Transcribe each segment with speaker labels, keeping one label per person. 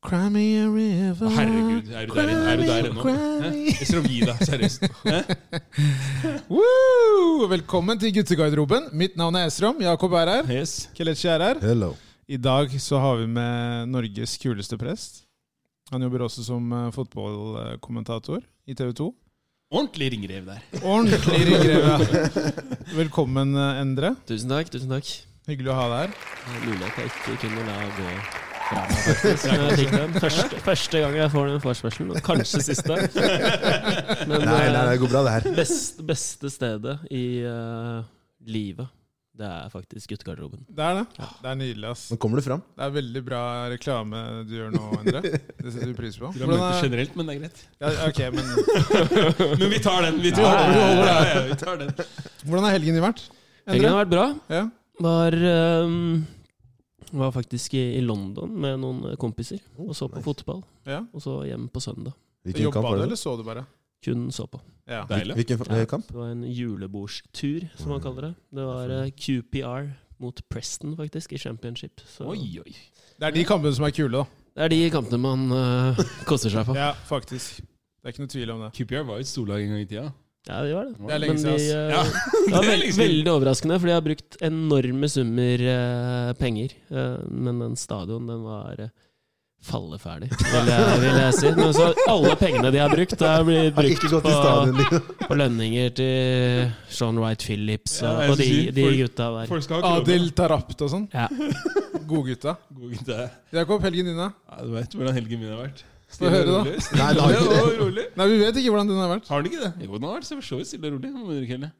Speaker 1: Cry me a river.
Speaker 2: Herregud, er du der, er du der ennå? Hæ? Jeg skal gi deg, seriøst. Hæ?
Speaker 1: Woo! Velkommen til guttegarderoben. Mitt navn er Esrom. Jakob er her.
Speaker 2: Yes.
Speaker 1: Kelechi er her.
Speaker 3: Hello.
Speaker 1: I dag så har vi med Norges kuleste prest. Han jobber også som eh, fotballkommentator i TV 2.
Speaker 2: Ordentlig ringrev der.
Speaker 1: Ordentlig ryggreve. Velkommen, eh, Endre.
Speaker 4: Tusen takk. tusen takk
Speaker 1: Hyggelig å ha deg her.
Speaker 4: Det er Mulig at jeg ikke kunne la gå fra meg, faktisk. når Jeg fikk den. Første, første gang jeg får den forespørselen. og Kanskje siste. Men eh,
Speaker 3: Nei, nei, nei,
Speaker 4: det
Speaker 3: det går bra, det her.
Speaker 4: best, beste stedet i eh, livet, det er faktisk guttegarderoben.
Speaker 1: Det er det. Det er nydelig, ass.
Speaker 3: Nå kommer du fram.
Speaker 1: Det er veldig bra reklame du gjør nå, Endre. Det setter vi pris på.
Speaker 2: Du har møtt det
Speaker 1: Hvordan er,
Speaker 2: generelt, men det er greit.
Speaker 1: ja, ok, men,
Speaker 2: Men vi tar den. Vi tar
Speaker 4: Ja,
Speaker 2: den.
Speaker 4: vi holder
Speaker 2: Ja, ja, vi tar den.
Speaker 1: hvordan har helgen din vært?
Speaker 4: Helgen har vært bra.
Speaker 1: Ja.
Speaker 4: Var, eh, var faktisk i, i London med noen eh, kompiser og så på fotball.
Speaker 1: Ja.
Speaker 4: Og så hjem på søndag.
Speaker 3: Hvilken kamp
Speaker 1: Jobba du,
Speaker 3: var det?
Speaker 1: eller så du bare?
Speaker 4: Kun så på.
Speaker 1: Ja.
Speaker 2: Deilig.
Speaker 3: Hvilken eh, kamp?
Speaker 4: Det var en julebordstur, som man kaller det. Det var eh, QPR mot Preston, faktisk, i championship. Så
Speaker 2: Oi, oi.
Speaker 1: Det er de kampene som er kule, da.
Speaker 4: Det er de kampene man eh, koster seg på.
Speaker 1: Ja, faktisk. Det er ikke noe tvil om det.
Speaker 2: QPR var jo et storlag en gang i tida.
Speaker 4: Ja, det var det.
Speaker 1: Det er
Speaker 4: Men
Speaker 1: lenge
Speaker 4: de,
Speaker 1: siden, ass.
Speaker 4: eh,
Speaker 2: Ja,
Speaker 4: det var
Speaker 2: det er
Speaker 4: veld,
Speaker 2: lenge siden.
Speaker 4: veldig overraskende, for de har brukt enorme summer eh, penger. Eh, men den stadion, den var eh, falleferdig, vil jeg, vil jeg si. Men så alle pengene de har brukt, det har blitt
Speaker 3: Har
Speaker 4: brukt
Speaker 3: ikke gått i
Speaker 4: på,
Speaker 3: stadion, liksom.
Speaker 4: på lønninger til Sean Wright Phillips
Speaker 2: Ja,
Speaker 4: og,
Speaker 2: jeg
Speaker 4: og de,
Speaker 2: skulle si,
Speaker 4: de
Speaker 2: folk-
Speaker 4: gutta der.
Speaker 2: Folk skal ha kroner.
Speaker 1: Adil Tarapt og sånn.
Speaker 4: Ja.
Speaker 1: Godgutta.
Speaker 2: God gutt, det er.
Speaker 1: Jakob, helgen din, da?
Speaker 2: Ja, du vet hvordan helgen min har vært.
Speaker 1: Få høre, da.
Speaker 2: og rolig. Stille
Speaker 3: Nei, det har ikke det.
Speaker 2: og rolig.
Speaker 1: Nei, vi vet ikke hvordan den har vært.
Speaker 2: Har den ikke det? Jo, den har vært så for så vidt stille og rolig. Må dere ikke heller.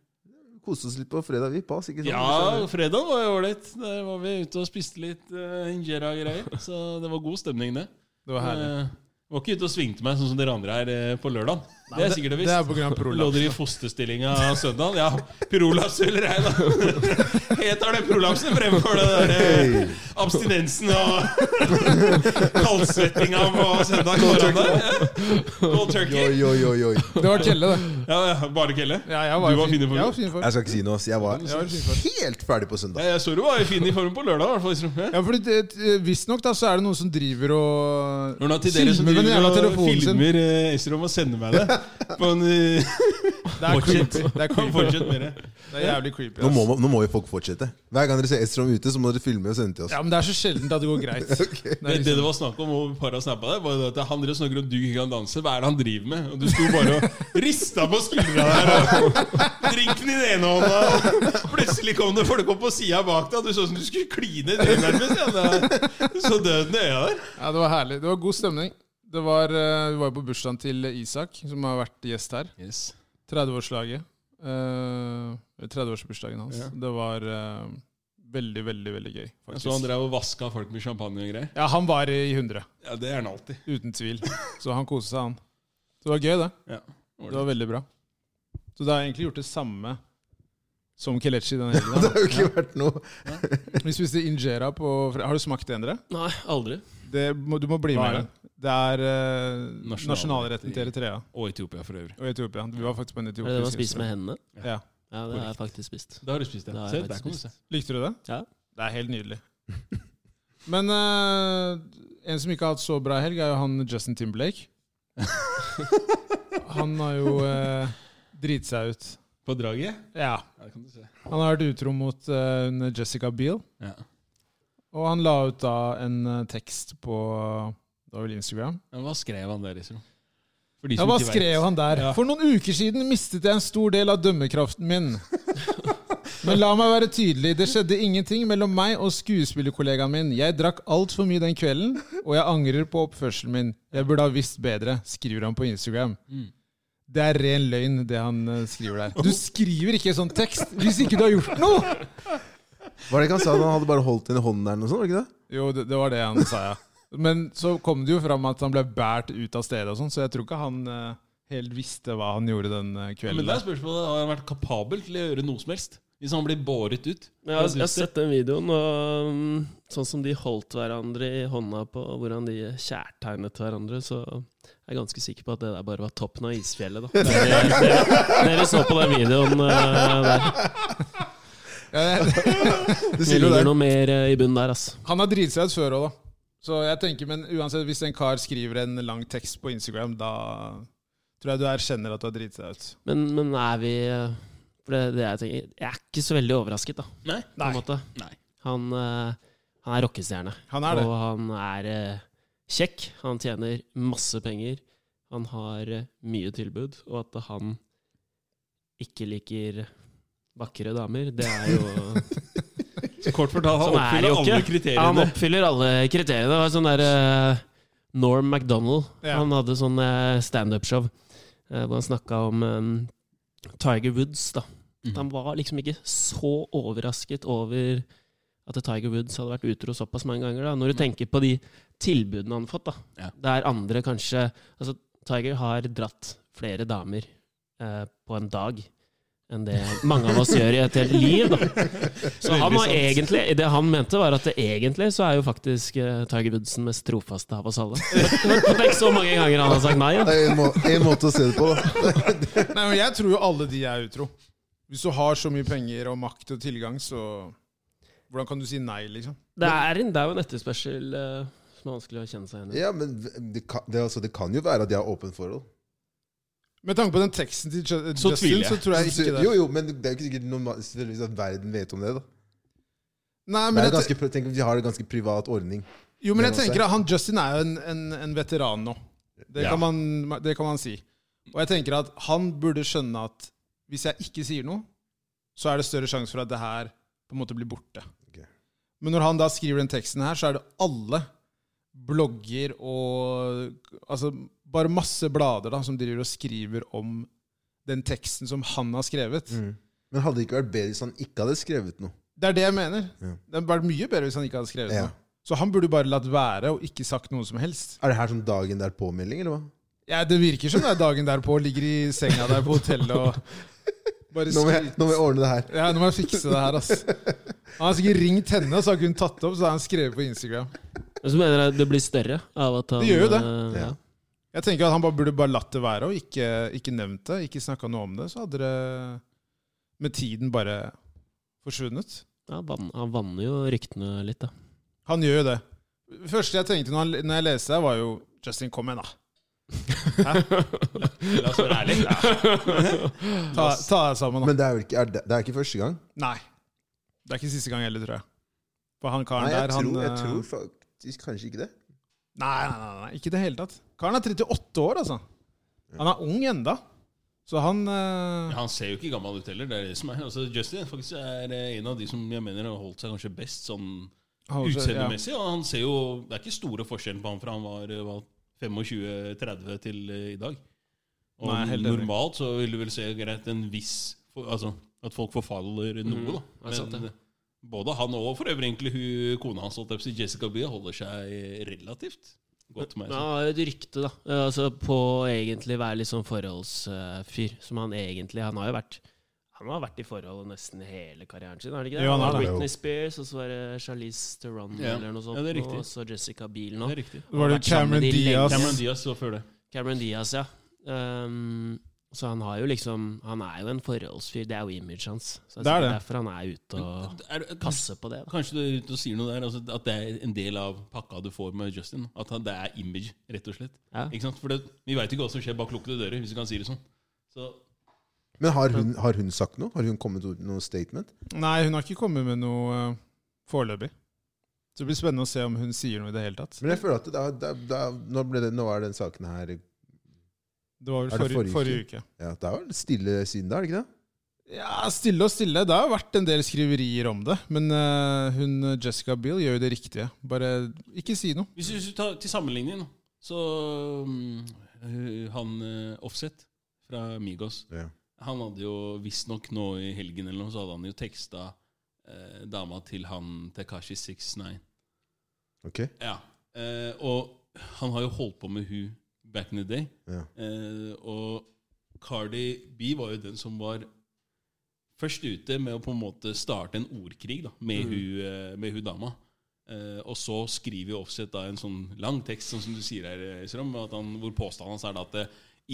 Speaker 3: Koste oss litt på fredag, vi. Pass, ikke sant?
Speaker 2: Ja, fredag var jo ålreit. Der var vi ute og spiste litt uh, injera-greier. Så det var god stemning, det.
Speaker 1: Det var herlig.
Speaker 2: Eh, var ikke ute og svingte meg sånn som dere andre er eh, på lørdag. Det er sikkert og
Speaker 1: Det er
Speaker 2: visst.
Speaker 1: på Grand Pro.
Speaker 2: Lå dere i fosterstillinga søndag? Ja, prolaps eller ei, da. Jeg tar den prolapsen fremfor det der eh, abstinensen og kaldsvettinga på søndag. morgen der. Ja. Cold turkey.
Speaker 3: Oi, oi, oi, oi.
Speaker 1: Det var Kjelle, det.
Speaker 2: Ja, ja, bare kelle.
Speaker 1: Ja, jeg var,
Speaker 2: Du
Speaker 1: jo
Speaker 2: var fin i form.
Speaker 1: Jeg var fin i form.
Speaker 3: Jeg skal ikke si noe, ass. Jeg var
Speaker 1: Jeg var fin i form.
Speaker 3: helt ferdig på søndag.
Speaker 2: Ja, Jeg så du Eh, var i fin i form på lørdag. i hvert fall, liksom. Ja.
Speaker 1: Ja, fordi det- Visstnok da, så er det noen som driver og
Speaker 2: Nå, til dere som
Speaker 1: Filmer med den jævla
Speaker 2: driver og
Speaker 1: telefonen sin.
Speaker 2: filmer eh, Esrom og sender meg det på en eh,
Speaker 1: Det er creepy. Det er, creepy.
Speaker 2: Fortsett med det.
Speaker 1: Det er jævlig creepy.
Speaker 3: Nå
Speaker 1: ass.
Speaker 3: må, nå må jo folk fortsette. Hver gang dere ser Estrom ute, så må dere filme og sende til oss.
Speaker 1: Ja, men det er så sjeldent at det går greit. Det
Speaker 2: Det,
Speaker 1: er
Speaker 2: det det
Speaker 1: liksom,
Speaker 2: var snakk om, og par av snappa der, var jo det at han dere snakker om du ikke kan danse. Hva er det han driver med? Og du sto bare og rista på skuldra der. Og drinken i den ene hånda. og Plutselig kom det folk opp på sida bak deg, og du så ut som du skulle kline i det nærmest. Ja. Det er Så døden i øya der.
Speaker 1: ja, det var herlig. Det var god stemning. Det var, eh, vi var jo på bursdagen til Isak, som har vært gjest her. 30-årslaget. eh, eller 30-årsbursdagen hans.
Speaker 2: Ja.
Speaker 1: Det var eh, veldig, veldig veldig gøy.
Speaker 2: Jeg så han
Speaker 1: faktisk.
Speaker 2: drev og vaska folk med champagne og greier.
Speaker 1: Ja, han var i 100,
Speaker 2: Ja, det er han alltid.
Speaker 1: uten tvil. Så han koste seg, han. Så det var gøy, det.
Speaker 2: Ja.
Speaker 1: Det var veldig bra. Så da har jeg egentlig gjort det samme som Kelechi denne helgen.
Speaker 3: Det har jo ikke vært noe.
Speaker 1: da. Vi spiste injera på fre- Har du smakt det, Endre?
Speaker 4: Nei, aldri.
Speaker 1: Det må, du må bli
Speaker 2: Hva er
Speaker 1: med. Det er eh,
Speaker 2: Nasjonalretten
Speaker 1: nasjonalretten til Eritrea
Speaker 2: Og Etiopia for øvrig.
Speaker 1: og Etiopia. Vi var faktisk på en
Speaker 4: Er det det man
Speaker 1: etiopisk
Speaker 4: spiser med hendene?
Speaker 1: Ja.
Speaker 4: Ja, det har jeg faktisk spist.
Speaker 2: Da har du spist det.
Speaker 4: Det har
Speaker 2: Se,
Speaker 4: jeg
Speaker 2: der
Speaker 4: faktisk
Speaker 2: kom det seg.
Speaker 4: spist.
Speaker 1: Likte du det?
Speaker 4: Ja.
Speaker 1: Det er helt nydelig. Men eh, en som ikke har hatt så bra helg, er jo han Justin Timberlake. Han har jo eh, driti seg ut.
Speaker 2: På draget?
Speaker 1: Ja.
Speaker 2: Ja, det kan du se.
Speaker 1: Han har vært utro mot eh, hun Jessica Biel,
Speaker 2: Ja.
Speaker 1: og han la ut da en eh, tekst på eh, det var vel Instagram.
Speaker 2: Men hva skrev han der, liksom? For de
Speaker 1: Ja,
Speaker 2: som
Speaker 1: hva
Speaker 2: ikke vet.
Speaker 1: skrev han der?
Speaker 2: Ja.
Speaker 1: For noen uker siden mistet jeg en stor del av dømmekraften min. Men la meg være tydelig, det skjedde ingenting mellom meg og skuespillerkollegaen min. Jeg drakk altfor mye den kvelden, og jeg angrer på oppførselen min. Jeg burde ha visst bedre, skriver han på Instagram.
Speaker 2: Mm.
Speaker 1: Det er ren løgn, det han eh, skriver der. Du skriver ikke sånn tekst hvis ikke du har gjort noe!
Speaker 3: Var det ikke han sa at han hadde bare holdt henne i hånden der? eller Noe sånt, var det ikke det?
Speaker 1: Jo, det, det var det han sa, ja. Men så kom det jo fram at han ble båret ut av stedet og sånn, så jeg tror ikke han eh, helt visste hva han gjorde den eh, kvelden.
Speaker 2: Men det er spørsmålet, har han vært kapabel til å gjøre noe som helst? Hvis han blir båret ut?
Speaker 4: Men Jeg har, jeg har sett den videoen, og mm, sånn som de holdt hverandre i hånda på, og hvordan de kjærtegnet hverandre, så jeg er ganske sikker på at det der bare var toppen av isfjellet, da. Dere, dere, dere så på den videoen eh, der.
Speaker 1: Ja, det-
Speaker 3: Det
Speaker 4: Det
Speaker 3: sier jo
Speaker 4: ligger
Speaker 3: der.
Speaker 4: noe mer eh, i bunnen der, altså.
Speaker 1: han har driti seg ut før òg, da. Så jeg tenker, men uansett, hvis en kar skriver en lang tekst på Instagram, da tror jeg du erkjenner at du har driti deg ut.
Speaker 4: Men, men er vi eh, For det, er det jeg tenker Jeg er ikke så veldig overrasket, da.
Speaker 2: Nei.
Speaker 4: På en
Speaker 1: Nei.
Speaker 4: måte.
Speaker 2: Nei.
Speaker 4: Han, eh, han er rockestjerne.
Speaker 1: Han er det.
Speaker 4: Og han er eh, kjekk. Han tjener masse penger. Han har eh, mye tilbud. Og at han ikke liker vakre damer, det er jo
Speaker 2: Så kort fortalt, han
Speaker 4: Sånn er
Speaker 2: oppfyller
Speaker 4: det jo
Speaker 2: alle
Speaker 4: ikke. Han
Speaker 2: kriteriene.
Speaker 4: oppfyller alle kriteriene. Det var sånn der eh, Norm MacDonald.
Speaker 1: Ja.
Speaker 4: Han hadde sånn eh, standup-show eh, hvor han snakka om eh, Tiger Woods. da.
Speaker 2: Mm.
Speaker 4: At Han var liksom ikke så overrasket over at Tiger Woods hadde vært utro såpass mange ganger. da. Når du tenker på de tilbudene han har fått, da.
Speaker 2: Ja.
Speaker 4: der andre kanskje Altså, Tiger har dratt flere damer eh, på en dag enn det mange av oss gjør i et helt liv. Da. Så han var egentlig, det han mente, var at det egentlig så er jo faktisk eh, Tiger Woods den mest trofaste av oss alle. Men det er ikke så mange ganger han har sagt nei.
Speaker 3: Det
Speaker 4: Da.
Speaker 3: er en, må en måte å se det på, da.
Speaker 1: Nei, men jeg tror jo alle de er utro. Hvis du har så mye penger og makt og tilgang, så Hvordan kan du si nei, liksom?
Speaker 4: Det, er en, det er jo en etterspørsel eh, som er vanskelig å kjenne seg igjen i.
Speaker 3: Ja, men det kan, det, altså, det kan jo være at de har åpent forhold.
Speaker 1: Med tanke på den teksten til Ju-
Speaker 2: Så
Speaker 1: Justin,
Speaker 2: tviler jeg.
Speaker 1: så tror jeg ikke det.
Speaker 3: Jo, jo, men det er jo ikke sikkert noen, selvfølgelig at verden vet om det, da.
Speaker 1: Nei,
Speaker 3: Det
Speaker 1: men
Speaker 3: er
Speaker 1: jeg,
Speaker 3: jo ganske, pri- tenk om de har en ganske privat ordning.
Speaker 1: Jo, men jeg
Speaker 3: Mellom seg.
Speaker 1: tenker at han Justin er jo en, en, en veteran nå. Det,
Speaker 2: Ja.
Speaker 1: kan man, det kan man si. Og jeg tenker at han burde skjønne at hvis jeg ikke sier noe, så er det større sjanse for at det her på en måte blir borte.
Speaker 3: Ok.
Speaker 1: Men når han da skriver den teksten her, så er det alle blogger og Altså bare masse blader da, som driver og skriver om den teksten som han har skrevet.
Speaker 3: Mm. Men hadde det ikke vært bedre hvis han ikke hadde skrevet noe?
Speaker 1: Det er det jeg mener.
Speaker 3: Ja.
Speaker 1: Det hadde vært mye bedre hvis han ikke hadde skrevet
Speaker 3: Ja.
Speaker 1: noe. Så han burde bare latt være og ikke sagt noe som helst.
Speaker 3: Er det her sånn dagen der påmelding, eller hva?
Speaker 1: Ja, Det virker som det er dagen derpå. Ligger i senga der på hotellet og bare
Speaker 3: Nå må jeg,
Speaker 1: skryter.
Speaker 3: nå må jeg ordne det her.
Speaker 1: Ja, nå må jeg fikse det her, ass. Han har sikkert ringt henne, og så har ikke hun tatt det opp, så har han skrevet på Instagram.
Speaker 4: Men så mener jeg det blir større av at han
Speaker 1: Det gjør jo det.
Speaker 4: eh, ja.
Speaker 1: Jeg tenker at Han bare burde bare latt det være og ikke, ikke nevnt det. Ikke snakka noe om det. Så hadde det med tiden bare forsvunnet.
Speaker 4: Ja, vann- han vanner jo ryktene litt, da.
Speaker 1: Han gjør jo det. Det første jeg tenkte når, han, når jeg leste det, var jo Justin, kom igjen, da.
Speaker 2: La oss være ærlige.
Speaker 1: Ta, ta deg sammen, da.
Speaker 3: Men det er jo ikke, er det, det er ikke første gang.
Speaker 1: Nei. Det er ikke siste gang heller, tror jeg. For han karen
Speaker 3: Nei,
Speaker 1: der,
Speaker 3: jeg tror,
Speaker 1: han
Speaker 3: jeg
Speaker 1: eh,
Speaker 3: tror faktisk kanskje ikke det.
Speaker 1: Nei, nei, nei, nei, ikke i det hele tatt. Karen er 38 år, altså. Han er ung enda. Så han eh,
Speaker 2: Han ser jo ikke gammel ut heller. Det er det som er. Altså, Justin faktisk er eh, en av de som jeg mener har holdt seg kanskje best sånn
Speaker 1: har også-
Speaker 2: utseendemessig. Og han ser jo Det er ikke store forskjellen på han fra han var eh, hva, 25-30 til eh, i dag. Og
Speaker 1: Nei, helt enig.
Speaker 2: normalt så vil du vel se greit en viss for- Altså at folk forfaller noe, da.
Speaker 4: Mhm, det er sant,
Speaker 2: Men
Speaker 4: det.
Speaker 2: både han og for øvrig egentlig hun kona hans, holdt jeg på å si, Jessica Biel, holder seg relativt godt med.
Speaker 4: Men Han har jo et rykte, da. Eh, Altså på å egentlig være litt sånn forholdsfyr, eh, som han egentlig Han har jo vært Han har vært i forhold nesten hele karrieren sin, er det ikke det?
Speaker 1: Jo, han har det.
Speaker 4: Britney Spears, og så var det Charlize Theron
Speaker 2: Ja.
Speaker 4: eller noe sånt,
Speaker 2: Ja, det er riktig.
Speaker 4: og så Jessica Biel
Speaker 2: Ja.
Speaker 4: nå.
Speaker 2: Det er riktig.
Speaker 1: Ja. Var det
Speaker 4: Vært sammen
Speaker 1: Cameron
Speaker 4: med de
Speaker 1: Diaz?
Speaker 4: lenge.
Speaker 2: Cameron Diaz så før det.
Speaker 4: Cameron Diaz, ja. Ehm, så han har jo liksom Han er jo en forholdsfyr, det er jo imaget hans. Så det er sikkert derfor han er ute og
Speaker 2: Er, er,
Speaker 4: passer på det. da.
Speaker 2: Kanskje du er ute og sier noe der, altså, at det er en del av pakka du får med Justin. At han- det er image, rett og slett.
Speaker 4: Ja.
Speaker 2: Ikke sant? For det, vi veit ikke hva som skjer bak lukkede dører, hvis du kan si det sånn. Så
Speaker 3: Men har hun, har hun sagt noe? Har hun kommet ut med noe statement?
Speaker 1: Nei, hun har ikke kommet med noe eh, foreløpig. Så det blir spennende å se om hun sier noe i det hele tatt.
Speaker 3: Men jeg føler at det, er- det, er- det, er- nå, ble det, nå er den saken her
Speaker 1: Det var vel
Speaker 3: Er det
Speaker 1: forrige, forrige
Speaker 3: forrige
Speaker 1: uke.
Speaker 3: Ja, Det er vel stille siden da, er det ikke det?
Speaker 1: Ja, stille og stille. Det har vært en del skriverier om det. Men eh, hun Jessica Biel gjør jo det riktige. Bare ikke si noe.
Speaker 2: hvis, hvis du tar til sammenligning, nå, så mm, Han eh, Offset fra Migos
Speaker 3: Ja.
Speaker 2: Han hadde jo visstnok nå i helgen eller noe, så hadde han jo teksta eh, dama til han Tekashi 69.
Speaker 3: Ok.
Speaker 2: Ja. Eh, og han har jo holdt på med hun back in the day.
Speaker 3: Ja.
Speaker 2: Eh, og Cardi B var jo den som var først ute med å på en måte starte en ordkrig da, med, hun, eh, med hun dama. Eh, og så skriver jo Offset da en sånn lang tekst, sånn som du sier her, Isram, at han, hvor påstanden hans er da at eh,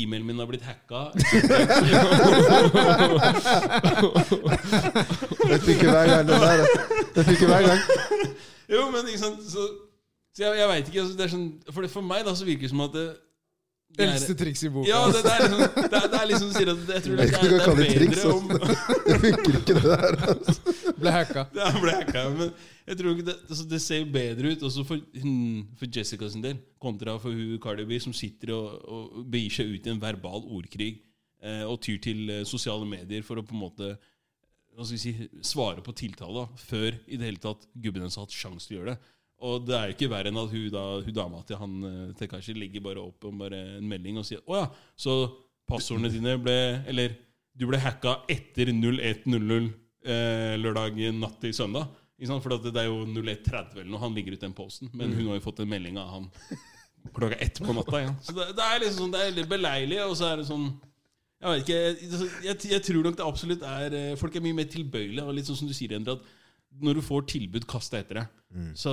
Speaker 2: e-mailen min har blitt hacka.
Speaker 3: Jeg fikk jo hver gang den der. Jeg fikk jo hver gang.
Speaker 2: jo, men ikke sant, så, Så jeg, jeg vet ikke, altså, det er sånn, for, det, for meg da så virker det som at det, det er-
Speaker 1: Eldste triks i boka.
Speaker 2: Ja, det, det er liksom det er, det er liksom du sier at det- Jeg tror det,
Speaker 3: Jeg vet ikke
Speaker 2: er,
Speaker 3: om du kan
Speaker 2: det
Speaker 3: kalle det
Speaker 2: er
Speaker 3: triks,
Speaker 2: bedre om
Speaker 3: Det funker ikke, det der.
Speaker 1: Ble hacka.
Speaker 2: Det er blacka, men jeg tror ikke det, altså, det ser jo bedre ut også for, hmm, for Jessica sin del, kontra for hun Carnaby, som sitter og, og begir seg ut i en verbal ordkrig eh, og tyr til eh, sosiale medier for å på en måte hva skal vi si, svare på tiltale da, før i det hele tatt gubben hennes har hatt sjanse til å gjøre det. Og det er jo ikke verre enn at hun, da, hun dama til han eh, Tekashi legger bare opp om bare en melding og sier Å ja, så passordene dine ble Eller du ble hacka etter 01.00 eh, lørdag natt til søndag. Ikke sant? For at det er jo 01.30 eller noe. Han ligger ut den posten. Men hun har jo fått en melding av han klokka ett på natta. Ja. Så det, det er liksom sånn, det er litt beleilig, og så er det sånn jeg vet ikke, jeg, jeg, jeg tror nok det absolutt er eh, Folk er mye mer tilbøyelige. Og litt sånn som du sier, Endre, at når du får tilbud, kast deg etter det. Så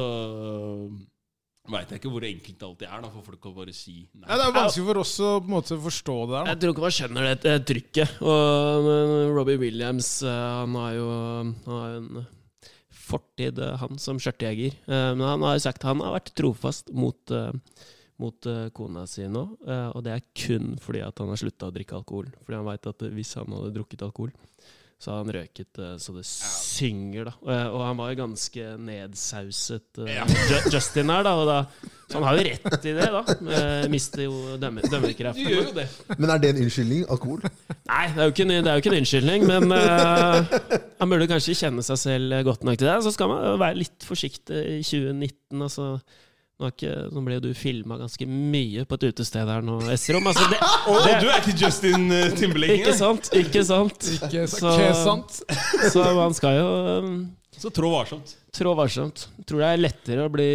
Speaker 2: veit jeg ikke hvor enkelt det alltid er da, for folk å bare si
Speaker 1: Ja,
Speaker 2: nei.
Speaker 1: det er vanskelig for oss å på en måte forstå det der.
Speaker 4: Jeg tror ikke man skjønner det eh, trykket. Og men Robbie Williams, eh, han har jo han har jo en fortid, eh, han som skjørtejeger. Eh, Men han har jo sagt han har vært trofast mot, eh, mot eh, kona si nå. Eh, Og det er kun fordi at han har slutta å drikke alkohol. Fordi han veit at eh, hvis han hadde drukket alkohol, så hadde han røket eh, så det synger, da. Eh, Og han var jo ganske nedsauset, eh, Ju- Justin her, da. Og da så han har jo rett i det, da. Eh, Mister jo dømme,
Speaker 2: Du
Speaker 4: dømmekraften.
Speaker 2: gjør jo det.
Speaker 3: Men er det en unnskyldning? Alkohol?
Speaker 4: Nei, det er jo ikke, en- det er jo ikke en unnskyldning, men eh, han burde kanskje kjenne seg selv eh, godt nok til det. Så skal man jo være litt forsiktig i 2019. altså... Nå, er ikke, nå ble jo du filma ganske mye på et utested her nå, Esrom. Altså, det,
Speaker 2: Og
Speaker 4: det-
Speaker 2: du er ikke Justin eh, Timberlake
Speaker 4: ikke
Speaker 2: engang!
Speaker 4: sant? Ikke sant?
Speaker 1: Ikke s-
Speaker 4: Så-
Speaker 1: ikke sant?
Speaker 4: Så man skal jo um,
Speaker 2: Så trå varsomt.
Speaker 4: trå varsomt. Tror det er lettere å bli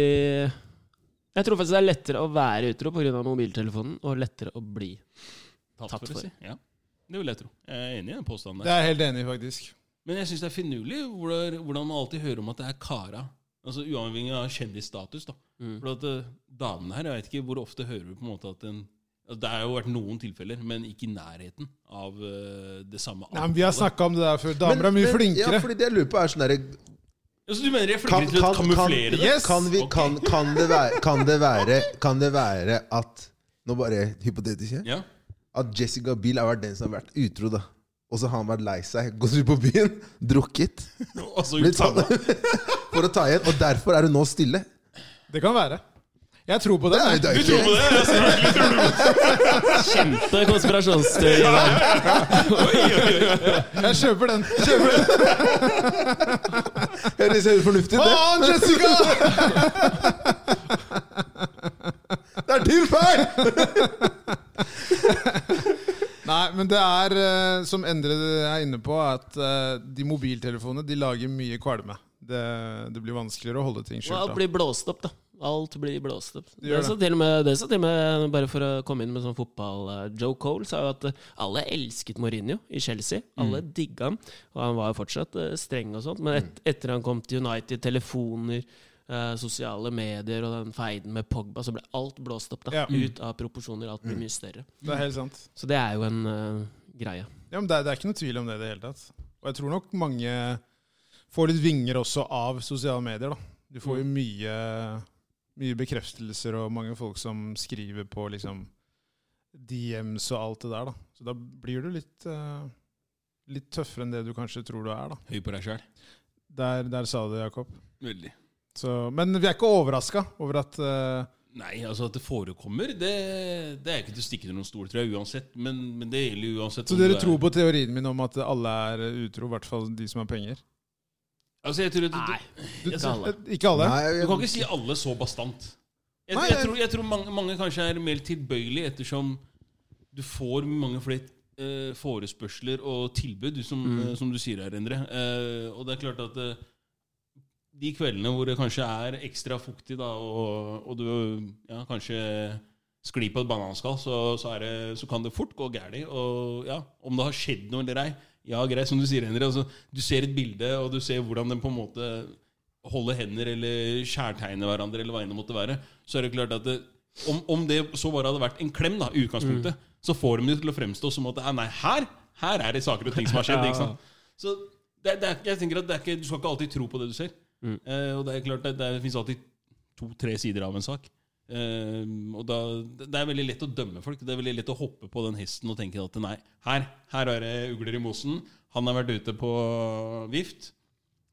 Speaker 4: Jeg tror faktisk det er lettere å være utro pga. mobiltelefonen, og lettere å bli.
Speaker 2: Tatt
Speaker 4: Tatt
Speaker 2: for, å
Speaker 4: for.
Speaker 2: si. Ja. Det vil jeg tro. Jeg er enig i den påstanden
Speaker 1: Det
Speaker 2: der.
Speaker 1: er jeg helt enig i, faktisk.
Speaker 2: Men jeg syns det er finurlig hvordan hvordan man alltid hører om at det er kara. Altså Uavhengig av kjendisstatus. da For at eh, damene her, jeg vet ikke hvor ofte hører vi på en måte at en altså, Det har jo vært noen tilfeller, men ikke i nærheten av eh, det samme.
Speaker 1: Nei, men Vi har
Speaker 2: antallet.
Speaker 1: snakka om det der før. Damer er mye
Speaker 3: Ja,
Speaker 1: flinkere.
Speaker 3: fordi det jeg lurer på er sånn derre
Speaker 2: Altså, du mener de er
Speaker 3: kan,
Speaker 2: flinkere til å
Speaker 3: kan, kan,
Speaker 2: kamuflere det?
Speaker 1: Yes!
Speaker 3: kan, vi,
Speaker 2: Ok.
Speaker 3: kan, kan, det være, kan det være Kan det være at Nå bare hypotetisk her.
Speaker 2: Ja.
Speaker 3: At Jessica Biel har vært den som har vært utro, da. Og så har han vært lei seg, gått ut på byen, drukket.
Speaker 2: Altså,
Speaker 3: Blitt
Speaker 1: sånn.
Speaker 2: utsamme.
Speaker 3: tatt for å ta igjen. Og derfor er hun nå stille.
Speaker 1: Det kan være. Jeg tror på det.
Speaker 3: Det er, det
Speaker 2: Du
Speaker 3: er
Speaker 2: tror på
Speaker 3: ikke,
Speaker 2: det? Jeg ser det.
Speaker 4: Kjempe konspirasjonsteori.
Speaker 2: Oi, oi, oi.
Speaker 1: Jeg kjøper den. Kjøper den.
Speaker 3: det ser fornuftig ut,
Speaker 1: Faen, Jessica!
Speaker 3: det. Det er din feil!
Speaker 1: Nei, men det er, eh, som Endre er inne på, at eh, de mobiltelefonene de lager mye kvalme. Det, det blir vanskeligere å holde ting
Speaker 4: Og alt
Speaker 1: skjult. da.
Speaker 4: blir blåst opp, da. Alt blir blåst opp. Det,
Speaker 1: gjør
Speaker 4: sa til og med, det sa til og med, bare for å komme inn med sånn fotball eh, Joe Cole sa jo at eh, alle elsket Mourinho i Chelsea. Alle digga han. Og han var jo fortsatt eh, streng og sånt, men et, etter han kom til United, telefoner, eh, sosiale medier og den feiden med Pogba, så ble alt blåst opp, da.
Speaker 1: Ja.
Speaker 4: Ut av proporsjoner. Alt ble mye større.
Speaker 1: Det er helt sant.
Speaker 4: Så det er jo en eh, greie.
Speaker 1: Ja, men det, er- det er ikke noe tvil om det i det hele tatt. Og jeg tror nok mange får litt vinger også av sosiale medier. da. Du får
Speaker 2: Mm.
Speaker 1: jo mye, mye bekreftelser og mange folk som skriver på liksom DMs og alt det der. da. Så da blir du litt, eh, litt tøffere enn det du kanskje tror du er. da.
Speaker 2: Høy på deg sjæl.
Speaker 1: Der, der sa du det, Jakob.
Speaker 2: Veldig.
Speaker 1: Så, men vi er ikke overraska over at eh,
Speaker 2: Nei, altså at det forekommer, det, det er ikke til å stikke under noen stol, tror jeg, uansett. Men, men det gjelder jo uansett.
Speaker 1: Så
Speaker 2: om
Speaker 1: dere
Speaker 2: du er-
Speaker 1: tror på teorien min om at alle er utro, i hvert fall de som har penger?
Speaker 2: Altså, jeg tror at
Speaker 4: Nei,
Speaker 2: du,
Speaker 4: ikke alle.
Speaker 1: Eh, Ikke alle?
Speaker 3: Nei,
Speaker 2: du kan ikke si alle så bastant. Jeg,
Speaker 1: Nei,
Speaker 2: jeg,
Speaker 1: jeg-
Speaker 2: tror, jeg tror mange, mange kanskje er mer tilbøyelige ettersom du får mange flere eh, forespørsler og tilbud, som, eh, som du sier her, Endre. Eh, og det er klart at eh, de kveldene hvor det kanskje er ekstra fuktig, da, og, og du ja, kanskje sklir på et bananskall, så, så, er det, så kan det fort gå galt. Og ja, om det har skjedd noe eller ei Ja, greit, som du sier, Endre. Altså, du ser et bilde, og du ser hvordan den på en måte holder hender eller skjærtegne hverandre, eller hva enn det måtte være, så er det klart at det, om, om det så bare hadde vært en klem, da, i utgangspunktet, så får de det til å fremstå som at det er, nei, her, her er det saker og ting som har skjedd. ikke sant? Så det, det er, jeg tenker at det er ikke, du skal ikke alltid tro på det du ser. Eh, og det er klart, det, det finnes alltid to-tre sider av en sak. Eh, og da, Det er veldig lett å dømme folk. Det er veldig lett å hoppe på den hesten og tenke at nei, her, her er det ugler i mosen. Han har vært ute på vift.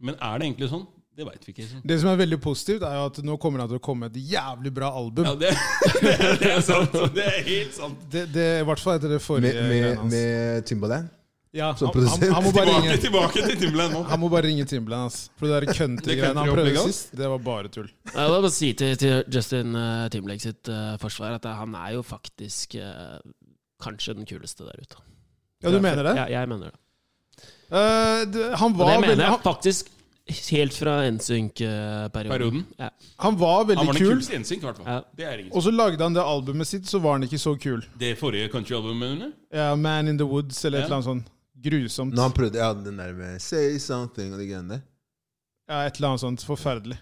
Speaker 2: Men er det egentlig sånn? Det veit vi ikke. Liksom.
Speaker 1: Det som er veldig positivt, er jo at nå kommer det til å komme et jævlig bra album.
Speaker 2: Ja, det, det, er sant. Det er helt sant.
Speaker 1: Det, det, I hvert fall etter det forrige.
Speaker 3: Med, med,
Speaker 1: greiene hans.
Speaker 3: med Timbaland?
Speaker 1: ja, han,
Speaker 3: som
Speaker 1: han, han, må bare
Speaker 2: Tilbake,
Speaker 1: ringe,
Speaker 2: tilbake til Timberland nå.
Speaker 1: han må bare ringe Timbaland, ass. For det der country-greiene han
Speaker 2: country-opplegget
Speaker 1: prøvde
Speaker 2: hans?
Speaker 1: sist, det var bare tull.
Speaker 4: Jeg vil bare si til, til Justin eh, Timberlake sitt eh, forsvar at eh, han er jo faktisk eh, kanskje den kuleste der ute.
Speaker 1: Ja, du mener det?
Speaker 4: Ja, jeg mener det.
Speaker 1: Eh, det han,
Speaker 4: Og det
Speaker 1: var
Speaker 4: mener
Speaker 1: veldig,
Speaker 4: jeg
Speaker 1: han,
Speaker 4: faktisk helt fra NSYNC-perioden.
Speaker 2: Perioden.
Speaker 4: Ja.
Speaker 1: han var
Speaker 2: Han
Speaker 1: veldig
Speaker 2: var den
Speaker 1: kul,
Speaker 2: kuleste NSYNC, i hvert
Speaker 4: Ja.
Speaker 2: fall. Det er ingen
Speaker 1: og så lagde han det albumet sitt, så var han ikke så kul.
Speaker 2: Det forrige countryalbumet under?
Speaker 1: Ja, Man in the Woods eller et
Speaker 2: Ja.
Speaker 1: eller annet sånt. Grusomt.
Speaker 3: Når han prøvde ja, den der med 'say something' og de greiene der.
Speaker 1: Ja, et eller annet sånt forferdelig.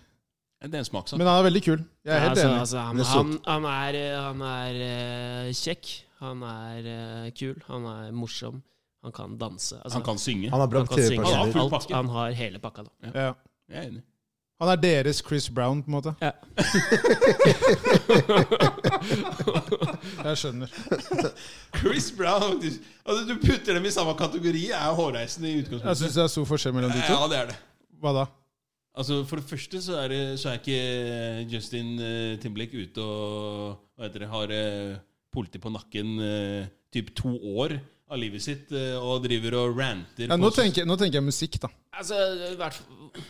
Speaker 2: Det er en smakssak.
Speaker 1: Men han er veldig kul. Jeg er
Speaker 4: Ja,
Speaker 1: helt
Speaker 4: altså,
Speaker 1: enig.
Speaker 4: altså, han,
Speaker 3: Men så-
Speaker 4: han, han er, eh, han er eh, kjekk, han er eh, kul, han er morsom, han kan danse. Altså,
Speaker 2: Han kan synge.
Speaker 3: Han har bra
Speaker 4: han kan synge.
Speaker 2: Han har
Speaker 3: TV-personer.
Speaker 2: full
Speaker 4: alt,
Speaker 2: pakke.
Speaker 4: han har hele pakka. Da.
Speaker 1: Ja.
Speaker 2: Jeg er enig.
Speaker 1: Han er deres Chris Brown, på en måte.
Speaker 4: Ja.
Speaker 1: Jeg skjønner.
Speaker 2: Chris Brown faktisk. altså, Du putter dem i samme kategori, er jo hårreisende i
Speaker 1: Jeg
Speaker 2: utgangspunktet.
Speaker 1: syns det er stor forskjell mellom de
Speaker 2: Ja,
Speaker 1: to.
Speaker 2: det er det.
Speaker 1: Hva da?
Speaker 2: Altså, For det første så er, det, så er ikke Justin eh, Timberlake ute og hva heter det, har eh, politi på nakken eh, typ to år av livet sitt eh, og driver og ranter
Speaker 1: Ja, nå,
Speaker 2: på
Speaker 1: tenker, nå tenker jeg musikk, da.
Speaker 4: Altså, i hvert fall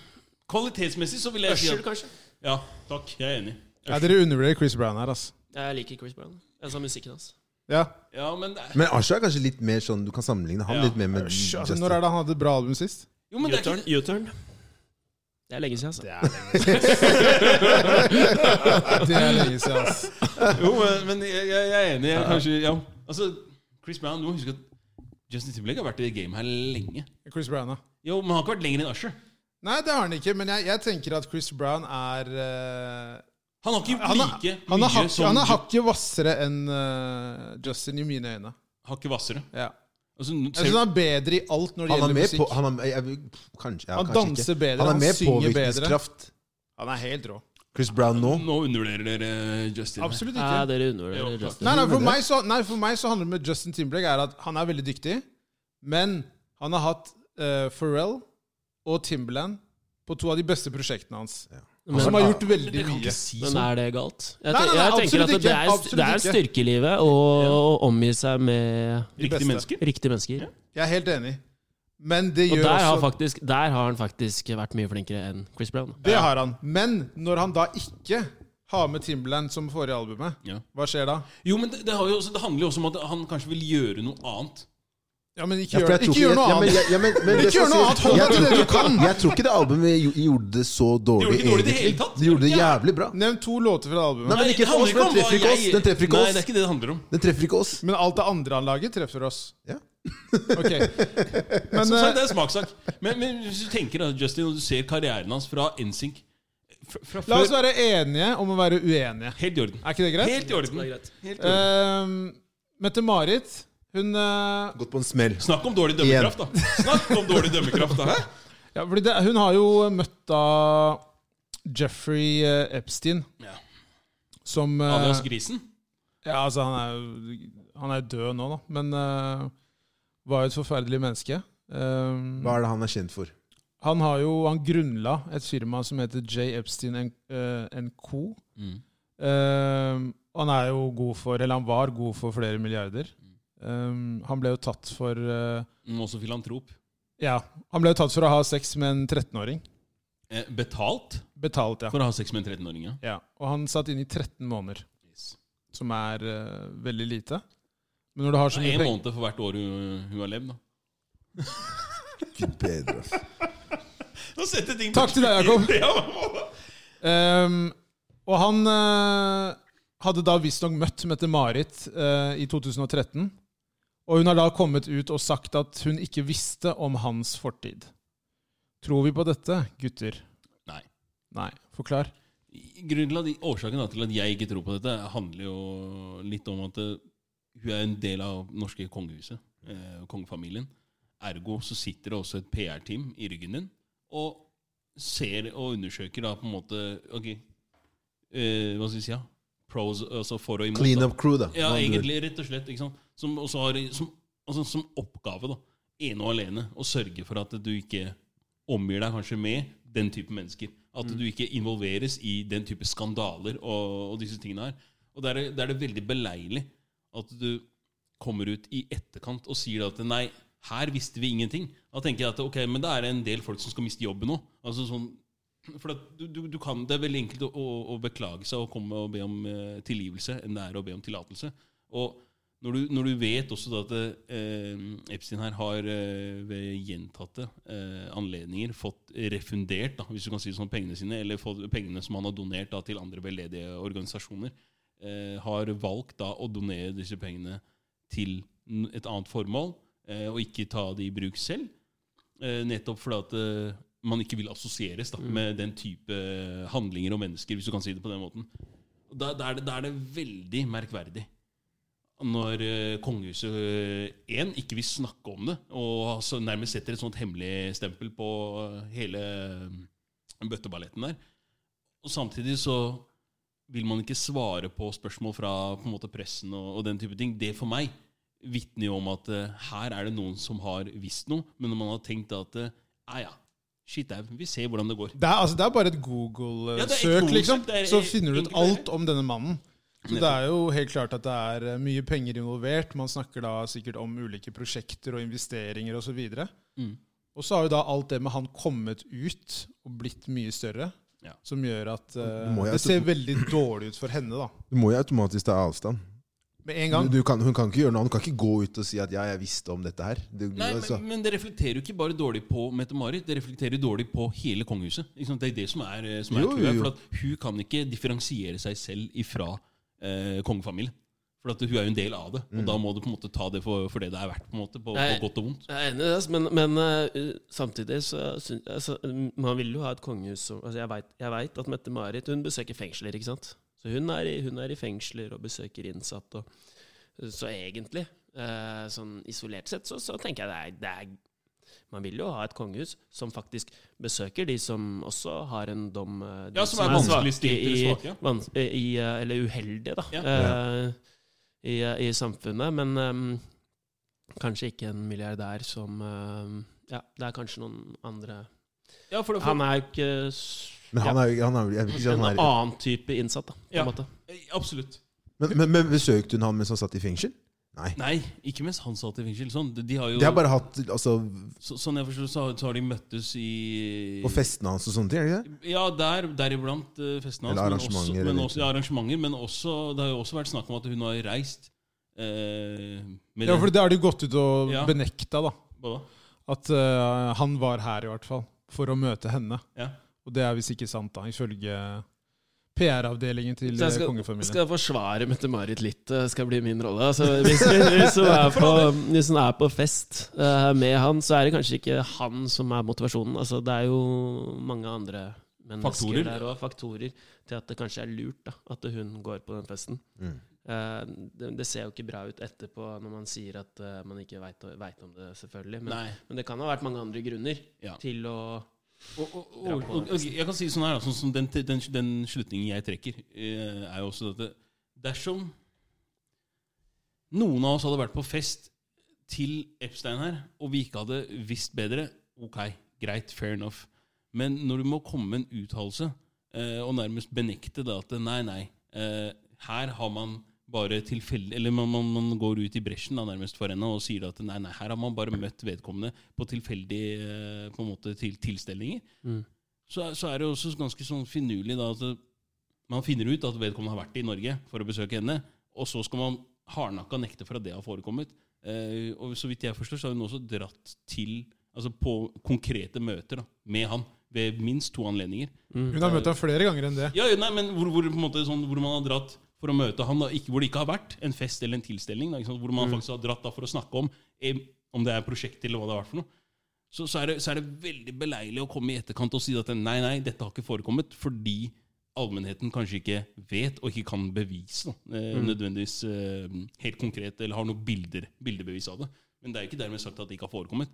Speaker 2: Kvalitetsmessig så vil jeg si
Speaker 4: Usher,
Speaker 2: at
Speaker 4: kanskje?
Speaker 2: Ja, takk. Jeg er enig.
Speaker 1: Ja, dere undervurderer Chris Brown her, altså.
Speaker 4: Jeg liker Chris Brown. Altså musikken hans.
Speaker 1: Ja.
Speaker 3: Mm,
Speaker 2: Ja, men det er,
Speaker 3: Men Asha er kanskje litt mer sånn Du kan sammenligne han
Speaker 2: Ja.
Speaker 3: litt mer med
Speaker 1: Ush, altså,
Speaker 3: Justin.
Speaker 1: når er det han hadde et bra album sist?
Speaker 2: jo, men det er
Speaker 4: U-turn.
Speaker 2: ikke
Speaker 4: U-turn. Det er lenge siden, altså.
Speaker 1: Det er lenge siden, ass.
Speaker 2: Jo, men, men jeg, jeg jeg er enig. Jeg, kanskje, ja. Altså, Chris Brown, du må huske at Justin Timberlake har vært i det gamet her lenge.
Speaker 1: Chris Brown, da.
Speaker 2: Jo, men han har ikke vært lenger enn Usher.
Speaker 1: Nei, det har han ikke, men jeg, jeg tenker at Chris Brown er eh,
Speaker 2: Han har ikke
Speaker 1: han, er,
Speaker 2: like
Speaker 1: han,
Speaker 2: mye
Speaker 1: er hakket,
Speaker 2: som
Speaker 1: han er hakket hvassere enn eh, Justin i mine øyne.
Speaker 2: hakket hvassere.
Speaker 1: Ja.
Speaker 2: Altså,
Speaker 1: Jeg
Speaker 2: ser,
Speaker 1: syns han er bedre i alt når det
Speaker 3: Han er
Speaker 1: gjelder
Speaker 3: med
Speaker 1: musikk.
Speaker 3: på Han, er, jeg, vil- pff, kanskje, ja,
Speaker 1: Han
Speaker 3: kanskje
Speaker 1: danser
Speaker 3: ikke.
Speaker 1: bedre,
Speaker 3: Han
Speaker 1: han
Speaker 3: er mer
Speaker 1: synger bedre.
Speaker 3: påvirkningskraft.
Speaker 1: Han er helt rå.
Speaker 3: Chris Brown nå.
Speaker 2: nå undervurderer dere eh, Justin. her.
Speaker 1: Absolutt
Speaker 4: Ja,
Speaker 1: ikke.
Speaker 4: dere
Speaker 2: Jo,
Speaker 4: undervurderer Justin.
Speaker 1: Nei, nei, for meg så, nei, for meg så handler det med Justin Timberlake er at han er veldig dyktig, men han har hatt eh, Pharrell og Timberland på to av de beste prosjektene hans. Som har gjort
Speaker 2: Men det
Speaker 1: veldig
Speaker 2: kan
Speaker 1: mye.
Speaker 2: ikke si
Speaker 4: Men
Speaker 2: sånn.
Speaker 4: er det galt?
Speaker 1: Nei,
Speaker 4: Jeg,
Speaker 1: nei, nei,
Speaker 4: te- jeg tenker
Speaker 1: absolutt
Speaker 4: at det
Speaker 1: ikke,
Speaker 4: er,
Speaker 1: absolutt
Speaker 4: det er
Speaker 1: ikke.
Speaker 4: styrkelivet å å omgi seg med
Speaker 1: De beste.
Speaker 2: Riktige mennesker.
Speaker 4: riktige mennesker.
Speaker 1: Jeg er helt enig. Men det
Speaker 4: Og
Speaker 1: gjør
Speaker 4: der har,
Speaker 1: også
Speaker 4: faktisk, der har han faktisk vært mye flinkere enn Chris Brown.
Speaker 1: Det har han. Men når han da ikke har med Timberland som forrige albumet,
Speaker 2: Ja.
Speaker 1: hva skjer da?
Speaker 2: Jo, men det, det, har jo også, det handler jo også om at han kanskje vil gjøre noe annet.
Speaker 1: Ja, men ikke
Speaker 3: Ja,
Speaker 1: gjør,
Speaker 3: for jeg tror
Speaker 1: ikke gjør noe
Speaker 3: ja, men
Speaker 1: annet.
Speaker 3: jeg- ja, men- men
Speaker 1: Ikke
Speaker 3: det skal
Speaker 1: gjør noe
Speaker 3: sies-
Speaker 1: annet, hold
Speaker 3: jeg
Speaker 1: deg til
Speaker 3: tror-
Speaker 1: det du kan.
Speaker 3: Jeg tror ikke det albumet gjo- gjorde det så dårlig.
Speaker 2: Gjorde ikke dårlig i det
Speaker 3: egentlig.
Speaker 2: hele tatt.
Speaker 3: De gjorde det jævlig bra.
Speaker 1: Nevn to låter fra albumet.
Speaker 3: Nei, men ikke
Speaker 2: det handler
Speaker 3: for oss, den
Speaker 2: om
Speaker 3: treffer
Speaker 2: hva
Speaker 3: ikke oss,
Speaker 2: jeg-
Speaker 3: den treffer ikke
Speaker 2: Nei,
Speaker 3: oss.
Speaker 2: det er ikke det det handler om.
Speaker 3: Den treffer ikke oss.
Speaker 1: Men alt det andre han lager, treffer oss.
Speaker 3: Ja.
Speaker 1: Ok. Men
Speaker 2: Som sagt,
Speaker 1: eh,
Speaker 2: det er smakssak. Men, men hvis du tenker da, Justin, og du ser karrieren hans fra NSYNC fra, fra
Speaker 1: la oss
Speaker 2: før,
Speaker 1: være enige om å være uenige.
Speaker 2: Helt i orden.
Speaker 1: Er ikke det greit?
Speaker 2: Helt i orden. Helt i orden.
Speaker 1: Ehm, Mette-Marit, hun eh,
Speaker 3: Gått på en smell.
Speaker 2: Snakk om dårlig dømmekraft, da. Snakk om dårlig dømmekraft, da. Hæ?
Speaker 1: ja, fordi det, Hun har jo møtt da Jeffrey eh, Epstein,
Speaker 2: Ja.
Speaker 1: som eh,
Speaker 2: Alias Grisen.
Speaker 1: Ja, altså, han er jo han er jo død nå, da, men eh, var jo et forferdelig menneske. Ehm,
Speaker 3: Hva er det han er kjent for?
Speaker 1: han har jo Han grunnla et firma som heter J. Epstein and, eh, and Co.
Speaker 2: Mm.
Speaker 1: Ehm, han er jo god for Eller han var god for flere milliarder. Ehm, han ble jo tatt for eh,
Speaker 2: Mm, Også filantrop.
Speaker 1: Ja. Han ble jo tatt for å ha sex med en 13-åring.
Speaker 2: Eh, betalt
Speaker 1: Betalt, ja.
Speaker 2: for å ha sex med en 13-åring, ja.
Speaker 1: ja. Og han satt inne i 13 måneder,
Speaker 2: Yes.
Speaker 1: som er eh, veldig lite. Men når du har så mye
Speaker 2: En
Speaker 1: penger
Speaker 2: måned for hvert år hun, hun har levd, da.
Speaker 3: Gud bedre, ass.
Speaker 2: Nå setter ting
Speaker 1: Takk til deg, Jakob.
Speaker 2: Ja,
Speaker 1: Ehm, Og han eh, hadde da visstnok møtt Mette-Marit eh, i 2013. Og hun har da kommet ut og sagt at hun ikke visste om hans fortid. Tror vi på dette, gutter?
Speaker 2: Nei.
Speaker 1: Nei. Forklar.
Speaker 2: Grunnen til at, årsaken da, til at jeg ikke tror på dette, handler jo litt om at eh, hun er en del av det norske kongehuset, eh, kongefamilien. Ergo så sitter det også et PR-team i ryggen din og ser og undersøker da på en måte Ok, eh, Hva skal vi si? Ja? Pros, altså for og imot.
Speaker 3: Clean
Speaker 2: da.
Speaker 3: up crew, da.
Speaker 2: Ja,
Speaker 3: med andre ord.
Speaker 2: egentlig, rett og slett. Ikke sant? Som, også har, som, altså, som oppgave, da, ene og alene, å sørge for at du ikke omgir deg kanskje med den type mennesker. At
Speaker 3: Mm.
Speaker 2: du ikke involveres i den type skandaler og, og disse tingene her. Og da er, det- da er det veldig beleilig at du kommer ut i etterkant og sier at nei, her visste vi ingenting. Da tenker jeg at ok, men da er det en del folk som skal miste jobben nå. Altså sånn, for at du, du, du kan, Det er veldig enkelt å, å, å beklage seg og komme og be om eh, tilgivelse enn det er å be om tillatelse. Og når du, når du vet også da at eh, Epstein her har eh, ved gjentatte eh, anledninger fått refundert da, hvis du kan si det sånn, pengene sine, eller fått pengene som han har donert da, til andre veldedige organisasjoner, eh, har valgt da å donere disse pengene til n- et annet formål, eh, og ikke ta det i bruk selv. Eh, nettopp fordi at eh, man ikke vil assosieres da, med den type eh, handlinger og mennesker, hvis du kan si det på den måten. Og Da, da, er, det, da er det veldig merkverdig når eh, kongehuset eh, en, ikke vil snakke om det, og altså nærmest setter et sånt hemmelig stempel på eh, hele eh, bøtteballetten der. Og samtidig så vil man ikke svare på spørsmål fra på en måte, pressen og, og den type ting. Det for meg vitner jo om at eh, her er det noen som har visst noe, men man har tenkt at eh, ja, ja, shit au, vi ser hvordan det går.
Speaker 1: Det er, altså, det er bare et
Speaker 2: Ja, det er et
Speaker 1: Google-søk,
Speaker 2: Google-søk.
Speaker 1: liksom.
Speaker 2: Det er
Speaker 1: Så finner du ut
Speaker 2: enkelt,
Speaker 1: alt om denne mannen. Så det
Speaker 2: Nettopp.
Speaker 1: er jo helt klart at det er eh, mye penger involvert. Man snakker da sikkert om ulike prosjekter og investeringer osv.
Speaker 2: Mm.
Speaker 1: Og så har jo da alt det med han kommet ut og blitt mye større,
Speaker 2: Ja.
Speaker 1: som gjør at eh,
Speaker 3: Må jeg
Speaker 1: det ser veldig dårlig ut for henne, da.
Speaker 3: Du må jo automatisk ta avstand.
Speaker 1: Med en
Speaker 3: Du,
Speaker 1: gang.
Speaker 3: du kan, hun kan ikke gjøre noe. Hun kan ikke gå ut og si at 'ja, jeg visste om dette her'. Du,
Speaker 2: Nei,
Speaker 3: altså,
Speaker 2: men, men det reflekterer jo ikke bare dårlig på Mette-Marit, det reflekterer dårlig på hele kongehuset. Ikke sant? Det er det som er, eh, som er
Speaker 3: Jo,
Speaker 2: clouet,
Speaker 3: jo, jo.
Speaker 2: For at hun kan ikke differensiere seg selv ifra eh, kongefamilien. For at hun er jo en del av det, og da må du på en måte ta det for, for det det er verdt, på en måte, på,
Speaker 4: Nei.
Speaker 2: på godt og vondt.
Speaker 4: Jeg er enig i det, ass, men, men eh, samtidig så syns altså, Man vil jo ha et kongehus som altså, jeg vet- Jeg veit at Mette-Marit hun besøker fengsler, ikke sant? Så hun er, i, hun er i fengsler og besøker innsatte. og- Så egentlig, eh, sånn isolert sett, så, så tenker jeg det er, det er Man vil jo ha et kongehus som faktisk besøker de som også har en dom eh, de
Speaker 2: Ja, som er vanskelig stilt eller svake, ja.
Speaker 4: i, vans, i, eh, Eller uheldige, da.
Speaker 2: Ja.
Speaker 4: eh, i, eh, I samfunnet. Men ehm, Kanskje ikke en milliardær som eh, Ja, det er kanskje noen andre
Speaker 2: Ja, for, for,
Speaker 4: Han er jo ikke s-
Speaker 3: men han
Speaker 4: ja,
Speaker 3: er jo han er, jo- jeg vil ikke si at
Speaker 4: en
Speaker 3: han er,
Speaker 4: annen type innsatt, da, på en
Speaker 2: Ja.
Speaker 4: måte.
Speaker 2: eh, Absolutt.
Speaker 3: men, men, men besøkte hun han mens han satt i fengsel? Nei.
Speaker 2: Nei, ikke mens han satt i fengsel. Sånn, de, de har jo,
Speaker 3: De har bare hatt altså,
Speaker 2: så, sånn jeg forstår, så, har- så har de møttes i
Speaker 3: På festene hans og sånne ting? er det ikke det?
Speaker 2: Ja, der, deriblant eh, festene hans. men
Speaker 3: Eller
Speaker 2: også-
Speaker 3: arrangementer,
Speaker 2: Men
Speaker 3: eller-
Speaker 2: også, ja, arrangementer, men også, det har jo også vært snakk om at hun har reist eh, med
Speaker 1: Ja, for det har de gått ut og
Speaker 2: Ja.
Speaker 1: benekta, da.
Speaker 2: Hva da?
Speaker 1: At eh, han var her, i hvert fall, for å møte henne.
Speaker 2: Ja.
Speaker 1: Og det er visst ikke sant, da, ifølge PR-avdelingen til
Speaker 4: Så jeg
Speaker 1: eh,
Speaker 4: skal,
Speaker 1: kongefamilien.
Speaker 4: skal forsvare Mette-Marit litt, det skal bli min rolle. Altså, hvis, hvis, hun er på, hvis hun er på fest eh, med han, så er det kanskje ikke han som er motivasjonen. Altså, det er jo mange andre mennesker
Speaker 2: Faktorer.
Speaker 4: der og faktorer til at det kanskje er lurt da, at hun går på den festen.
Speaker 3: Mm.
Speaker 4: Eh, det, det ser jo ikke bra ut etterpå når man sier at eh, man ikke veit om det, selvfølgelig. Men,
Speaker 2: Nei.
Speaker 4: men det kan ha vært mange andre grunner
Speaker 2: Ja.
Speaker 4: til å
Speaker 2: Og, og,
Speaker 4: Dra
Speaker 2: og,
Speaker 4: på
Speaker 2: og, og jeg kan si det sånn her, da, sånn som den, den, den slutningen jeg trekker, eh, er jo også dette Dersom noen av oss hadde vært på fest til Epstein her, og vi ikke hadde visst bedre, ok, greit, fair enough. Men når du må komme med en uttalelse eh, og nærmest benekte det at nei, nei, eh, her har man bare tilfeldig Eller man, man, man går ut i bresjen da, nærmest for henne og sier at nei, nei, her har man bare møtt vedkommende på tilfeldige eh, på en måte, til, tilstelninger.
Speaker 4: Mm.
Speaker 2: Så, er- så er det også ganske sånn finurlig da, at det- man finner ut at vedkommende har vært i Norge for å besøke henne, og så skal man hardnakka nekte for at det har forekommet. Eh, og så vidt jeg forstår, så har hun også dratt til Altså på konkrete møter da, med han ved minst to anledninger.
Speaker 4: Mm.
Speaker 1: Hun har møtt ham flere ganger enn det.
Speaker 2: Ja, ja, nei, men hvor, hvor, på en måte, sånn, hvor man har dratt for å møte han, da, ikke, hvor det ikke har vært en fest eller en tilstelning, da, ikke sant? hvor man faktisk har dratt da, for å snakke om eh, om det er prosjekt eller hva det har vært for noe, så, så, er det, så er det veldig beleilig å komme i etterkant og si at nei, nei, dette har ikke forekommet, fordi allmennheten kanskje ikke vet og ikke kan bevise da, eh, nødvendigvis eh, helt konkret, eller har noen bilder, bildebevis av det. Men det er jo ikke dermed sagt at det ikke har forekommet.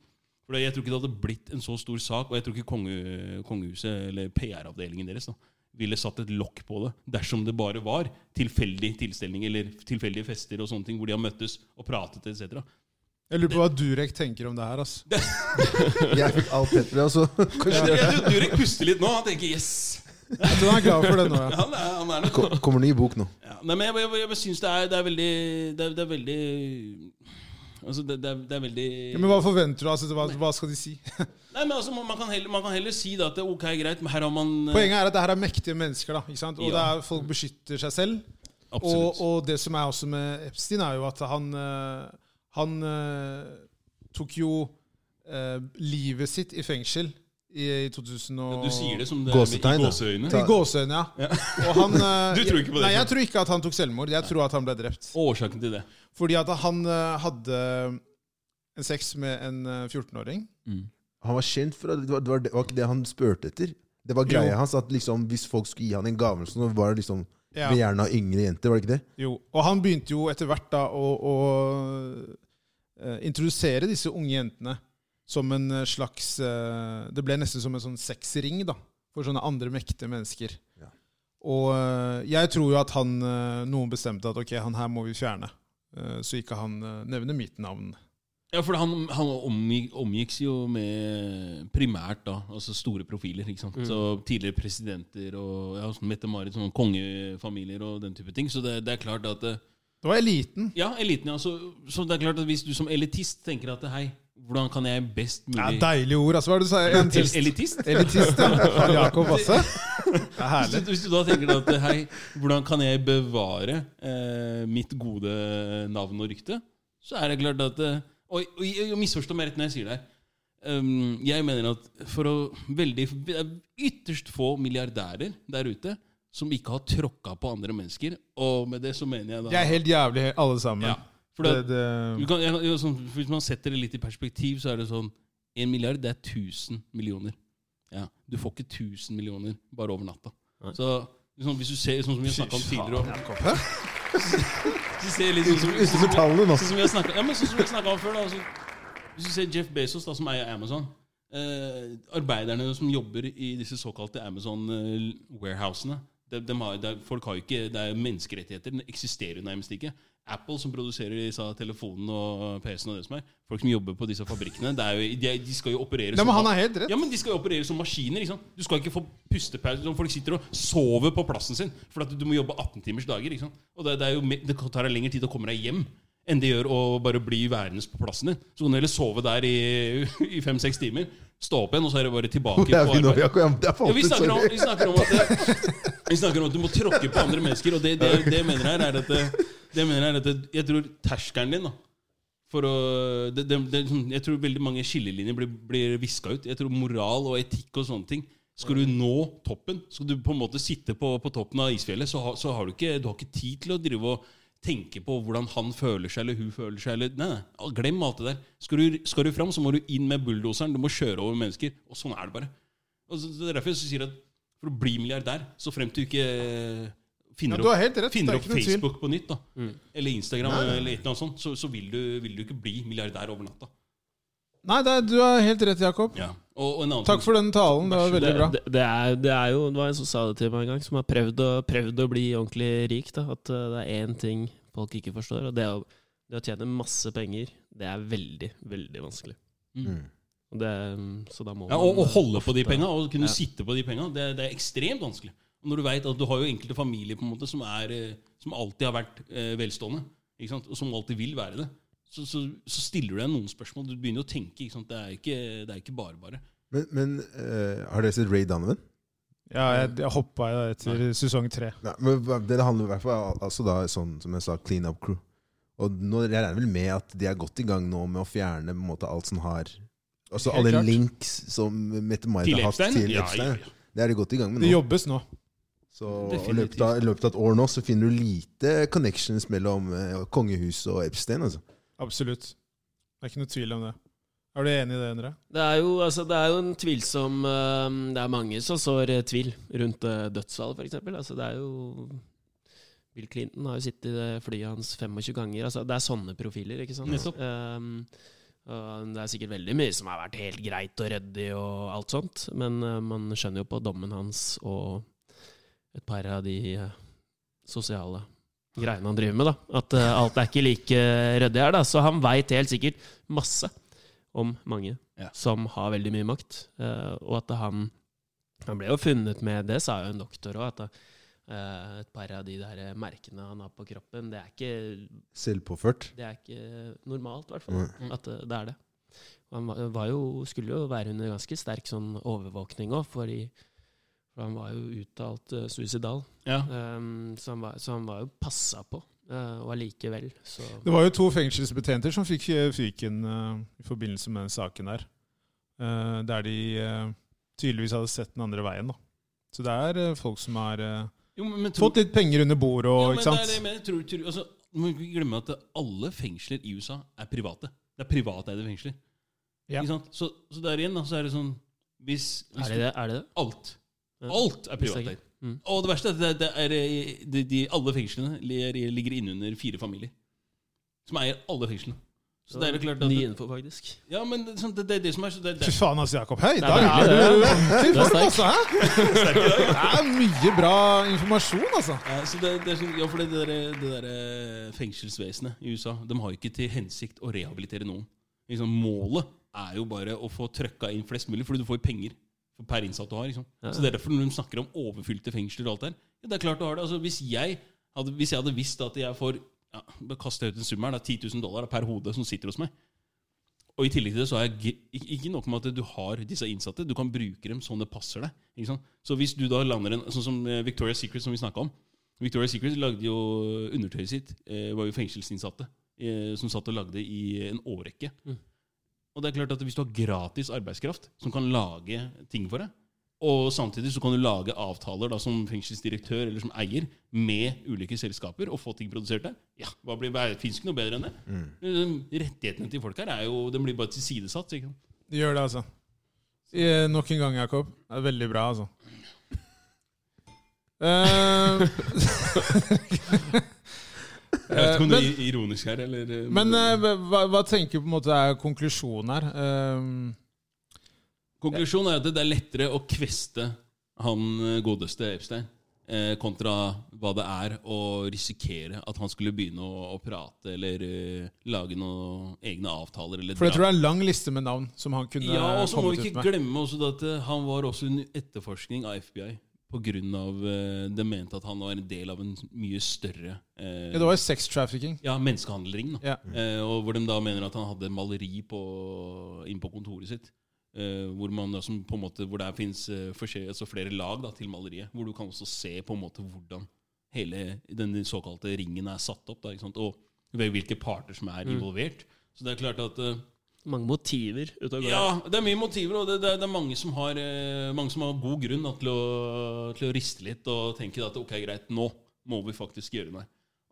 Speaker 2: For Jeg tror ikke det hadde blitt en så stor sak, og jeg tror ikke konge, kongehuset eller PR-avdelingen deres da, ville satt et lokk på det dersom det bare var tilfeldig tilstelning eller tilfeldige fester og sånne ting hvor de har møttes og pratet etc.
Speaker 1: Jeg lurer på hva Durek tenker om det her. ass.
Speaker 3: Jeg fikk alt altså. Petter, og så
Speaker 2: Jeg tror Durek puster litt nå. Han tenker 'yes'.
Speaker 1: Jeg tror han er glad for det nå, ja.
Speaker 2: Han er, han er nok
Speaker 3: Ko- kommer ny bok nå.
Speaker 2: Ja, nei, men jeg, jeg, jeg, jeg syns det, er- det er veldig Det er, det er veldig Altså, det, det, er, det er veldig
Speaker 1: Ja, Men hva forventer du? altså? Hva, hva skal de si?
Speaker 2: Nei, men altså, man, man, kan heller, man kan heller si da at det er ok, greit, men her har man eh,
Speaker 1: Poenget er at det her er mektige mennesker. da, ikke sant? Og det
Speaker 2: Ja.
Speaker 1: er, folk beskytter seg selv.
Speaker 2: Absolutt.
Speaker 1: Og, og det som er også med Epstein, er jo at han, eh, han eh, tok jo eh, livet sitt i fengsel i, i 2000 og
Speaker 2: du sier det som det
Speaker 3: Gåsetegn,
Speaker 2: er
Speaker 3: da.
Speaker 2: med, i gåseøyne.
Speaker 1: I gåseøyne, ja. Og han, eh,
Speaker 2: Du tror ikke på det,
Speaker 1: Nei, jeg
Speaker 2: Trond.
Speaker 1: tror ikke at han tok selvmord. Jeg tror at han ble drept.
Speaker 2: Årsaken til det.
Speaker 1: Fordi at han eh, hadde en sex med en eh, 14-åring.
Speaker 3: Han var kjent for at det var, det var, det var ikke det han spurte etter. Det var greia hans at liksom, hvis folk skulle gi han en gave, eller sånn, så var det liksom
Speaker 1: Ja.
Speaker 3: begjærende av yngre jenter. var det ikke det?
Speaker 1: Jo, og han begynte jo etter hvert da å, å eh, introdusere disse unge jentene som en eh, slags eh, Det ble nesten som en sånn sexring da, for sånne andre mektige mennesker.
Speaker 3: Ja.
Speaker 1: Og eh, jeg tror jo at han, eh, noen bestemte at ok, han her må vi fjerne, eh, så ikke han eh, nevner mitt navn.
Speaker 2: Ja, for han, han omgikk, omgikks jo med primært da, altså store profiler. ikke sant? Så Tidligere presidenter og ja, sånn Mette-Marit, sånne kongefamilier og den type ting. Så det, det er klart at eh,
Speaker 1: Det var eliten.
Speaker 2: Ja, eliten, ja. Så, så det er klart at hvis du som elitist tenker at hei, hvordan kan jeg best
Speaker 1: Ja,
Speaker 2: mulig
Speaker 1: Deilige ord, altså. Hva er det du sa? En
Speaker 2: El
Speaker 1: til-
Speaker 2: elitist?
Speaker 1: Elitist, ja. Karl Jakob Vasse. Det er
Speaker 2: Hvis
Speaker 1: herlig.
Speaker 2: du, hvis du da tenker at eh, hei, hvordan kan jeg bevare eh, mitt gode navn og rykte, så er det klart at eh, Og, og, og misforstå meg rett når jeg sier det her. Um, jeg mener at for å veldig det er ytterst få milliardærer der ute som ikke har tråkka på andre mennesker, og med det så mener jeg da
Speaker 1: De er helt jævlige, alle sammen.
Speaker 2: ja, for
Speaker 1: Det,
Speaker 2: det,
Speaker 1: det,
Speaker 2: Du kan, jeg, jeg, sånn, hvis man setter det litt i perspektiv, så er det sånn En milliard, det er 1000 millioner. Ja, du får ikke 1000 millioner bare over natta. Så liksom, hvis du ser sånn som vi har snakka om tidligere og, Hvis du ser litt sånn som,
Speaker 3: Ute for tallene nå.
Speaker 2: sånn som
Speaker 1: altså.
Speaker 2: vi har snakket, ja, men sånn som vi har snakket om før, da, så, hvis du ser Jeff Bezos, da, som eier Amazon eh, Arbeiderne som jobber i disse såkalte Amazon-warehousene de, de har, det er- folk har jo ikke, det er menneskerettigheter. Den eksisterer jo nærmest ikke. Apple, som produserer disse telefonene og PC-ene og det som er Folk som jobber på disse fabrikkene, det er jo, de, de skal jo operere
Speaker 1: Nei, men
Speaker 2: som-
Speaker 1: han er helt rett.
Speaker 2: ja, men De skal jo operere som maskiner. Ikke sant? Du skal ikke få pustepause. Sånn, Folk sitter og sover på plassen sin for at du må jobbe 18 timers dager. Ikke sant? Og det, det, er jo, me- det tar deg lengre tid å komme deg hjem enn det gjør å bare bli værende på plassen din. Så kan du heller sove der i, i fem-seks timer, stå opp igjen, og så er det bare tilbake
Speaker 3: Hvor
Speaker 2: på
Speaker 3: er vi nå,
Speaker 2: arbeid.
Speaker 3: Jakob? Ja, men det er sånn.
Speaker 2: Ja, vi,
Speaker 3: faen
Speaker 2: snakker om, vi, snakker
Speaker 3: sorry.
Speaker 2: om at det, vi snakker om at du må tråkke på andre mennesker, og det, det, det jeg mener her er at det, det jeg mener her er at det, Jeg tror terskelen din da for å, det, det, det, sånn, Jeg tror veldig mange skillelinjer blir, blir viska ut. Jeg tror moral og etikk og sånne ting Skal du nå toppen, skal du på en måte sitte på, på toppen av isfjellet, så, har- så har du ikke, du har ikke tid til å drive og tenke på hvordan han føler seg, eller hun føler seg, eller Nei, nei, glem alt det der. Skal du, skal du fram, så må du inn med bulldoseren. Du må kjøre over mennesker. Og sånn er det bare. Og så, det er derfor jeg sier at for å bli milliardær, så frem til du ikke eh, finner
Speaker 1: Ja, du har helt
Speaker 2: opp,
Speaker 1: rett.
Speaker 2: finner
Speaker 1: Det er
Speaker 2: opp
Speaker 1: ikke noe tvil.
Speaker 2: Facebook på nytt, da,
Speaker 4: Mm.
Speaker 2: eller Instagram, eller et eller annet sånt, så, så vil, du, vil du ikke bli milliardær over natta.
Speaker 1: Nei, det er, du har helt rett, Jakob.
Speaker 2: Og, og en annen
Speaker 1: Takk for den talen. Det var
Speaker 2: Vær så
Speaker 1: veldig
Speaker 2: god.
Speaker 1: bra.
Speaker 4: Det, det, er, det er jo Det var en som sa det til meg en gang, som har prøvd å, prøvd å bli ordentlig rik. Da, at eh, det er én ting folk ikke forstår, og det er å, det å tjene masse penger. Det er veldig, veldig vanskelig.
Speaker 2: Mm.
Speaker 4: Og det, er- så da må
Speaker 2: Ja, og, og holde på de
Speaker 4: ofte-
Speaker 2: penga, og kunne
Speaker 4: Ja.
Speaker 2: sitte på de penga, det, det er ekstremt vanskelig. Og når du vet at du har jo enkelte familier på en måte som, er, eh, som alltid har vært eh, velstående, ikke sant? og som alltid vil være det, så, så, så stiller du deg noen spørsmål. Du begynner å tenke. Ikke sant? Det er ikke, det er ikke bare bare.
Speaker 3: Men, men eh, har dere sett Ray Donovan?
Speaker 1: Ja, jeg, jeg hoppa etter sesong tre.
Speaker 3: Nei, men hva- Det handler i hvert fall al- altså da, sånn som jeg sa, clean up crew. Og nå, Jeg regner vel med at de er godt i gang nå med å fjerne på en måte, alt som har Altså
Speaker 1: Helt
Speaker 3: alle
Speaker 1: klart.
Speaker 3: links som Mette-Marit
Speaker 2: Til
Speaker 3: har hatt
Speaker 2: Epstein?
Speaker 3: til
Speaker 2: Ja,
Speaker 3: Epstein.
Speaker 2: ja,
Speaker 3: ja. Det er de godt i gang med
Speaker 1: Det
Speaker 3: nå.
Speaker 1: jobbes nå.
Speaker 3: Så I
Speaker 2: Definitivt.
Speaker 3: løpet, av, i løpet av et år nå så finner du lite connections mellom eh, kongehuset og Epstein. altså.
Speaker 1: Absolutt. Det er ikke noe tvil om det. Er du enig i det, Endre?
Speaker 4: Det er jo, altså, det er jo en tvilsom eh, Det er mange som sår eh, tvil rundt eh, dødsfallet, f.eks. Altså, det er jo Bill Clinton har jo sittet i det flyet hans 25 ganger. Altså, det er sånne profiler, ikke sant?
Speaker 2: Nettopp.
Speaker 4: Ehm, og det er sikkert veldig mye som har vært helt greit og ryddig og alt sånt, men eh, man skjønner jo på dommen hans og et par av de eh, sosiale greiene han driver med. da. At eh, alt er ikke like ryddig her. da. Så han veit helt sikkert masse om mange
Speaker 2: Ja.
Speaker 4: som har veldig mye makt. Eh, og at han Han ble jo funnet med Det sa jo en doktor òg, at eh, et par av de der merkene han har på kroppen, det er ikke
Speaker 3: Selvpåført.
Speaker 4: det er ikke normalt, i hvert fall.
Speaker 2: Mm.
Speaker 4: At eh, det er det. Og Han var, var jo, skulle jo være under ganske sterk sånn overvåkning òg, fordi for han var jo uttalt eh, suicidal.
Speaker 2: Ja.
Speaker 4: Ehm, så, han var, så han var jo passa på, eh, og allikevel så
Speaker 1: Det var jo to fengselsbetjenter som fikk eh, fyken eh, i forbindelse med den saken der. Eh, der de eh, tydeligvis hadde sett den andre veien, da. Så det er eh, folk som har eh,
Speaker 2: Jo, men tror-
Speaker 1: fått litt penger under bordet og ikke
Speaker 2: Ja, men det er det jeg
Speaker 1: sant?
Speaker 2: mener. Tror, tror, altså, du må ikke glemme at alle fengsler i USA er private. Det er privateide fengsler.
Speaker 1: Ja.
Speaker 2: Ikke sant? Så, så der igjen da, så er det sånn Hvis, hvis
Speaker 4: Er det det? Er det det?
Speaker 2: du- Alt.
Speaker 4: Ja.
Speaker 2: Alt er
Speaker 4: Hvis det
Speaker 2: privateid.
Speaker 4: ikke- Mm.
Speaker 2: Og det verste er at det, det er, de, de, alle fengslene ligger ligger innunder fire familier. Som eier alle fengslene. Så det er jo klart at
Speaker 4: Ny info, faktisk.
Speaker 2: Ja, men det, sånn, det, det er det som er så det, det,
Speaker 1: Fy faen, altså, Jakob. Hei, i
Speaker 4: Nei,
Speaker 1: dag! er
Speaker 4: men-
Speaker 1: du- Fy
Speaker 4: Du er
Speaker 1: faen,
Speaker 4: sterk.
Speaker 1: altså! Hæ? Det er mye bra informasjon, altså.
Speaker 2: ja, så det, det er sånn, ja, for det, der, det der eh, fengselsvesenet i USA De har jo ikke til hensikt å rehabilitere noen. Liksom, målet er jo bare å få trøkka inn flest mulig, fordi du får jo penger per innsatt du har. Liksom.
Speaker 4: Ja.
Speaker 2: Så det er derfor når de snakker om overfylte fengsler og alt der ja, Det er klart du har det. Altså, hvis, jeg hadde, hvis jeg hadde visst at jeg får ja, bare kaster jeg ut en sum her, da, 10 000 dollar per hode som sitter hos meg Og i tillegg til det så er jeg gr- ikke- ikke nok med at du har disse innsatte, du kan bruke dem sånn det passer deg. Ikke sant? Så hvis du da lander en Sånn som eh, Victoria's Secret, som vi snakka om. Victoria's Secret lagde jo undertøyet sitt. eh, var jo fengselsinnsatte eh, som satt og lagde i en årrekke.
Speaker 4: Mm.
Speaker 2: Og det er klart at hvis du har gratis arbeidskraft som kan lage ting for deg, og samtidig så kan du lage avtaler da, som fengselsdirektør eller som eier med ulike selskaper og få ting produsert der, ja, hva blir, det fins ikke noe bedre enn det. Eh, Rettighetene til folk her er jo, den blir bare tilsidesatt. Ikke? sant?
Speaker 1: Det gjør det, altså. Eh, nok en gang, Jakob. Det er veldig bra, altså. Eh,
Speaker 2: Jeg vet ikke om
Speaker 1: Eh,
Speaker 2: det er ironisk her, eller eh,
Speaker 1: men eh, hva, hva tenker du på en måte er konklusjonen her? Eh,
Speaker 2: Konklusjonen er at det er lettere å kveste han eh, godeste Epstein eh, kontra hva det er å risikere at han skulle begynne å, å prate eller eh, lage noen egne avtaler. Eller
Speaker 1: For jeg
Speaker 2: dra-
Speaker 1: tror det er en lang liste med navn som han kunne
Speaker 2: ja, og så må
Speaker 1: kommet
Speaker 2: vi
Speaker 1: ut
Speaker 2: ikke
Speaker 1: med.
Speaker 2: glemme også det at eh, han var også under etterforskning av FBI. På grunn av eh, de mente at han var en del av en mye større eh,
Speaker 1: Ja, det var jo sex trafficking.
Speaker 2: ja, menneskehandelring.
Speaker 1: Ja.
Speaker 2: Da. Eh, og hvor de da mener at han hadde maleri på, inn på kontoret sitt. Eh, hvor, man da, som på en måte, hvor der fins altså flere lag da, til maleriet. Hvor du kan også se på en måte hvordan hele den såkalte ringen er satt opp. Da, ikke sant? Og ved hvilke parter som er involvert. Så det er klart at eh,
Speaker 4: Mange motiver ute og går.
Speaker 2: ja, det er mye motiver, og det, det, er- det er mange som har, eh, mange som har god grunn da, til, å, til å riste litt og tenke at ok, greit, nå må vi faktisk gjøre noe.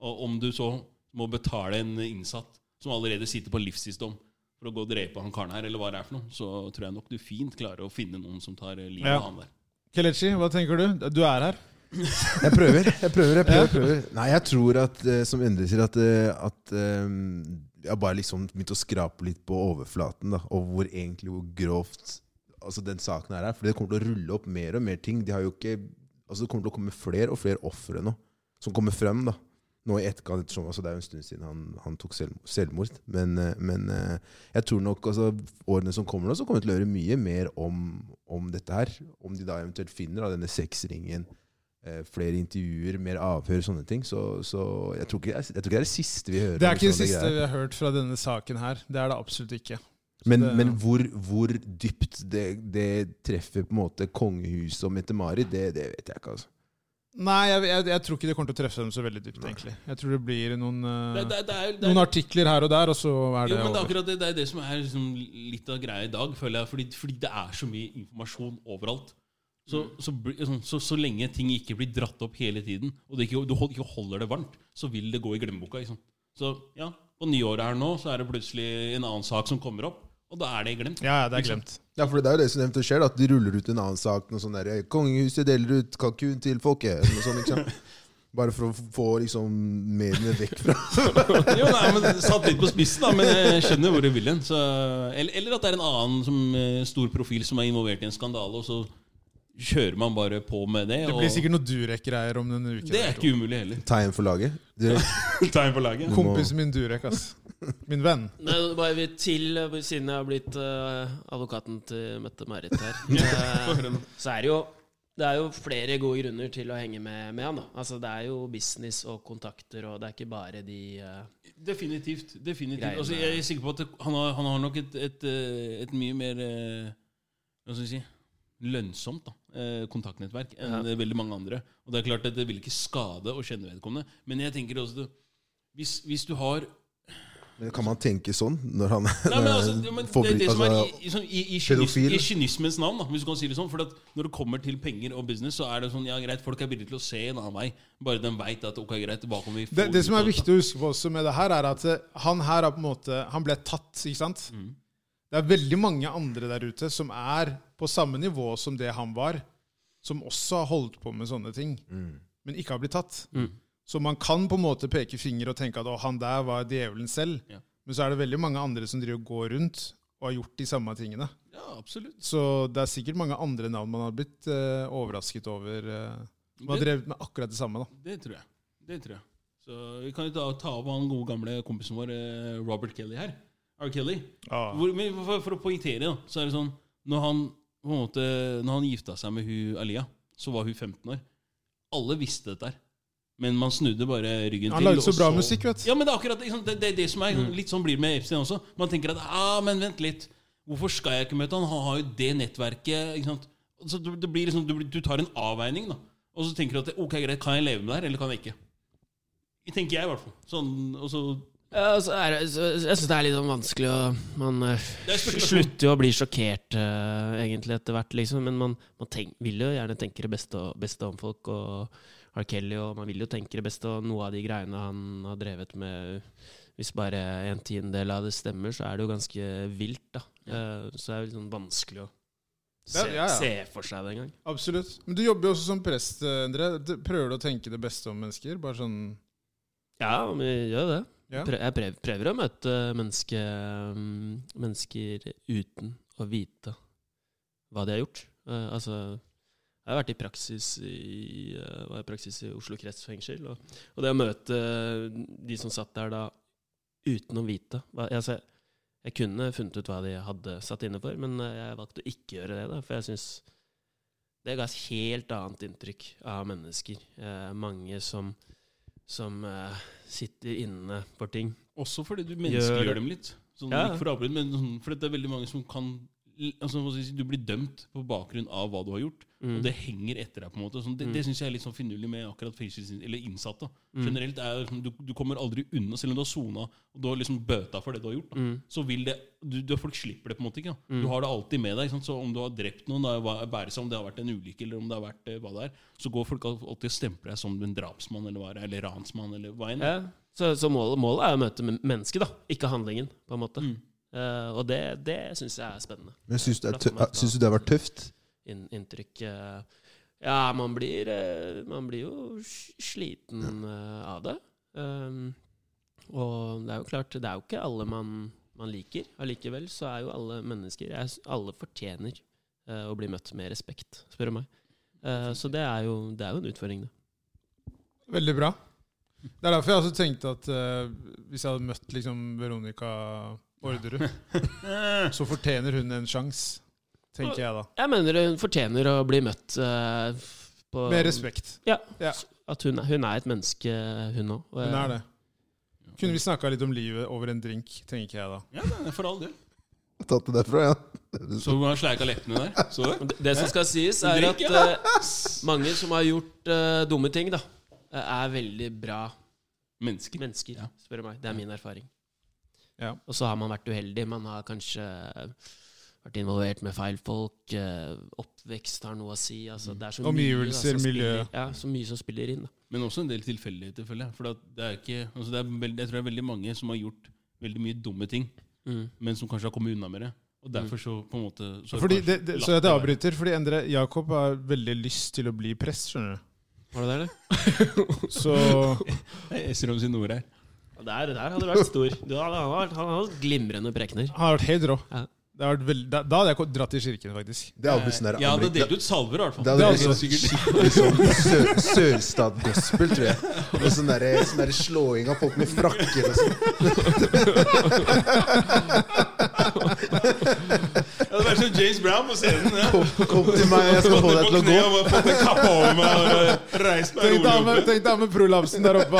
Speaker 2: Og om du så må betale en innsatt som allerede sitter på livstidsdom for å gå og drepe han karen her, eller hva det er for noe, så tror jeg nok du fint klarer å finne noen som tar eh, livet
Speaker 1: Ja.
Speaker 2: av han der.
Speaker 1: Kelechi, hva tenker du? Du er her.
Speaker 3: Jeg prøver, jeg prøver, jeg prøver. prøver. Nei, jeg tror at, eh, som Endre sier, at, eh, at eh, jeg bare liksom begynte å skrape litt på overflaten, da, og hvor egentlig hvor grovt altså, den saken her er. For det kommer til å rulle opp mer og mer ting. De har jo ikke, altså, det kommer til å komme flere og flere ofre nå, som kommer frem da. Nå i etterkant, ettersom, altså, det er jo en stund siden han, han tok selv, selvmord. Men, eh, men eh, jeg tror nok altså, årene som kommer nå, så kommer vi til å høre mye mer om, om dette her. Om de da eventuelt finner da, denne sexringen eh, flere intervjuer, mer avhør, sånne ting. Så, så jeg, tror ikke, jeg, tror ikke det er det siste vi hører.
Speaker 1: Det er
Speaker 3: om
Speaker 1: ikke det
Speaker 3: sånne
Speaker 1: siste
Speaker 3: greier.
Speaker 1: vi har hørt fra denne saken her. Det er det absolutt ikke.
Speaker 3: Men,
Speaker 1: det-
Speaker 3: men hvor, hvor dypt det, det treffer på en måte kongehuset og Mette-Marit, det, det vet jeg ikke. altså.
Speaker 1: Nei, jeg, jeg, jeg tror ikke det kommer til å treffe dem så veldig dypt, egentlig. Jeg tror det blir noen, eh,
Speaker 2: Det, det, det er, det er,
Speaker 1: noen artikler her og der, og så er
Speaker 2: jo,
Speaker 1: det
Speaker 2: men det er
Speaker 1: over.
Speaker 2: akkurat det, det er det som er liksom litt av greia i dag, føler jeg. Fordi, fordi det er så mye informasjon overalt. Så, så, bli- sånn, så, så lenge ting ikke blir dratt opp hele tiden, og det ikke, du hold- ikke holder det varmt, så vil det gå i glemmeboka. Liksom. Så ja, på nyåret her nå, så er det plutselig en annen sak som kommer opp, og da er det glemt.
Speaker 1: Ja, ja, det er glemt.
Speaker 3: Ja, for det er jo det som nevnt skjer, da, at de ruller ut en annen sak. Noe sånn der, 'Kongehuset deler ut kalkun til folket'. Noe sånt, ikke sant? Bare for å få liksom, mediene vekk fra
Speaker 2: Jo, nei, men Satt litt på spissen, da, men jeg skjønner hvor du vil hen. Så- Eller, eller at det er en annen som, eh, stor profil som er involvert i en skandale, og så kjører man bare på med det.
Speaker 1: Det
Speaker 2: og
Speaker 1: blir sikkert noe Durek-greier om en uke.
Speaker 2: det er
Speaker 1: eller
Speaker 2: ikke umulig heller.
Speaker 3: Tegn for laget. Direkt.
Speaker 2: Tegn på laget.
Speaker 1: to. Kompisen min Durek, ass. Min venn.
Speaker 4: Men bare vi til, eh, siden jeg har blitt eh, advokaten til Mette-Marit her, eh, så er det jo det er jo flere gode grunner til å henge med, med han. da. Altså, det er jo business og kontakter, og det er ikke bare de eh,
Speaker 2: Definitivt. definitivt.
Speaker 4: Greiene.
Speaker 2: Altså, jeg er sikker på at det, han, har, han har nok et, et, eh, et mye mer eh, Hva skal vi si lønnsomt da, eh, kontaktnettverk enn eh, veldig mange andre. Og det er klart at det vil ikke skade å kjenne vedkommende. Men jeg tenker også at hvis, hvis du har
Speaker 3: Men Kan man tenke sånn når han
Speaker 2: Nei, men altså,
Speaker 3: når
Speaker 2: det,
Speaker 3: han
Speaker 2: men det,
Speaker 3: forbry-
Speaker 2: det som er
Speaker 3: altså,
Speaker 2: i, i, sånn, i, i, kynis,
Speaker 3: pedofil.
Speaker 2: i kynismens navn, da, hvis du kan si det sånn For at når det kommer til penger og business, så er det sånn Ja, greit, folk er villige til å se en annen vei. Bare de veit at ok, greit, hva kan vi få
Speaker 1: Det, det
Speaker 2: ut
Speaker 1: som
Speaker 2: av
Speaker 1: er
Speaker 2: dette?
Speaker 1: viktig å huske på også med det her, er at eh, han her har på en måte Han ble tatt, ikke sant?
Speaker 2: Mm.
Speaker 1: Det er veldig mange andre der ute som er på samme nivå som det han var, som også har holdt på med sånne ting,
Speaker 3: mm.
Speaker 1: men ikke har blitt tatt.
Speaker 2: Mm.
Speaker 1: Så man kan på en måte peke finger og tenke at å, han der var djevelen selv.
Speaker 2: Ja.
Speaker 1: Men så er det veldig mange andre som driver og går rundt og har gjort de samme tingene.
Speaker 2: Ja, absolutt.
Speaker 1: Så det er sikkert mange andre navn man har blitt eh, overrasket over. eh, som har
Speaker 2: Det-
Speaker 1: drevet med akkurat det samme. da.
Speaker 2: Det tror jeg. Det tror jeg. Så Vi kan jo ta, ta av han gode gamle kompisen vår, eh, Robert Kelly her. R. Kelly. Hvor, men for, for å poengtere, da, så er det sånn Når han på en måte, når han gifta seg med hun Alia, så var hun 15 år. Alle visste dette her. Men man snudde bare ryggen
Speaker 1: Han
Speaker 2: til.
Speaker 1: lagde så
Speaker 2: og
Speaker 1: bra musikk, vet du.
Speaker 2: Ja, men det er akkurat det, ikke sant? det, det, er det som er sånn- litt sånn blir det med Epstein også. Man tenker at ah, men vent litt. Hvorfor skal jeg ikke møte han? Han har jo det nettverket. ikke sant? Så det, det blir liksom, du, blir- du tar en avveining, da. Og så tenker du at ok, greit, kan jeg leve med det her, eller kan jeg ikke? Tenker jeg, i hvert fall. Sånn, og så
Speaker 4: Ja, altså, er, det- så- jeg syns det er litt sånn vanskelig å Man eh,
Speaker 2: Det er spekulasjon.
Speaker 4: slutter jo å bli sjokkert eh, egentlig etter hvert, liksom. Men man, man tenk, vil jo gjerne tenke det beste, og- beste om folk og R. Kelly, og man vil jo tenke det beste, og noe av de greiene han har drevet med Hvis bare en tiendedel av det stemmer, så er det jo ganske vilt, da. Eh, så det er jo litt sånn vanskelig å se,
Speaker 1: Ja, ja, ja.
Speaker 4: se for seg det engang.
Speaker 1: Absolutt. Men du jobber jo også som prest, Endre. D- Prøver du å tenke det beste om mennesker? Bare sånn
Speaker 4: Ja, men vi gjør jo det.
Speaker 1: Ja.
Speaker 4: Prø- Jeg prøver, prøver å møte menneske, mm, mennesker uten å vite hva de har gjort. Eh, altså, jeg har vært i praksis i, eh, var i, praksis i Oslo kretsfengsel. Og, og det å møte de som satt der da, uten å vite hva, altså, Jeg kunne funnet ut hva de hadde satt inne for, men eh, jeg valgte å ikke gjøre det. da, For jeg syns det ga et helt annet inntrykk av mennesker. Eh, mange som, som eh, sitter inne for ting.
Speaker 2: Også fordi du menneskeliggjør
Speaker 4: Gjør-
Speaker 2: dem litt. Sånn,
Speaker 4: Ja.
Speaker 2: Ikke for å avbryte, men sånn, fordi det er veldig mange som kan altså, hva skal jeg si, Du blir dømt på bakgrunn av hva du har gjort,
Speaker 4: Mm.
Speaker 2: og det henger etter deg. på en måte sånn, Det, det syns jeg er litt sånn finurlig med akkurat fengsels- eller innsatte. da. Generelt er det liksom, du, du kommer aldri unna, selv om du har sona og du har liksom bøta for det du har gjort. Da.
Speaker 4: Mm.
Speaker 2: Så vil det, du, du, Folk slipper det på en måte ikke. Da. Du har det alltid med deg. Ikke sant? Så Om du har drept noen, da, hva- bære seg om det har vært en ulykke, eller om det har vært eh, hva det er, så går folk alltid og stempler deg som en drapsmann eller, hva det er, eller ransmann eller hva enn.
Speaker 4: Ja. Så, så målet, målet er å møte men- mennesket, da, ikke handlingen, på en måte.
Speaker 2: Mm.
Speaker 4: Eh, og det, det syns jeg er spennende.
Speaker 3: men syns du, det er tø- ja, syns du det har vært tøft?
Speaker 4: Inn, inntrykk eh, Ja, man blir, eh, man blir jo s- sliten eh, av det. Um, og det er jo klart, det er jo ikke alle man, man liker. Allikevel så er jo alle mennesker jeg, s- Alle fortjener eh, å bli møtt med respekt, spør du meg. Eh, så det er, jo, det er jo en utfordring, det.
Speaker 1: Veldig bra. Det er derfor jeg også tenkte at eh, hvis jeg hadde møtt liksom Veronica Orderud,
Speaker 2: Eh.
Speaker 1: så fortjener hun en sjanse. Tenker jeg da.
Speaker 4: Jeg mener hun fortjener å bli møtt eh, f- på
Speaker 1: Med respekt.
Speaker 4: Ja.
Speaker 1: Ja.
Speaker 4: At hun, er- hun er et menneske, hun òg.
Speaker 1: Hun er det. Kunne vi snakka litt om livet over en drink, tenker jeg da.
Speaker 2: Ja, nei, for all del.
Speaker 3: Tatt det derfra, ja.
Speaker 2: Så du har sleika leppene der? Så du?
Speaker 4: Eh, Det som skal sies, er at
Speaker 2: Drikke,
Speaker 4: eh, mange som har gjort eh, dumme ting, da, eh, er veldig bra
Speaker 2: Menneskelig.
Speaker 4: mennesker,
Speaker 2: Ja.
Speaker 4: spør du meg. Det er min erfaring.
Speaker 1: Ja.
Speaker 4: Og så har man vært uheldig. Man har kanskje vært involvert med feil folk. eh, Oppvekst har noe å si. Altså, det er så
Speaker 1: Omgivelser,
Speaker 4: mye, da, som
Speaker 1: miljø.
Speaker 4: Spiller, ja, så mye som spiller inn. Da.
Speaker 2: Men også en del tilfeldigheter, føler jeg. For at det er ikke, altså det er veld, jeg tror det er veldig mange som har gjort veldig mye dumme ting,
Speaker 4: Mm.
Speaker 2: men som kanskje har kommet unna med det. Og derfor så på en måte så har
Speaker 1: Fordi
Speaker 2: kanskje
Speaker 1: det, det,
Speaker 2: latt
Speaker 1: så jeg
Speaker 2: være.
Speaker 1: avbryter, fordi Endre Jakob har veldig lyst til å bli prest, skjønner du.
Speaker 4: Var det der, det?
Speaker 1: Så
Speaker 2: Jeg Esser om sine ord her.
Speaker 4: Der, der hadde du vært stor. Du hadde, han hadde vært- han hadde vært glimrende prekener.
Speaker 1: han har vært helt rå.
Speaker 4: Ja.
Speaker 1: Det har vært veld... da, da hadde jeg ko- dratt til kirken, faktisk.
Speaker 3: Det er sånn obviously
Speaker 2: Jeg hadde delt ut salver, i hvert fall.
Speaker 3: Det
Speaker 1: Det
Speaker 3: hadde
Speaker 1: er
Speaker 3: vært
Speaker 1: altså
Speaker 3: sånn skikkelig sånn sø- Sørstat-gospel, tror jeg. Og sånn derre sånn derre slåing av folk med frakker og sånn.
Speaker 2: Jeg hadde vært som James Brown på scenen. Ja.
Speaker 3: Kom, kom til meg, jeg skal få deg til å gå.
Speaker 2: Jeg fått en kappe over meg og reist meg
Speaker 1: Tenk deg med,
Speaker 2: rolig opp.
Speaker 1: tenk deg med prolapsen der oppe.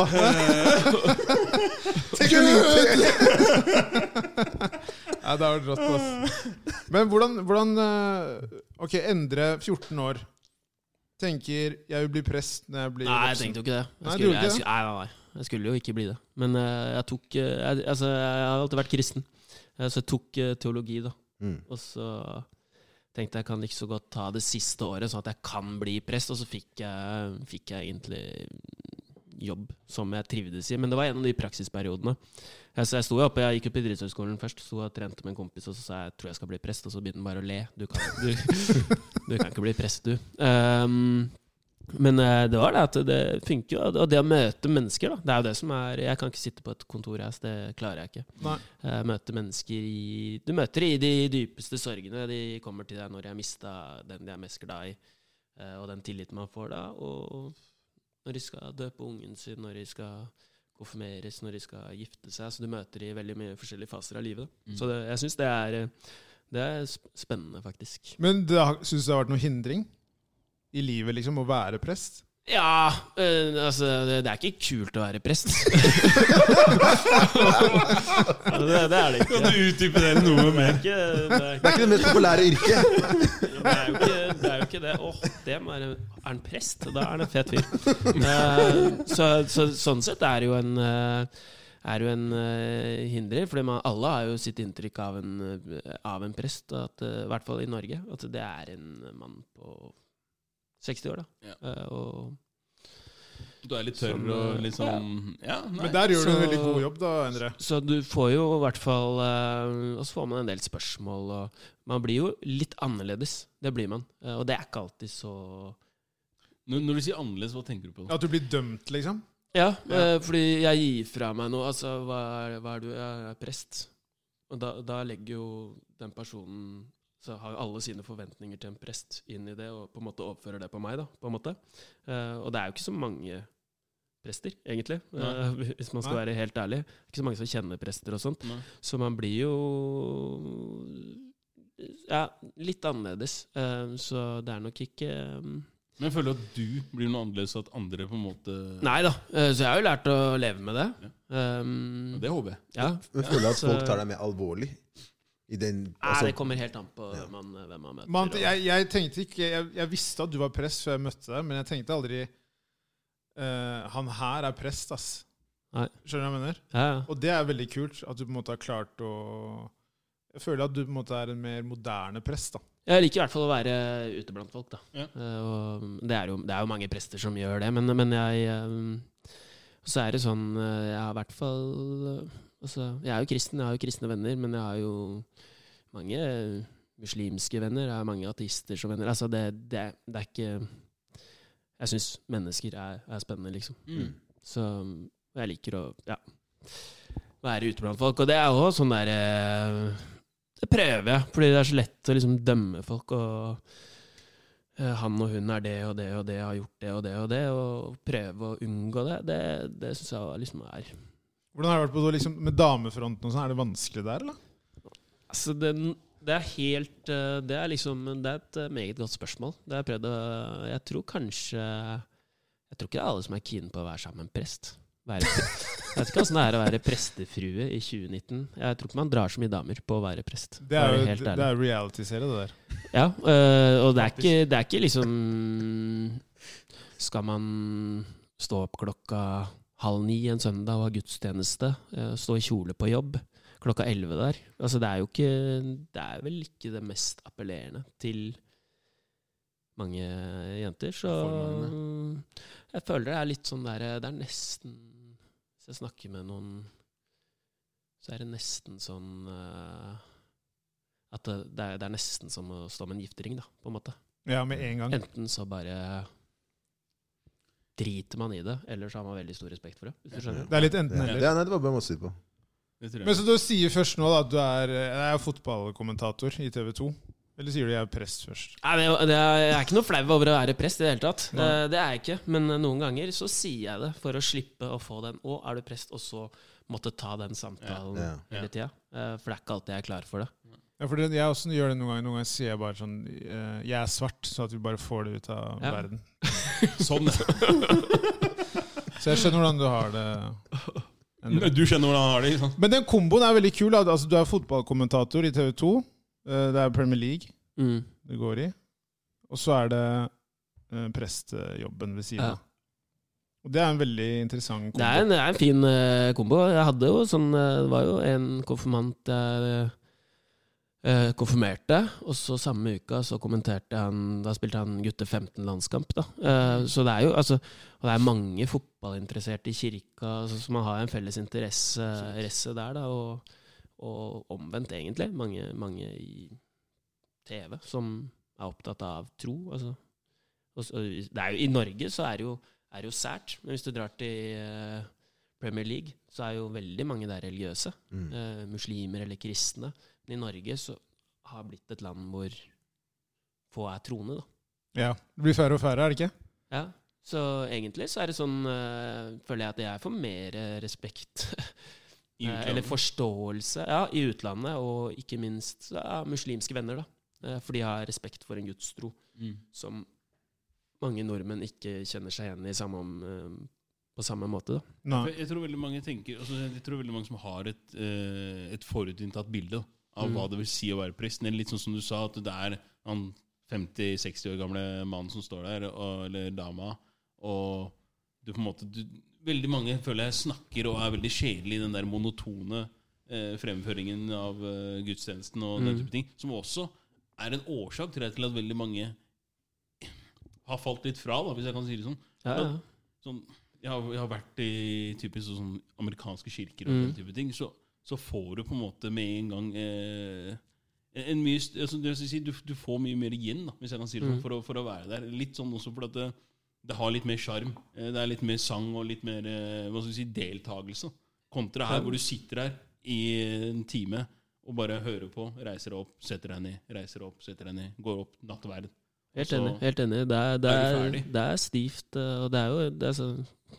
Speaker 3: Tenk å vite-
Speaker 1: Nei, det har vært rått, ass. Men hvordan, hvordan eh, Ok, Endre, 14 år, tenker jeg vil bli prest når jeg blir
Speaker 4: Nei, jeg
Speaker 1: voksen.
Speaker 4: tenkte jo ikke det. Jeg
Speaker 1: Nei,
Speaker 4: skulle,
Speaker 1: du gjorde ikke
Speaker 4: jeg, skulle, nei, nei, nei. jeg skulle jo ikke bli det. Men eh, jeg tok eh, jeg, Altså, jeg har alltid vært kristen, Eh, så jeg tok eh, teologi, da.
Speaker 3: Mm.
Speaker 4: Og så tenkte jeg jeg kan like så godt ta det siste året, sånn at jeg kan bli prest. Og så fikk jeg, fikk jeg egentlig jobb som jeg trivdes i. Men det var en av de praksisperiodene. Ja, så jeg sto jo oppe, jeg gikk opp i idrettshøyskolen først, sto og trente med en kompis, og så sa jeg tror jeg skal bli prest, og så begynte han bare å le. Du kan, du, du kan ikke bli prest, du. Ehm, men eh, det var det at det funker jo, og det å møte mennesker, da. Det er jo det som er Jeg kan ikke sitte på et kontor, jeg, så det klarer jeg ikke.
Speaker 1: Nei.
Speaker 4: Eh, møte mennesker i Du møter i de dypeste sorgene. De kommer til deg når de har mista den de er mest glad i, eh, og den tilliten man får da. Og når de skal døpe ungen sin, når de skal konfirmeres, når de skal gifte seg. Så du møter de i veldig mye forskjellige faser av livet. Da.
Speaker 3: Mm.
Speaker 4: Så det, jeg syns det er eh, det er sp- spennende, faktisk.
Speaker 1: Men det har- syns du det har vært noen hindring i livet, liksom, å være prest?
Speaker 4: Ja, eh, altså det, det er ikke kult å være prest. det, det er det ikke.
Speaker 2: Kan du utdype det noe mer?
Speaker 4: Det er ikke, det er
Speaker 3: Det er ikke det mest populære yrket.
Speaker 4: Det er jo ikke det. Er jo ikke det. Åh, det må være, er han prest? Da er han en fet fyr. Eh, så, så, sånn sett er det jo en eh, er jo en eh, hinder, for alle har jo sitt inntrykk av en, eh, av en prest, og at, eh, i hvert fall i Norge, at det er en mann på 60 år. da. Eh, og,
Speaker 2: Du er litt tørr og litt sånn Ja, nei.
Speaker 1: Men der gjør du en
Speaker 4: så-
Speaker 1: veldig god jobb, da, Endre.
Speaker 4: så du får jo i hvert fall eh, Og så får man en del spørsmål, og man blir jo litt annerledes. Det blir man. Eh, og det er ikke alltid så
Speaker 2: Når, når du sier annerledes, hva tenker du på? da?
Speaker 1: At du blir dømt, liksom?
Speaker 4: Ja, eh, fordi jeg gir fra meg noe. Altså, hva er, hva er du? Jeg er prest. Og da, da legger jo den personen Så har jo alle sine forventninger til en prest inn i det, og på en måte overfører det på meg, da. På en måte. Eh, og det er jo ikke så mange prester, egentlig. eh, hvis man skal
Speaker 1: Nei.
Speaker 4: være helt ærlig. Ikke så mange som kjenner prester og sånt.
Speaker 2: Nei.
Speaker 4: Så man blir jo ja, litt annerledes. Eh, så det er nok ikke eh,
Speaker 2: Men jeg føler at du blir noe annerledes, og at andre på en måte
Speaker 4: Nei da, eh, så jeg har jo lært å leve med det. Um,
Speaker 2: Det håper jeg.
Speaker 4: ja.
Speaker 3: Men føler at
Speaker 4: Så-
Speaker 3: folk tar deg mer alvorlig. I den
Speaker 4: Nei,
Speaker 3: altså,
Speaker 4: det kommer helt an på man, eh, hvem man møter.
Speaker 1: Man,
Speaker 4: og-
Speaker 1: jeg, jeg tenkte ikke jeg, jeg visste at du var prest før jeg møtte deg, men jeg tenkte aldri eh, Han her er prest, ass.
Speaker 4: Nei.
Speaker 1: Skjønner du hva jeg mener?
Speaker 4: ja, ja.
Speaker 1: Og det er veldig kult, at du på en måte har klart å Jeg føler at du på en måte er en mer moderne prest, da.
Speaker 4: Jeg liker i hvert fall å være ute blant folk, da.
Speaker 2: Ja.
Speaker 4: Eh, og det, er jo, det er jo mange prester som gjør det, men, men jeg um, Så er det sånn eh, Jeg har i hvert fall eh, altså, Jeg er jo kristen, jeg har jo kristne venner, men jeg har jo mange eh, muslimske venner, jeg har mange ateister som venner. Altså, det, det, det er ikke Jeg syns mennesker er, er spennende, liksom.
Speaker 2: Mm.
Speaker 4: Så um, jeg liker å ja, være ute blant folk. Og det er jo sånn der eh, Det prøver jeg, fordi det er så lett å liksom dømme folk. og eh, han og hun er det og det og det, har gjort det og det og det. Og prøve å unngå det, det, det syns jeg liksom er
Speaker 1: Hvordan har det vært på liksom, med damefronten og sånn? Er det vanskelig der, eller?
Speaker 4: Altså, det, det er helt eh, Det er liksom Det er et eh, meget godt spørsmål. Det har jeg prøvd å Jeg tror kanskje Jeg tror ikke det er alle som er keen på å være sammen med en prest. Være, jeg vet ikke åssen det er å være prestefrue i 2019. Jeg tror ikke man drar så mye damer på å være prest.
Speaker 1: Det er
Speaker 4: for å
Speaker 1: jo
Speaker 4: være helt
Speaker 1: det
Speaker 4: ærlig.
Speaker 1: er jo reality-serie, det der.
Speaker 4: Ja, øh, og det er, ikke, det er ikke liksom Skal man stå opp klokka halv ni en søndag og ha gudstjeneste? øh, Stå i kjole på jobb klokka elleve der? Altså, det er jo ikke Det er vel ikke det mest appellerende til mange jenter, så
Speaker 2: For
Speaker 4: Jeg føler det er litt sånn der Det er nesten Hvis jeg snakker med noen, så er det nesten sånn øh, at det, det, er, det er nesten som å stå med en giftering, da, på en måte.
Speaker 1: Ja, med en gang.
Speaker 4: Enten så bare driter man i det, eller så har man veldig stor respekt for det. Hvis du skjønner.
Speaker 1: Det er litt
Speaker 3: ja.
Speaker 1: enten-eller.
Speaker 3: Ja, nei, det var bare masse på.
Speaker 2: Det tror jeg.
Speaker 1: Men så du sier først nå da, at du er, eh, jeg er fotballkommentator i TV 2? Eller sier du jeg er prest først?
Speaker 4: Nei, men jeg- det er, jeg er ikke noe flau over å være prest i det hele tatt. Eh, Det er jeg ikke. Men eh, noen ganger så sier jeg det for å slippe å få den 'Å, er du prest?' og så måtte ta den samtalen
Speaker 3: Ja,
Speaker 2: ja.
Speaker 4: hele tida. Eh, For det er ikke alltid jeg er klar for det.
Speaker 1: Ja, for det, jeg også gjør det noen ganger. Noen ganger sier jeg bare sånn eh, Jeg er svart, så at vi bare får det ut av
Speaker 4: Ja.
Speaker 1: verden.
Speaker 2: Sånn.
Speaker 1: Så jeg skjønner hvordan du har det. Endre.
Speaker 2: Du skjønner hvordan han har det? ikke sant?
Speaker 1: Men den komboen er veldig kul. da. Altså, du er fotballkommentator i TV 2. Eh, Det er Premier League
Speaker 4: Mm.
Speaker 1: du går i. Og så er det eh, prestejobben ved siden
Speaker 4: Ja.
Speaker 1: av. Og det er en veldig interessant kombo.
Speaker 4: Det er en, det er en fin eh, kombo. Jeg hadde jo sånn eh, Det var jo en konfirmant jeg eh, konfirmerte, og så samme uka så kommenterte han Da spilte han gutte 15-landskamp, da. Eh, så det er jo altså Og det er mange fotballinteresserte i kirka, så, så man har en felles interesse, interesse der, da. Og, og omvendt, egentlig. Mange, mange i TV som er opptatt av tro, altså. Og så- det er jo, I Norge så er det jo er jo sært. Men hvis du drar til eh, Premier League, så er jo veldig mange der religiøse.
Speaker 3: Mm.
Speaker 4: eh, muslimer eller kristne. Men i Norge så har det blitt et land hvor få er troende, da.
Speaker 1: Ja, Det blir færre og færre, er det ikke?
Speaker 4: Ja. Så egentlig så er det sånn eh, Føler jeg at jeg får mer eh, respekt
Speaker 2: I
Speaker 4: eh,
Speaker 2: utlandet.
Speaker 4: eller forståelse ja, i utlandet, og ikke minst ja, muslimske venner, da. Eh, for de har respekt for en gudstro
Speaker 2: Mm.
Speaker 4: som mange nordmenn ikke kjenner seg igjen i samme om, eh, på samme måte, da.
Speaker 1: Nei.
Speaker 2: For Jeg tror veldig mange tenker altså Jeg tror veldig mange som har et, eh, et forutinntatt bilde da, av
Speaker 4: Mm.
Speaker 2: hva det vil si å være prest. Eller litt sånn som du sa, at det er han 50-60 år gamle mannen som står der, og, eller dama, og du på en måte du, Veldig mange føler jeg snakker og er veldig sjelelig i den der monotone eh, fremføringen av eh, gudstjenesten og den
Speaker 4: Mm.
Speaker 2: type ting, som også er en årsak tror jeg, til at veldig mange har falt litt fra, da, hvis jeg kan si det sånn
Speaker 4: Ja, ja.
Speaker 2: sånn, jeg, har, jeg har vært i typisk sånn amerikanske kirker og
Speaker 4: Mm.
Speaker 2: den type ting, så, så får du på en måte med en gang eh, en mye, st- altså, det vil si, du, du får mye mer igjen, da, hvis jeg kan si det sånn,
Speaker 4: Mm.
Speaker 2: for, å, for å være der. Litt sånn også fordi at det, det har litt mer sjarm. Eh, Det er litt mer sang og litt mer eh, hva skal vi si, deltakelse. Kontra her, hvor du sitter her i en time og bare hører på, reiser deg opp, setter deg ned, reiser deg opp, setter deg ned, går opp, nattverd.
Speaker 4: Helt
Speaker 2: Så-
Speaker 4: enig. helt enig. Det er, det
Speaker 2: er vi
Speaker 4: er,
Speaker 2: ferdig.
Speaker 4: det er stivt, eh, og det er jo det er så,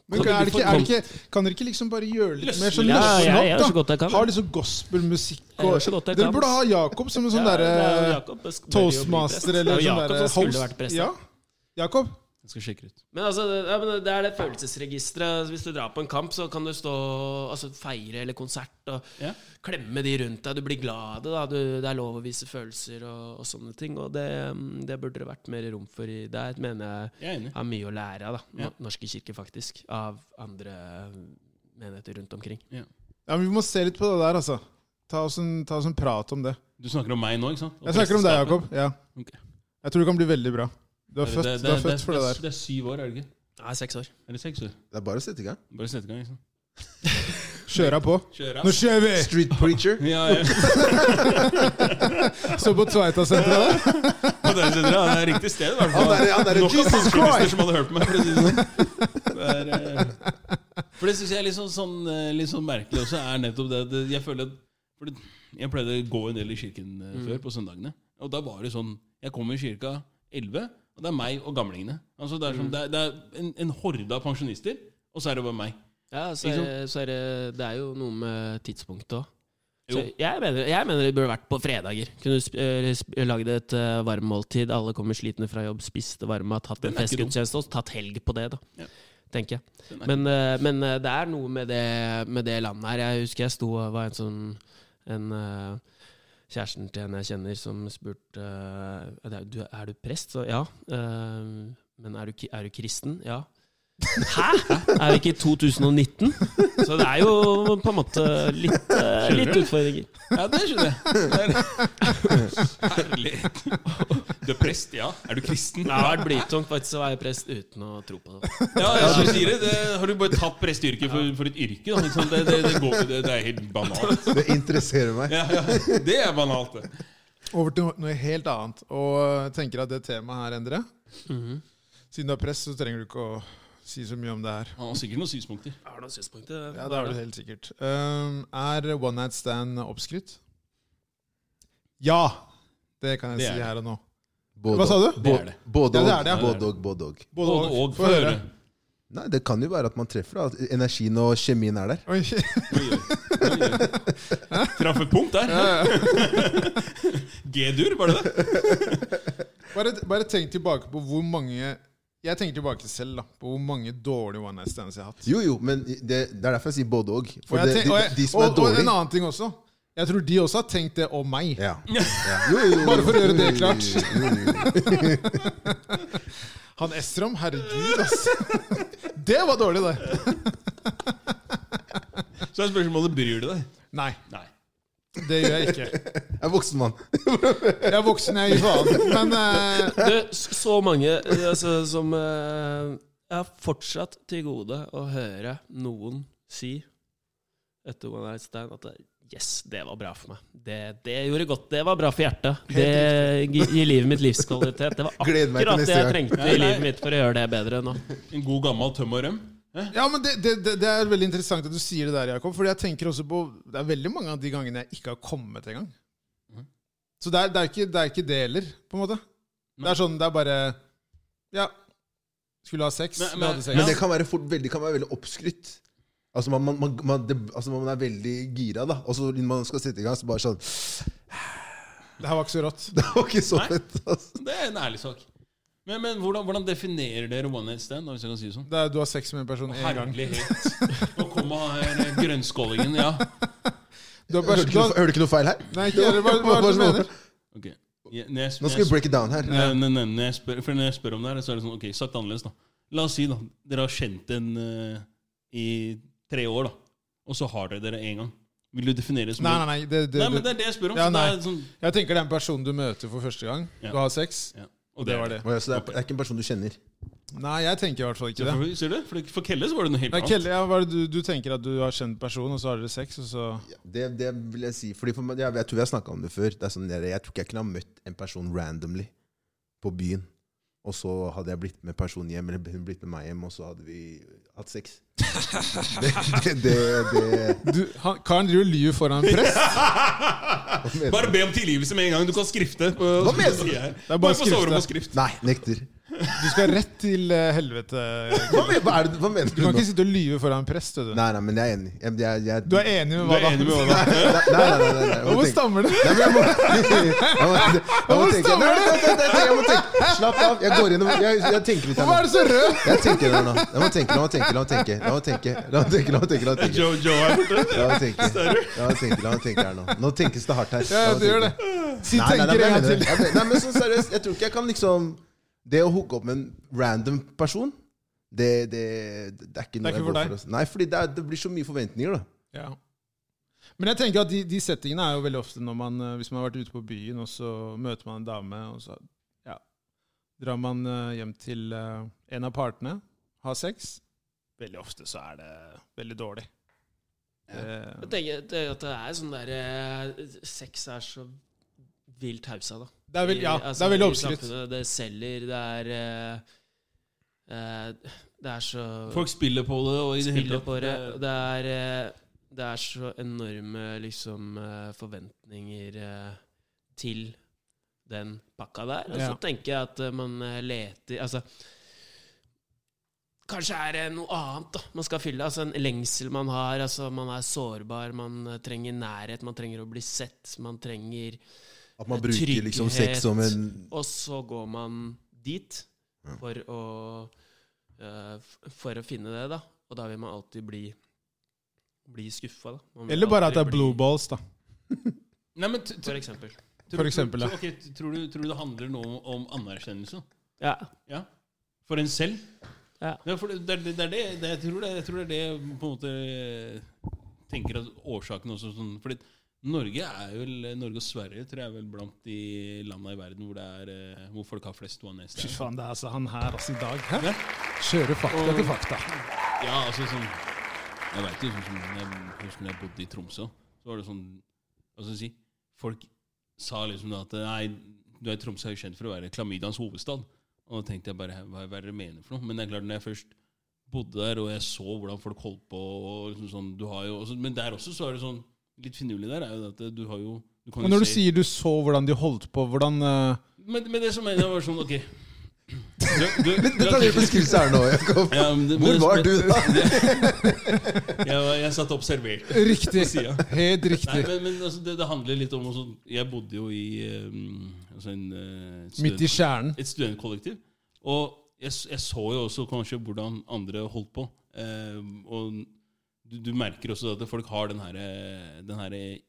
Speaker 1: Men
Speaker 4: Kan
Speaker 1: kan, er
Speaker 4: du
Speaker 1: det
Speaker 4: få
Speaker 1: ikke, er det ikke, kan dere ikke liksom bare gjøre litt mer sånn
Speaker 2: Løsne
Speaker 4: ja,
Speaker 1: løsne
Speaker 4: jeg, jeg gjør så
Speaker 1: opp,
Speaker 4: godt jeg
Speaker 1: da?
Speaker 4: kan.
Speaker 1: Ha liksom gospelmusikk
Speaker 4: Jeg
Speaker 1: og
Speaker 4: gjør så godt jeg
Speaker 1: Dere
Speaker 4: kan.
Speaker 1: burde ha Jakob som en sånn
Speaker 4: Ja, det er jo
Speaker 1: derre
Speaker 4: Jakob, det skulle jo bli prest.
Speaker 1: toastmaster
Speaker 4: Det er
Speaker 1: eller
Speaker 4: jo
Speaker 1: sånn
Speaker 4: Jakob
Speaker 1: derre
Speaker 4: som skulle vært prest.
Speaker 1: Ja. Jakob?
Speaker 2: Jeg skal sjekke det ut.
Speaker 4: Men altså, det, ja, men det er det følelsesregisteret. Altså, Hvis du drar på en kamp, så kan du stå altså, feire eller konsert og
Speaker 2: Ja.
Speaker 4: klemme de rundt deg. Du blir glad av det. Da. Du, det er lov å vise følelser og, og sånne ting. Og det, mm, det burde det vært mer rom for. i Der mener jeg
Speaker 2: Jeg er enig.
Speaker 4: har mye å lære av, da.
Speaker 2: Ja.
Speaker 4: No- Norske kirke, faktisk. Av andre menigheter rundt omkring.
Speaker 1: Ja, men vi må se litt på det der, altså. Ta oss en, ta oss en prat om det.
Speaker 2: Du snakker om meg nå, ikke sant? Og
Speaker 1: Jeg snakker om deg, Jakob.
Speaker 2: presteskapet.
Speaker 1: Ja.
Speaker 2: Ok.
Speaker 1: Jeg tror det kan bli veldig bra. Du er
Speaker 2: Det-
Speaker 1: født,
Speaker 2: det-
Speaker 1: du er
Speaker 2: det-
Speaker 1: født for det der.
Speaker 2: Det er syv år, er det ikke?
Speaker 4: Jeg er seks år.
Speaker 2: Eller seks år?
Speaker 3: Det er bare å sette i gang.
Speaker 2: Bare sett i gang. Liksom.
Speaker 1: Kjøra på.
Speaker 2: Kjør
Speaker 1: Nå kjører vi!
Speaker 3: Street preacher.
Speaker 2: Ja, ja.
Speaker 1: Så på Tveita-senteret der.
Speaker 2: På den siden, ja. Det er riktig sted, i hvert fall.
Speaker 3: Han der- han der-
Speaker 2: Nok av
Speaker 3: Jesus
Speaker 2: folkelister
Speaker 3: Christ!
Speaker 2: som hadde hørt på meg. For, å si det sånn. det er, eh, for det syns jeg er litt sånn, sånn, eh, litt sånn merkelig også, er nettopp det at det- jeg føler at for det, Jeg pleide å gå en del i kirken
Speaker 1: Mm.
Speaker 2: eh, før, på søndagene. Og da var det sånn Jeg kom i kirka 11, og det er meg og gamlingene. Altså, det er,
Speaker 1: Mm.
Speaker 2: sånn, det er, det er en, en horde av pensjonister, og så er det bare meg.
Speaker 4: Ja, så
Speaker 2: Ikke
Speaker 4: er, så er det, det er jo noe med tidspunktet òg.
Speaker 2: Jo.
Speaker 4: Jeg, mener- jeg mener det burde vært på fredager. Kunne du sp eh, sp lagd et eh, varmmåltid, alle kommer slitne fra jobb, spiste varmmat, hatt
Speaker 2: Den
Speaker 4: en
Speaker 2: er ikke dum.
Speaker 4: festgudstjeneste og tatt helg på det, da.
Speaker 2: Ja.
Speaker 4: Tenker jeg.
Speaker 2: Den er
Speaker 4: Men, eh, men eh, det er noe med det, med det landet her. Jeg husker jeg sto og var en sånn en, eh, Kjæresten til en jeg kjenner, som spurte eh, er, du, er du prest? Så ja. eh, men er du, ki- er du kristen? Ja. Hæ?! Er vi ikke i 2019? Så det er jo på en måte litt, eh, litt utfordringer.
Speaker 2: Ja, det skjønner jeg. Herlighet. Du er prest, ja. Er du kristen?
Speaker 4: Det har vært blytungt faktisk å være prest uten å tro på det.
Speaker 2: Ja, jeg skulle si det, det Har du bare tatt presteyrket for, for et yrke? Da, liksom? det, det, det, går, det, det er helt banalt.
Speaker 3: Det interesserer meg.
Speaker 2: Ja, ja, det er banalt, det.
Speaker 1: Over til noe helt eh,
Speaker 4: Mhm.
Speaker 1: annet. Og jeg tenker at det temaet her, Endre Siden du er prest, så trenger du ikke å Si så mye om det her.
Speaker 2: Han har sikkert noen synspunkter.
Speaker 4: Har du noen synspunkter?
Speaker 1: Ja, det er det helt sikkert. Um, er one night stand oppskrytt? Ja! Det kan jeg
Speaker 2: Det er
Speaker 1: si
Speaker 2: det.
Speaker 1: her og nå.
Speaker 3: Både
Speaker 1: Hva sa du?
Speaker 3: og.
Speaker 2: Det er det.
Speaker 1: Ja,
Speaker 3: Både og.
Speaker 1: det er det, ja.
Speaker 3: Både og, både og.
Speaker 1: Både
Speaker 2: Både
Speaker 1: og.
Speaker 2: og,
Speaker 1: Få
Speaker 2: få høre.
Speaker 3: Nei, det kan jo være at man treffer. da. At energien og kjemien er der.
Speaker 1: Oi.
Speaker 2: Oi, oi, oi, oi. Traff et punkt der. G-dur, var det det?
Speaker 1: Bare, bare tenk tilbake på hvor mange Jeg tenker tilbake selv da på hvor mange dårlige one night stands jeg har hatt.
Speaker 3: Jo, jo, men det, det er derfor jeg sier både og. For
Speaker 1: Og, jeg
Speaker 3: det,
Speaker 1: tenk, og,
Speaker 3: de,
Speaker 1: jeg,
Speaker 3: de som er
Speaker 1: og, og en
Speaker 3: dårlige
Speaker 1: annen ting også. Jeg tror de også har tenkt det om meg.
Speaker 3: ja. Mm, Ja. Jo, jo, jo,
Speaker 1: Bare for å gjøre det
Speaker 3: jo,
Speaker 1: klart.
Speaker 3: jo, jo, jo, jo. mm.
Speaker 1: Han Estrom, herregud, ass. Det var dårlig, det.
Speaker 2: Så er spørsmålet bryr du deg.
Speaker 1: Nei,
Speaker 2: Nei.
Speaker 1: det gjør jeg ikke.
Speaker 3: Jeg er voksen mann.
Speaker 1: Jeg er voksen, jeg gir faen. Men eh,
Speaker 4: Du, s- så mange eh, altså, som eh, Jeg har fortsatt til gode å høre noen si etter One Night Stand at det- Yes, det var bra for meg. Det, det gjorde godt. Det var bra for hjertet. Det gi- gir livet mitt livskvalitet. Det var
Speaker 3: Gleder meg til
Speaker 4: akkurat
Speaker 3: neste
Speaker 4: det jeg
Speaker 3: gang.
Speaker 4: trengte i livet mitt for å gjøre det bedre nå.
Speaker 2: En god gammel tøm og røm.
Speaker 1: Ja, men det, det, det, det er veldig interessant at du sier det der, Jakob. Fordi jeg tenker også på Det er veldig mange av de gangene jeg ikke har kommet engang.
Speaker 2: Mhm.
Speaker 1: Så det er, det, er ikke, det er ikke det heller, på en måte. Det er sånn, det er bare Ja. Skulle ha sex.
Speaker 2: Men-
Speaker 1: vi
Speaker 2: men-
Speaker 1: hadde sex.
Speaker 2: Ja.
Speaker 3: Men det kan være, fort, veldig, kan være veldig oppskrytt. Altså man, man, man, man, det, altså man er veldig gira, da. Og så når man skal sette i gang, så bare sånn
Speaker 1: Det her var ikke så rått.
Speaker 3: Det var ikke så
Speaker 2: Nei.
Speaker 3: fett, altså.
Speaker 2: Det er en ærlig sak. Men, men hvordan, hvordan definerer dere one night stand? da, Hvis jeg kan si det sånn?
Speaker 1: Det er, du har sex med en person én gang.
Speaker 2: Herlighet. Nå kommer her, eh, grønnskålingen, ja.
Speaker 1: Du har bare,
Speaker 3: Hørte
Speaker 1: du
Speaker 3: ikke noe,
Speaker 1: har,
Speaker 3: hørte ikke noe feil her? sånn-
Speaker 1: nei, ikke heller. Hva, hva er det du mener?
Speaker 2: Ok. Ja, når jeg-
Speaker 3: Nå skal vi break it down her.
Speaker 2: Nei, nei, nei, når jeg spør, for når jeg spør om det her, så er det sånn Ok, sagt annerledes, da. La oss si, da. Dere har kjent en eh, i tre år, da. Og så har dere dere én gang. Vil du definere det som
Speaker 1: Nei, nei, nei. Det, det,
Speaker 2: Nei, men det er det jeg spør om.
Speaker 1: Ja,
Speaker 2: så
Speaker 1: nei.
Speaker 2: Det er sånn,
Speaker 1: Jeg tenker det er en person du møter for første gang.
Speaker 2: Ja.
Speaker 1: Du har sex.
Speaker 2: ja. Og
Speaker 1: Det var det.
Speaker 3: Å ja, Så det er, det er ikke en person du kjenner.
Speaker 1: Nei, jeg tenker i hvert fall ikke det.
Speaker 2: For, ser du? For, for Kelle så var det noe helt
Speaker 1: Nei,
Speaker 2: annet.
Speaker 1: Kelle, ja, hva er det du, du tenker at du har kjent personen, og så har dere sex, og så
Speaker 3: Ja, Det, det vil jeg si. Fordi for meg, jeg, jeg tror vi har snakka om det før. Det er sånn, jeg, jeg tror ikke jeg kunne ha møtt en person randomly på byen. Og så hadde jeg blitt med personen hjem, eller hun blitt med meg hjem, og så hadde vi hatt sex. Det, det, det, det,
Speaker 1: du, han, Karen driver og lyver foran en press.
Speaker 3: mener du?
Speaker 2: Bare be om tilgivelse med en gang. Du kan skrifte. På,
Speaker 3: Hva mener du?
Speaker 2: Det er
Speaker 1: bare
Speaker 2: bare, på
Speaker 1: skrifte.
Speaker 2: soverommet og skrift.
Speaker 3: Nei, nekter.
Speaker 1: Du skal rett til eh, helvete.
Speaker 3: Hva mener, hva er det, hva mener
Speaker 1: Du
Speaker 3: du
Speaker 1: kan
Speaker 3: nå?
Speaker 1: ikke sitte og lyve foran en press. Du.
Speaker 3: Nei, nei, men jeg er enig. Jeg, jeg, jeg,
Speaker 1: du er enig med
Speaker 2: Du
Speaker 1: hva
Speaker 2: er
Speaker 1: da?
Speaker 2: enig med hva da?
Speaker 3: Nei, nei, nei, nei, nei, nei.
Speaker 1: Hvor
Speaker 3: Jeg må tenke-
Speaker 1: stammer det?
Speaker 3: Nei, men jeg må- jeg må- jeg må
Speaker 1: Hvor
Speaker 3: tenke-
Speaker 1: stammer
Speaker 3: Nei, nei, nei, nei, nei, jeg må tenke. Slapp av. Jeg går gjennom Jeg, jeg tenker litt her
Speaker 1: Hvorfor er
Speaker 3: nå.
Speaker 1: du så rød?
Speaker 3: Jeg tenker her nå. La meg tenke, la meg tenke, la meg tenke. La meg tenke, la meg tenke. La meg tenke, la meg tenke.
Speaker 2: Joe, Joe er borte.
Speaker 3: La meg tenke, la meg tenke, la meg tenke her nå. Nå tenkes det hardt her.
Speaker 1: Ja,
Speaker 3: La meg
Speaker 1: du gjør det.
Speaker 3: tenke.
Speaker 1: Si
Speaker 3: Nei, nei, nei,
Speaker 1: tenker
Speaker 3: men
Speaker 1: en
Speaker 3: jeg
Speaker 1: gang
Speaker 3: mener
Speaker 1: til.
Speaker 3: det. Jeg mener- Nei, men sånn seriøst, jeg tror ikke jeg kan liksom Det å hooke opp med en random person, det, det, det er ikke noe
Speaker 1: Det er ikke
Speaker 3: jeg
Speaker 1: for
Speaker 3: går
Speaker 1: deg.
Speaker 3: for. ass. Nei, fordi det, er, det blir så mye forventninger, da.
Speaker 1: Ja. Men jeg tenker at de, de settingene er jo veldig ofte når man eh, Hvis man har vært ute på byen, og så møter man en dame, og så ja, drar man eh, hjem til eh, en av partene, har sex. Veldig ofte så er det veldig dårlig. Eh,
Speaker 4: Jeg tenker at det- at det er sånn der eh, Sex er så vilt hausa, da.
Speaker 1: det er vel, ja,
Speaker 4: I-
Speaker 1: det
Speaker 4: altså,
Speaker 1: er veldig
Speaker 4: i
Speaker 1: oppskrytt.
Speaker 4: samfunnet, Det selger, det er eh, eh, Det er så
Speaker 2: Folk spiller på det. Og i det hele
Speaker 4: spiller
Speaker 2: tatt,
Speaker 4: på det.
Speaker 2: eh,
Speaker 4: og Det er, eh, det er så enorme liksom, eh, forventninger eh, til den pakka der. Og så
Speaker 1: Ja.
Speaker 4: tenker jeg at eh, man eh, leter Altså Kanskje er det noe annet da man skal fylle. altså En lengsel man har. altså Man er sårbar, man eh, trenger nærhet, man trenger å bli sett. Man trenger
Speaker 3: At man bruker liksom
Speaker 4: Trygghet.
Speaker 3: sex som en
Speaker 4: og så går man dit for å eh, f- For å finne det, da. Og da vil man alltid bli Bli skuffa, da. Man vil
Speaker 1: Eller bare at
Speaker 4: alltid
Speaker 1: det er blue
Speaker 4: bli-
Speaker 1: balls, da.
Speaker 2: Nei, men t- t-
Speaker 4: For eksempel.
Speaker 2: tror-
Speaker 1: for eksempel, ja.
Speaker 2: tror- ok, t- tror, du, tror du det handler noe om anerkjennelse?
Speaker 4: Ja.
Speaker 2: Ja. For en selv?
Speaker 4: Ja.
Speaker 2: for det, det, det er det, det, jeg, tror det jeg tror det er det jeg på en måte eh, tenker at årsaken også sånn Fordi Norge er vel Norge og Sverige tror jeg er vel blant de landene i verden hvor, det er, eh, hvor folk har flest one night
Speaker 1: Fy
Speaker 2: stands.
Speaker 1: faen, det er altså han her altså i dag. Hæ?
Speaker 2: Ja.
Speaker 1: Kjører fakta til fakta.
Speaker 2: Ja, altså sånn Jeg vet jo, sånn som når jeg husker når jeg bodde i Tromsø, så var det sånn Hva skal jeg si Folk sa liksom da at Nei, du er Tromsø er jo kjent for å være klamydiaens hovedstad. Og da tenkte jeg bare hva hva er det dere mener for noe? Men det er klart, når jeg først bodde der, og jeg så hvordan folk holdt på. Og liksom sånn, du har jo, også, men der også så er det sånn Litt finurlig der er jo det at du har jo du kan
Speaker 1: Men
Speaker 2: jo
Speaker 1: når du
Speaker 2: se-
Speaker 1: sier du så hvordan de holdt på, hvordan eh,
Speaker 2: men, men det som mener jeg var sånn, ok du, du,
Speaker 3: Detaljert beskrivelse her nå, Jakob.
Speaker 2: Ja, men det-
Speaker 3: Hvor var du da?
Speaker 2: Jeg, var- jeg satt og observerte.
Speaker 1: Riktig.
Speaker 2: siden.
Speaker 1: Helt
Speaker 2: Nei,
Speaker 1: riktig.
Speaker 2: men, men altså, det, det handler litt om også, Jeg bodde jo i um, altså en, eh, et
Speaker 1: Midt i kjernen.
Speaker 2: et studentkollektiv. Og jeg, s- jeg så jo også kanskje hvordan andre holdt på. Eh, og du, du merker også at folk har den her, eh, den her eh,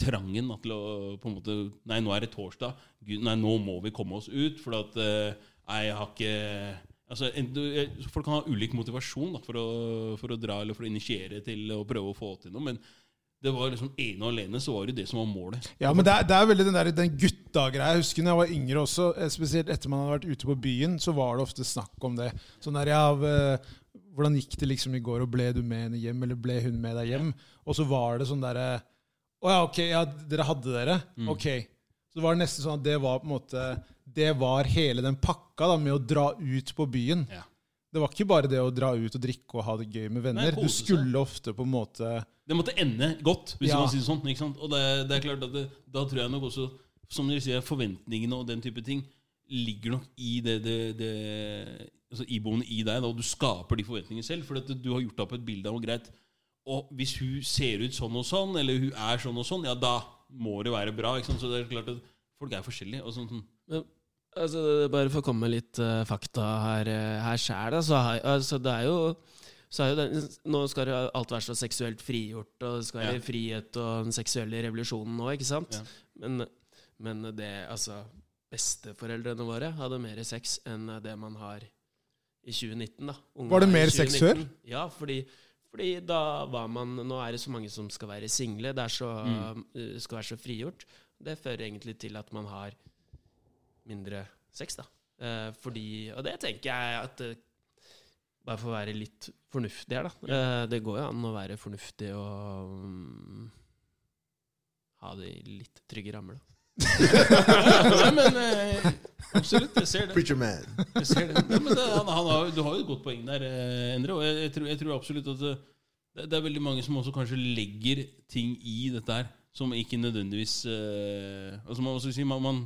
Speaker 2: trangen da, til å på en måte Nei, nå er det torsdag. Gud, nei, nå må vi komme oss ut, for at eh, Nei, jeg har ikke Altså, en, du, jeg, Folk kan ha ulik motivasjon da, for, å, for å dra eller for å initiere til å prøve å få til noe, men det var liksom ene og alene så var det jo det som var målet.
Speaker 1: Ja, men det er, det er veldig den, der, den gutta-greia. Jeg husker når jeg var yngre også, eh, spesielt etter man hadde vært ute på byen, så var det ofte snakk om det. Sånn der, ja, v- hvordan gikk det liksom i går, og ble du med henne hjem, eller ble hun med deg hjem? Og så var det sånn derre Å ja, ok, ja, dere hadde dere?
Speaker 2: Mm.
Speaker 1: Ok. Så var det nesten sånn at det var på en måte Det var hele den pakka da, med å dra ut på byen.
Speaker 2: Ja.
Speaker 1: Det var ikke bare det å dra ut og drikke og ha det gøy med venner.
Speaker 2: kose
Speaker 1: du
Speaker 2: seg.
Speaker 1: skulle ofte på en måte
Speaker 2: Det måtte ende godt, hvis
Speaker 1: Ja.
Speaker 2: man sier det sånn. Ikke sant? Og det, det er klart at det, da tror jeg nok også, som dere sier, forventningene og den type ting ligger nok i det, det, det altså iboende i deg, da, og du skaper de forventningene selv. For at du har gjort deg opp et bilde av noe greit. Og hvis hun ser ut sånn og sånn, eller hun er sånn og sånn, ja, da må det være bra. Ikke sant? Så det er klart at folk er forskjellige. Og sånn, sånn.
Speaker 4: Altså, bare for å komme med litt eh, fakta her, eh, her sjæl, altså, har- altså, det er jo så er jo det, nå skal det alt være så seksuelt frigjort, og det skal være
Speaker 2: Ja.
Speaker 4: frihet og den seksuelle revolusjonen nå, ikke sant?
Speaker 2: Ja.
Speaker 4: Men, men det Altså, besteforeldrene våre hadde mer sex enn det man har i 2019, da. Unge
Speaker 1: Var det
Speaker 4: er i
Speaker 1: mer sex
Speaker 4: 2019.
Speaker 1: før?
Speaker 4: Ja, fordi, fordi da var man Nå er det så mange som skal være single, det er så,
Speaker 2: Mm.
Speaker 4: eh, skal være så frigjort. Det fører egentlig til at man har mindre sex, da. Eh, fordi Og det tenker jeg at eh, bare for å være litt fornuftig her, da. Eh, det går jo an å være fornuftig og mm, ha det i litt trygge rammer, da.
Speaker 2: Nei, men eh, absolutt, jeg ser det.
Speaker 3: Preacher man.
Speaker 2: Jeg ser det. Nei, men det han, han har, du har jo et godt poeng der, eh, Endre. Og jeg, jeg, tror, jeg tror absolutt at eh, det, det er veldig mange som også kanskje legger ting i dette her som ikke nødvendigvis eh, altså man, også si, man, man,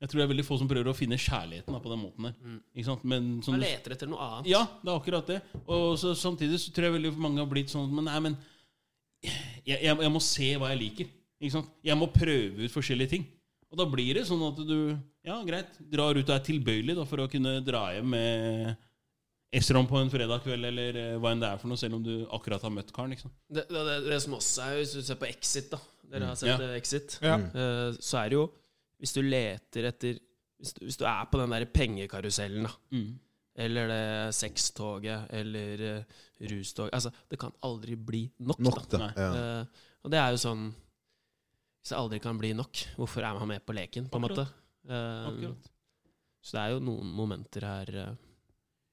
Speaker 2: Jeg tror det er veldig få som prøver å finne kjærligheten da, på den måten der. Ikke sant? Men som
Speaker 4: Man
Speaker 2: du
Speaker 4: leter etter noe annet.
Speaker 2: ja, det er akkurat det. Og så, samtidig så tror jeg veldig mange har blitt sånn Men nei, men jeg, jeg, jeg må se hva jeg liker. Ikke sant? Jeg må prøve ut forskjellige ting. Og da blir det sånn at du Ja, greit, drar ut og er tilbøyelig da, for å kunne dra hjem med Estron på en fredag kveld, eller eh, hva enn det er for noe, selv om du akkurat har møtt karen. Ikke sant?
Speaker 4: Det, det, det, det som også er, hvis du ser på Exit, da. Dere har sett
Speaker 2: Mm. Ja.
Speaker 4: eh, Exit.
Speaker 1: ja.
Speaker 3: Mm.
Speaker 4: Eh, så er det jo Hvis du leter etter Hvis du, hvis du er på den der pengekarusellen, da. Eller det sextoget, eller uh, rustoget Altså, det kan aldri bli nok,
Speaker 3: Nok,
Speaker 4: da.
Speaker 3: da.
Speaker 2: Nei.
Speaker 3: Ja.
Speaker 4: Eh, og det er jo sånn Hvis det aldri kan bli nok, hvorfor er man med på leken, på en måte?
Speaker 2: Akkurat.
Speaker 4: Eh,
Speaker 2: Akkurat.
Speaker 4: så det er jo noen momenter her eh.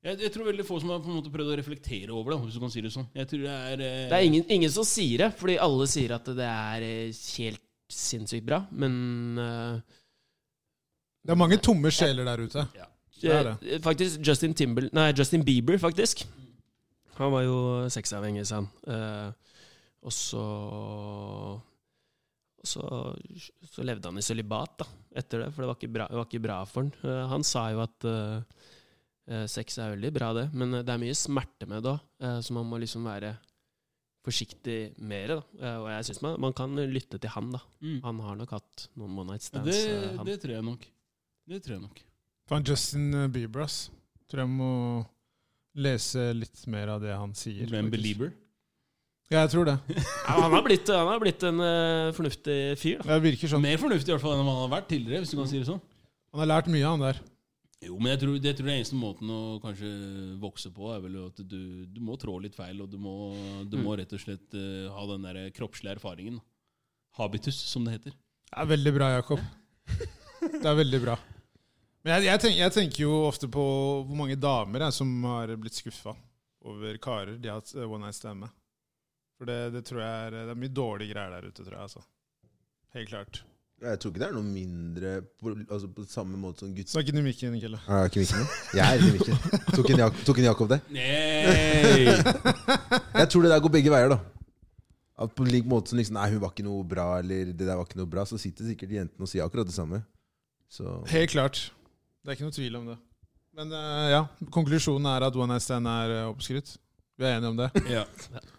Speaker 2: Jeg, jeg tror veldig få som har på en måte prøvd å reflektere over det, hvis du kan si det sånn. Jeg tror det er eh,
Speaker 4: Det er ingen, ingen som sier det, fordi alle sier at det er eh, helt sinnssykt bra, men eh,
Speaker 1: Det er mange tomme sjeler der ute.
Speaker 2: ja.
Speaker 1: Det er det.
Speaker 4: Eh, Faktisk, Justin, Timber, nei, Justin Bieber, faktisk. Han var jo sexavhengig, sa han. Eh, og så og så, så levde han i sølibat da, etter det, for det var ikke bra, det var ikke bra for han. Eh, han sa jo at eh, eh, sex er veldig bra, det, men eh, det er mye smerte med det òg, så man må liksom være forsiktig med det. Da. Eh, og jeg synes man, man kan lytte til han, da.
Speaker 2: Mm.
Speaker 4: Han har nok hatt noen one night
Speaker 2: Ja,
Speaker 4: stands.
Speaker 2: det,
Speaker 4: eh, han.
Speaker 2: det tror jeg nok. Det tror jeg nok.
Speaker 1: Faen, Justin eh, Bieber, ass. Tror jeg må lese litt mer av det han sier.
Speaker 2: Du er en
Speaker 1: faktisk.
Speaker 2: belieber.
Speaker 1: Ja, jeg tror det.
Speaker 4: Ja, han, har blitt, han har blitt en eh, fornuftig fyr, da.
Speaker 1: Det virker sånn.
Speaker 2: Mer fornuftig i hvert fall enn han har vært tidligere. hvis du kan si det sånn.
Speaker 1: Han har lært mye, han der.
Speaker 2: Jo, men jeg tror, jeg tror den eneste måten å kanskje vokse på, er vel at du, du må trå litt feil, og du må, du må rett og slett eh, ha den der kroppslige erfaringen. Habitus, som det heter.
Speaker 1: Det er veldig bra, Jakob. Det er veldig bra. Men jeg, jeg, tenker, jeg tenker jo ofte på hvor mange damer jeg, som har blitt skuffa over karer de har hatt eh, one night stand med. For det, det tror jeg er Det er mye dårlige greier der ute, tror jeg. altså. Helt klart.
Speaker 3: Jeg tror ikke det er noe mindre på, altså på samme måte som gutter.
Speaker 1: Snakk inn i mikken, Kjelle.
Speaker 3: Er det ikke Mikkel nå? Jeg er ikke Mikkel. Tok en, Jak tok en Jakob det?
Speaker 2: Nei!
Speaker 3: Jeg tror det der går begge veier, da. At på lik måte som liksom, nei, hun var ikke noe bra, eller det der var ikke noe bra, så sitter sikkert jentene og sier akkurat det samme. Så
Speaker 1: Helt klart. Det er ikke noe tvil om det. Men eh, ja, konklusjonen er at One Night Stand er eh, oppskrytt. Vi er enige om det.
Speaker 2: Ja.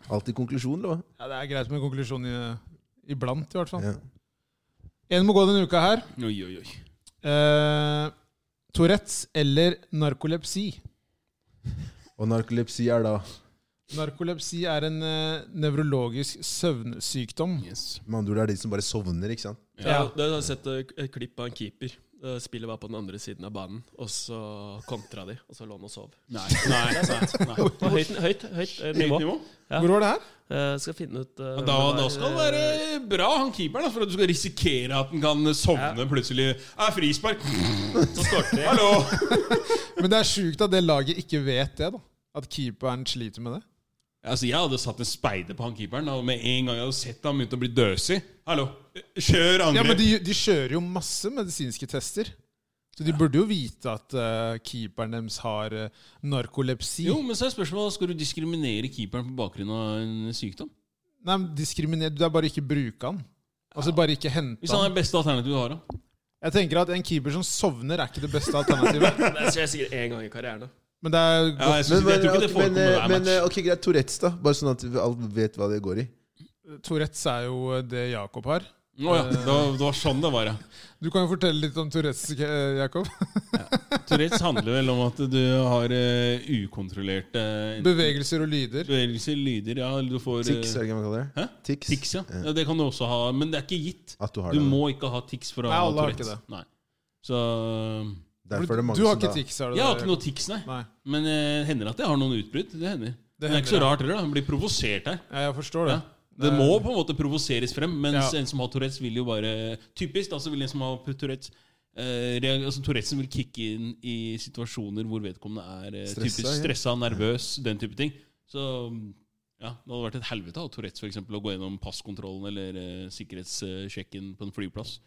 Speaker 3: alltid konklusjon, da.
Speaker 1: Ja, Det er greit med konklusjon i, iblant, i hvert fall.
Speaker 3: Ja.
Speaker 1: En må gå denne uka her.
Speaker 2: Oi, oi, oi.
Speaker 1: Eh, Tourettes eller narkolepsi?
Speaker 3: Og narkolepsi er da
Speaker 1: Narkolepsi er en eh, nevrologisk søvnsykdom.
Speaker 2: Yes.
Speaker 3: Med andre ord er det de som bare sovner, ikke sant?
Speaker 4: Ja, da har jeg sett eh, et klipp av en keeper. Eh, Spillet var på den andre siden av banen, og så kontra de, og så lå han og sov.
Speaker 2: Nei, nei, det er sant. Nei.
Speaker 4: Det var Høyt, høyt, høyt eh, nivå.
Speaker 2: Høyt nivå.
Speaker 4: Ja.
Speaker 1: Hvor var det her?
Speaker 4: Eh, skal finne ut eh,
Speaker 2: Ja,
Speaker 4: hvem
Speaker 2: Da,
Speaker 4: det var,
Speaker 2: da skal det
Speaker 4: eh,
Speaker 2: være bra, han keeperen, da, for at du skal risikere at den kan sovne plutselig. Er frispark! Så starter jeg. Hallo!
Speaker 1: Men det er sjukt at det laget ikke vet det. da At keeperen sliter med det.
Speaker 2: Altså, jeg hadde satt en speider på han keeperen. Da, og med en gang jeg hadde sett han begynte å bli døsig. Hallo, kjør
Speaker 1: Ja,
Speaker 2: angrep!
Speaker 1: men De, de kjører jo masse medisinske tester. Så de burde jo vite at eh, keeperen deres har eh, narkolepsi.
Speaker 2: Jo, men så er spørsmålet Skal du diskriminere keeperen på bakgrunn av en sykdom?
Speaker 1: Nei, men diskriminer Det er bare ikke bruke han. Altså bare ikke hente
Speaker 2: Hvis han er
Speaker 1: han.
Speaker 2: det beste alternativet du har, da?
Speaker 1: Jeg tenker at En keeper som sovner, er ikke det beste alternativet.
Speaker 4: Det skjer sikkert én gang i karrieren. da.
Speaker 1: Men det er
Speaker 2: Ja,
Speaker 1: godt.
Speaker 2: jeg, synes, jeg tror ikke det
Speaker 3: men, eh,
Speaker 2: forekommer hver
Speaker 3: men,
Speaker 2: match.
Speaker 3: ok, greit, Tourettes, da. Bare sånn at vi alle vet hva det går i.
Speaker 1: Tourettes er jo eh, det Jakob har.
Speaker 2: Å ja, det var, det var sånn det var, ja.
Speaker 1: Du kan jo fortelle litt om Tourettes, eh, Jakob.
Speaker 2: Tourettes handler vel om at du har eh, ukontrollerte eh,
Speaker 1: Bevegelser og lyder.
Speaker 2: bevegelser, lyder Ja, eller du får eh,
Speaker 3: Tics, er det ikke hva man kaller det?
Speaker 2: Hæ?
Speaker 3: Tics.
Speaker 2: tics, ja. ja. Det kan du også ha, men det er ikke gitt.
Speaker 3: At du har
Speaker 2: Du
Speaker 3: det.
Speaker 2: må ikke ha tics for å
Speaker 1: Nei,
Speaker 2: ha
Speaker 1: alle har ikke
Speaker 2: Tourettes.
Speaker 1: det.
Speaker 2: Nei. Så eh,
Speaker 1: Du,
Speaker 3: Derfor er det mange
Speaker 1: du har
Speaker 3: som
Speaker 1: ikke
Speaker 3: da-
Speaker 1: tics, har du
Speaker 2: Jeg har ikke
Speaker 1: Jakob?
Speaker 2: noe tics, nei.
Speaker 1: Nei.
Speaker 2: Men eh, hender at jeg har noen utbrudd. Det hender. Det, er
Speaker 1: hender,
Speaker 2: ikke så
Speaker 1: ja.
Speaker 2: rart heller. da. Jeg blir provosert her.
Speaker 1: Ja, jeg forstår det.
Speaker 2: Ja. Det må på en måte provoseres frem, mens
Speaker 1: Ja.
Speaker 2: en som har Tourettes, vil jo bare Typisk, da, så vil en som har Tourettes eh, rea- altså Tourettesen vil kicke inn i situasjoner hvor vedkommende er eh,
Speaker 3: Stressa,
Speaker 2: typisk
Speaker 3: ja.
Speaker 2: stressa, nervøs, den type ting. Så ja, det hadde vært et helvete av Tourettes for eksempel, å gå gjennom passkontrollen eller eh, sikkerhetssjekken på en flyplass.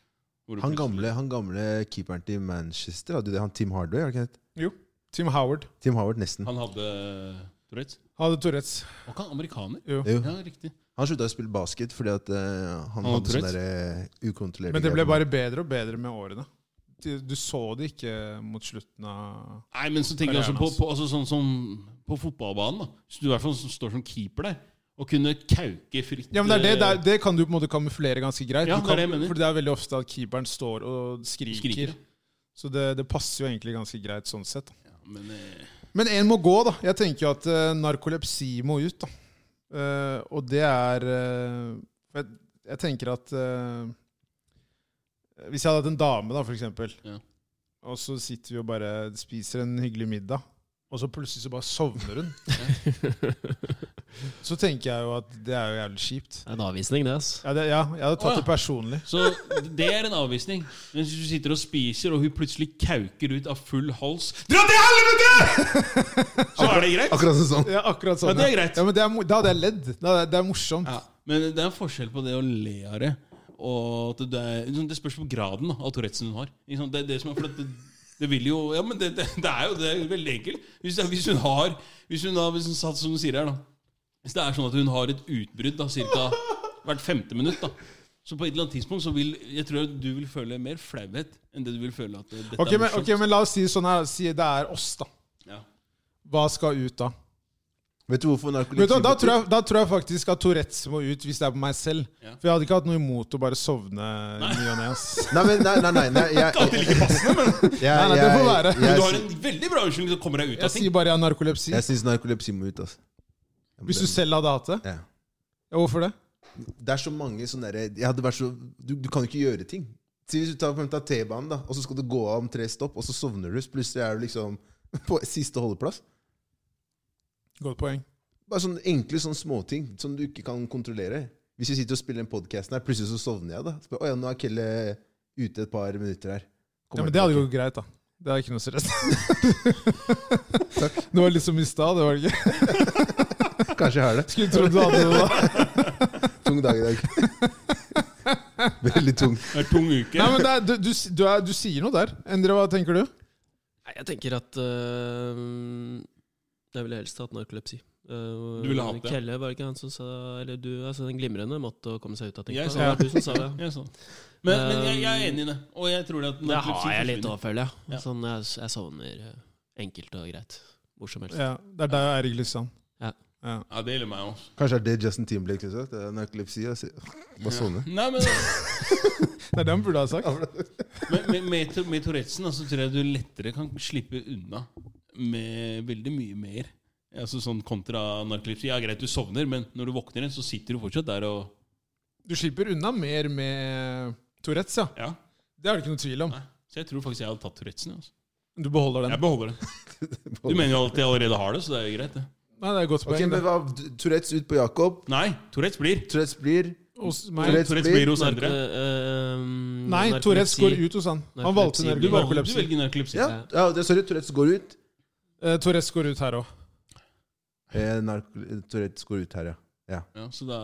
Speaker 2: hvor du
Speaker 3: Han
Speaker 2: plutselig-
Speaker 3: gamle, han gamle keeperen til Manchester, hadde jo det? Han Tim Hardway? Har det ikke det?
Speaker 1: Jo. Tim Howard
Speaker 3: Tim Howard, nesten.
Speaker 2: Han hadde eh, Tourettes.
Speaker 1: hadde Tourettes.
Speaker 2: Var ikke han amerikaner?
Speaker 1: Jo.
Speaker 3: Jo.
Speaker 2: Ja, riktig.
Speaker 3: Han slutta å spille basket fordi at eh, han
Speaker 2: Han
Speaker 3: hadde
Speaker 2: hadde
Speaker 3: sånne der, eh, ukontrollerte
Speaker 1: Men det ble
Speaker 3: greier.
Speaker 1: bare bedre og bedre med årene. Du du så det ikke mot slutten av
Speaker 2: Nei, men så tenker jeg også på,
Speaker 1: Karrieren
Speaker 2: på, altså, sånn, som på fotballbanen. da Hvis du i hvert fall står som keeper der, og kunne kauke fritt
Speaker 1: Ja, men Det er det, det, er, det kan du på en måte kamuflere ganske greit.
Speaker 2: Ja,
Speaker 1: du
Speaker 2: det er
Speaker 1: kan,
Speaker 2: det jeg mener.
Speaker 1: For det er veldig ofte at keeperen står og skriker.
Speaker 2: Skriker.
Speaker 1: Så det, det passer jo egentlig ganske greit sånn sett. Da.
Speaker 2: Ja, men, eh,
Speaker 1: Men én må gå, da. Jeg tenker jo at eh, narkolepsi må ut, da. Eh, og det er eh, jeg, jeg tenker at eh, Hvis jeg hadde hatt en dame, da, for eksempel,
Speaker 2: Ja.
Speaker 1: og så sitter vi og bare spiser en hyggelig middag, og så plutselig så bare sovner hun Så tenker jeg jo at det er jo jævlig kjipt.
Speaker 4: Det er en avvisning, det. altså. ass.
Speaker 1: Ja, det, ja jeg hadde tatt
Speaker 2: Å, ja.
Speaker 1: det personlig.
Speaker 2: så det er en avvisning. Men hvis du sitter og spiser, og hun plutselig kauker ut av full hals Dra til helvete! Så er det greit.
Speaker 3: Akkurat sånn sånn.
Speaker 1: Ja, akkurat sånn.
Speaker 2: Ja, det er greit.
Speaker 1: Ja, men det er, mo- da hadde jeg ledd. Da hadde jeg- Det er morsomt.
Speaker 2: Ja, men det er en forskjell på det å le av det, og at det er liksom, Det spørs på graden da, av Tourettesen hun har. Ikke sant? Det, er det som er for at det, det vil jo Ja, men det, det, det er jo det er jo veldig enkelt. Hvis, det- hvis hun har Hvis hun da, hvis hun, satt som hun sier her, da Hvis det er sånn at hun har et utbrudd da, cirka hvert femte minutt, da så på et eller annet tidspunkt så vil jeg tror at du vil føle mer flauhet enn det du vil føle at eh, dette
Speaker 1: Ok,
Speaker 2: er
Speaker 1: men,
Speaker 2: morsomt.
Speaker 1: ok, men la oss si det sånn her. Si det er oss, da.
Speaker 2: Ja.
Speaker 1: Hva skal ut da?
Speaker 3: Vet du hvorfor narkolepsi
Speaker 1: Vet du, hva, da, tror jeg, da tror jeg faktisk at Tourettes må ut, hvis det er på meg selv.
Speaker 2: Ja.
Speaker 1: For jeg hadde ikke hatt noe imot å bare sovne i ny og ne. ass.
Speaker 3: Nei, men, nei, nei, nei, nei jeg,
Speaker 2: Ikke alltid like passende, men
Speaker 3: jeg, jeg,
Speaker 1: Nei, nei, det får være.
Speaker 3: jeg-
Speaker 2: men du har en veldig bra unnskyldning til å komme deg ut
Speaker 1: Jeg
Speaker 2: av ting.
Speaker 1: sier bare jeg har narkolepsi.
Speaker 3: Jeg syns narkolepsi må ut, altså. Ja, men
Speaker 1: Hvis du
Speaker 3: det-
Speaker 1: selv hadde hatt det.
Speaker 3: ja.
Speaker 1: Ja, Hvorfor det?
Speaker 3: Det er så mange sånne derre Jeg hadde vært så du, du kan jo ikke gjøre ting. Si hvis du tar, for eksempel tar T-banen, da og så skal du gå av om tre stopp, og så sovner du, så plutselig er du liksom på siste holdeplass.
Speaker 1: Godt poeng.
Speaker 3: Bare sånne enkle sånne småting som du ikke kan kontrollere. Hvis vi sitter og spiller en podkast her, plutselig så sovner jeg, da. Så bare, Å ja, nå er Kelle ute et par minutter her.
Speaker 1: Ja,
Speaker 3: Kommer
Speaker 1: men det hadde
Speaker 3: tilbake.»
Speaker 1: gått greit, da. Det er ikke noe stress. Det var litt som i stad, det var det ikke?
Speaker 3: Kanskje jeg har det.
Speaker 1: Skulle trodd du hadde det da.
Speaker 3: Tung dag i dag. Veldig tung.
Speaker 2: Det er en tung uke.
Speaker 1: Nei, men det er, du, du, du, er, du sier noe der. Endre, hva tenker du?
Speaker 4: Nei, jeg tenker at øh, Jeg ville helst hatt narkolepsi. Øh,
Speaker 2: Du ville hatt det?
Speaker 4: Kelle, var det ikke han som sa Eller du, altså den glimrende måtte å komme seg ut av ting.
Speaker 2: Jeg
Speaker 4: Det
Speaker 2: sa
Speaker 4: var du som sa det.
Speaker 2: Ja, sånn. Men, men jeg, jeg er enig i det. Og jeg tror det at
Speaker 4: Det
Speaker 2: narkolepsi
Speaker 4: har jeg litt
Speaker 2: forsvinner.
Speaker 4: å følge.
Speaker 2: Ja.
Speaker 4: Sånn, jeg, jeg sovner øh, enkelt og greit. Hvor som helst.
Speaker 1: Ja, det er deg og Eirik Lysand.
Speaker 4: Ja.
Speaker 1: Ja.
Speaker 2: Ja, det gjelder meg òg.
Speaker 3: Kanskje er det Justin Timberlake syns jeg. Det er narkolepsi. jeg sier, Bare sovne.
Speaker 2: Nei, men,
Speaker 1: Det er det han burde ha sagt.
Speaker 2: men, men med, Tou- med Tourettesen altså, tror jeg du lettere kan slippe unna med veldig mye mer. Altså sånn kontra narkolepsi. Ja, greit, du sovner, men når du våkner igjen, så sitter du fortsatt der og
Speaker 1: Du slipper unna mer med Tourettes, ja.
Speaker 2: Ja.
Speaker 1: Det er det ikke noe tvil om.
Speaker 2: Nei. Så jeg tror faktisk jeg hadde tatt Tourettesen. Altså.
Speaker 1: Du beholder den.
Speaker 2: Jeg beholder den. Du mener jo at jeg allerede har det, så det er jo greit, det.
Speaker 1: Nei, det er et godt
Speaker 3: Ok,
Speaker 1: poeng.
Speaker 3: men
Speaker 1: det.
Speaker 3: hva, Tourettes ut på Jakob.
Speaker 2: Nei, Tourettes blir.
Speaker 3: Tourettes blir
Speaker 1: Hos meg.
Speaker 3: Tourettes
Speaker 2: Tourettes
Speaker 3: blir-
Speaker 2: blir hos
Speaker 4: Narko-
Speaker 2: Endre.
Speaker 4: øh,
Speaker 1: Nei,
Speaker 4: narkolepsi-
Speaker 1: Tourettes går ut hos han. Han valgte
Speaker 4: Narkolepsi.
Speaker 1: nark-
Speaker 2: Du, valg, du
Speaker 1: narkolepsi.
Speaker 2: velger narkolepsi.
Speaker 3: Ja, ja det, sorry. Tourettes går ut.
Speaker 1: Eh, Tourettes går ut her òg.
Speaker 3: Eh, narko, Tourettes går ut her, ja.
Speaker 2: Ja, så da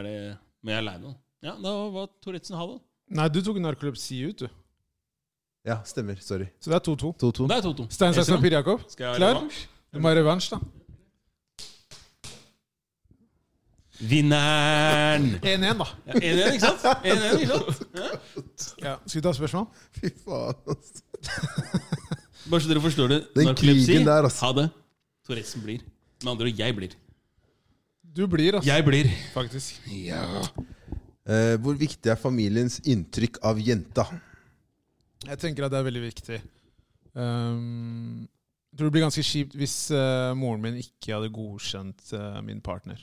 Speaker 2: er det Men jeg er lei meg. Ja, da var Tourettesen ha det.
Speaker 1: Nei, du tok narkolepsi ut, du.
Speaker 3: Ja, stemmer. Sorry.
Speaker 1: Så det er 2-2.
Speaker 3: 2-2.
Speaker 2: Det er Toto.
Speaker 1: Stein, saks,
Speaker 2: Esra,
Speaker 1: papir, Jakob.
Speaker 2: Skal jeg ha
Speaker 1: Klar?
Speaker 2: revansj?
Speaker 1: Du må ha revansj, da.
Speaker 2: Vinneren!
Speaker 1: 1-1, da.
Speaker 2: Ja, 1-1, ikke sant? 1-1, ikke sant? Ja.
Speaker 1: Ja. Skal vi ta spørsmål?
Speaker 3: Fy faen, altså.
Speaker 2: Bare så dere forstår det.
Speaker 3: Den
Speaker 2: Narkolepsi.
Speaker 3: krigen der, altså.
Speaker 2: Ha det. Tourettesen blir. Med andre ord, jeg blir.
Speaker 1: Du blir, altså.
Speaker 2: Jeg blir.
Speaker 1: Faktisk.
Speaker 2: Ja.
Speaker 3: Eh, hvor viktig er familiens inntrykk av jenta?
Speaker 1: Jeg tenker at det er veldig viktig. Ehm, jeg tror det blir ganske kjipt hvis eh, moren min ikke hadde godkjent eh, min partner.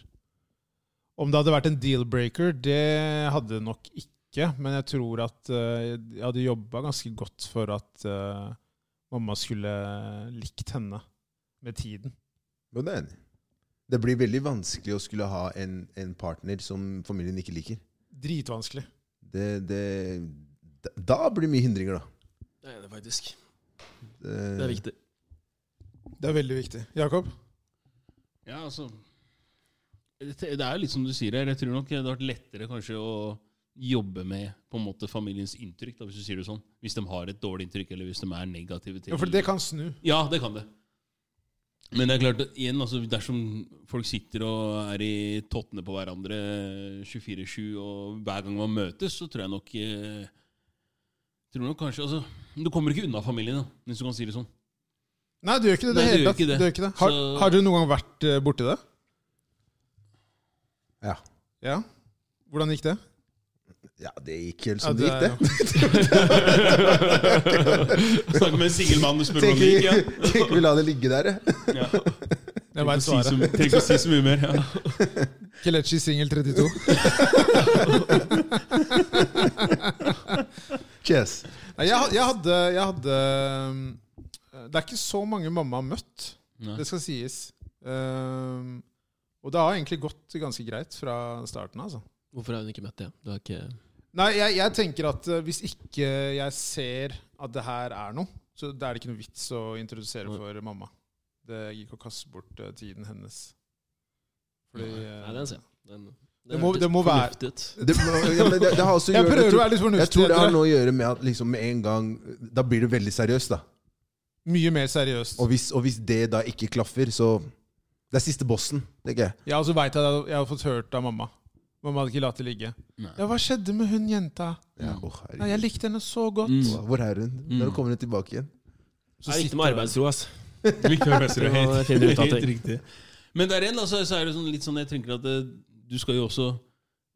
Speaker 1: Om det hadde vært en deal-breaker, det hadde det nok ikke. Men jeg tror at eh, jeg hadde jobba ganske godt for at eh, mamma skulle likt henne med tiden.
Speaker 3: Jo, det er jeg enig. i. Det blir veldig vanskelig å skulle ha en, en partner som familien ikke liker.
Speaker 1: Dritvanskelig.
Speaker 3: Det, det, da blir det mye hindringer, da. Eh,
Speaker 4: Jeg er enig, faktisk.
Speaker 3: Det,
Speaker 4: Det er viktig.
Speaker 1: Det er veldig viktig. Jakob?
Speaker 2: ja, altså Det det er jo litt som du sier her. Jeg tror nok det hadde vært lettere kanskje å jobbe med på en måte familiens inntrykk, da, hvis du sier det sånn. Hvis de har et dårlig inntrykk, eller hvis de er negative til
Speaker 1: Ja, for det kan snu.
Speaker 2: Ja, det kan det. Men det er klart, igjen, altså, dersom folk sitter og er i tottene på hverandre 24-7, og hver gang man møtes, så tror jeg nok eh, tror nok kanskje, altså, Du kommer ikke unna familien, da, hvis du kan si det sånn.
Speaker 1: Nei, du gjør ikke det.
Speaker 2: Nei,
Speaker 1: det,
Speaker 2: du
Speaker 1: hele
Speaker 2: gjør
Speaker 1: tatt.
Speaker 2: ikke det.
Speaker 1: Du gjør ikke det. Har,
Speaker 2: Så-
Speaker 1: har du noen gang vært eh, borti det?
Speaker 3: ja.
Speaker 1: Ja. Hvordan gikk det?
Speaker 3: ja, det gikk helt som
Speaker 1: Ja,
Speaker 3: det,
Speaker 1: er-
Speaker 3: gikk,
Speaker 2: Snakke med en singel mann og
Speaker 3: det.
Speaker 2: spørre
Speaker 3: Tenk
Speaker 2: om det gikk. Ja.
Speaker 3: vi, tenk vi la det ligge der, jeg.
Speaker 2: Ja.
Speaker 1: Jeg
Speaker 2: Trenger
Speaker 1: vet
Speaker 2: ikke
Speaker 1: svaret.
Speaker 2: å si så- trenger ikke å si så mye mer. Ja.
Speaker 1: Kelechi singel 32.
Speaker 3: Cheers.
Speaker 1: Nei, jeg, had- jeg hadde, jeg hadde um, Det er ikke så mange mamma har møtt,
Speaker 2: Nei.
Speaker 1: det skal sies. Um, og det har egentlig gått ganske greit fra starten av. Altså.
Speaker 4: Hvorfor har hun ikke møtt det? Du har ikke
Speaker 1: Nei, jeg, jeg tenker at uh, hvis ikke jeg ser at det her er noe, så det er det ikke noe vits å introdusere
Speaker 4: Nei.
Speaker 1: for mamma. Det gikk å kaste bort uh, tiden hennes. Fordi, uh,
Speaker 4: Nei, den ser jeg. Den,
Speaker 1: Det må-
Speaker 4: hørtes
Speaker 1: det må være-
Speaker 4: fornuftig ut.
Speaker 3: Det, ja, men det, det har også å
Speaker 1: Jeg
Speaker 3: gjøre-
Speaker 1: prøver å være litt
Speaker 3: Jeg tror
Speaker 1: fornuftig.
Speaker 3: det har
Speaker 1: Endre.
Speaker 3: noe å gjøre med at liksom med en gang Da blir det veldig seriøst, da.
Speaker 1: Mye mer seriøst.
Speaker 3: Og hvis, og hvis det da ikke klaffer, så Det er siste bossen, tenker jeg.
Speaker 1: Ja, og så veit jeg at jeg har fått hørt av mamma. Mamma hadde ikke latt det ligge.
Speaker 2: Nei.
Speaker 1: Ja, hva skjedde med hun jenta?
Speaker 3: Ja,
Speaker 1: Nei,
Speaker 3: å,
Speaker 1: jeg
Speaker 3: herregud.
Speaker 1: likte henne så godt.
Speaker 2: Mm.
Speaker 3: Hvor er hun? Når kommer hun tilbake igjen?
Speaker 4: det er viktig med arbeidstro, ass.
Speaker 2: Viktig å være
Speaker 4: Det må jeg finne ut av ting.
Speaker 2: Helt riktig. Men der igjen, altså, så er det sånn, litt sånn Jeg tenker at det, du skal jo også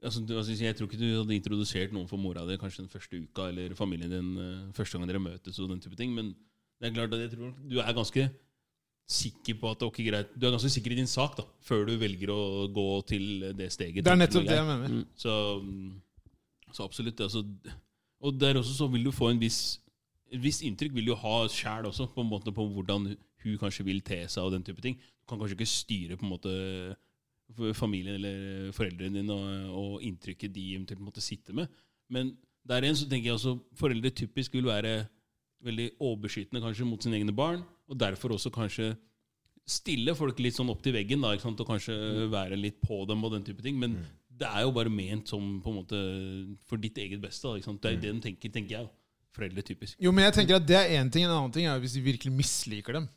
Speaker 2: altså, du, altså, Jeg tror ikke du hadde introdusert noen for mora di kanskje den første uka, eller familien din eh, første gangen dere møtes, og den type ting, men det er klart at jeg tror du er ganske sikker på at ok, greit Du er ganske sikker i din sak da før du velger å gå til det steget.
Speaker 1: Det er
Speaker 2: tenker
Speaker 1: nettopp
Speaker 2: jeg.
Speaker 1: det jeg mener.
Speaker 2: Så, mm, så absolutt. Altså, og der også så vil du få en viss et visst inntrykk vil du ha sjæl også, på en måte på hvordan hun kanskje vil te seg og den type ting. Du kan kanskje ikke styre på en måte f- familien eller foreldrene dine og, og inntrykket de eventuelt måtte sitte med. Men der igjen så tenker jeg også foreldre typisk vil være veldig overbeskyttende kanskje mot sine egne barn, og derfor også kanskje stille folk litt sånn opp til veggen da, ikke sant? og kanskje være litt på dem og den type ting. Men det er jo bare ment som på en måte for ditt eget beste. Da, ikke sant? Det er jo det de tenker, tenker jeg. da. Foreldre, typisk.
Speaker 1: Jo, men jeg tenker at det er én ting. En annen ting er jo hvis de virkelig misliker dem.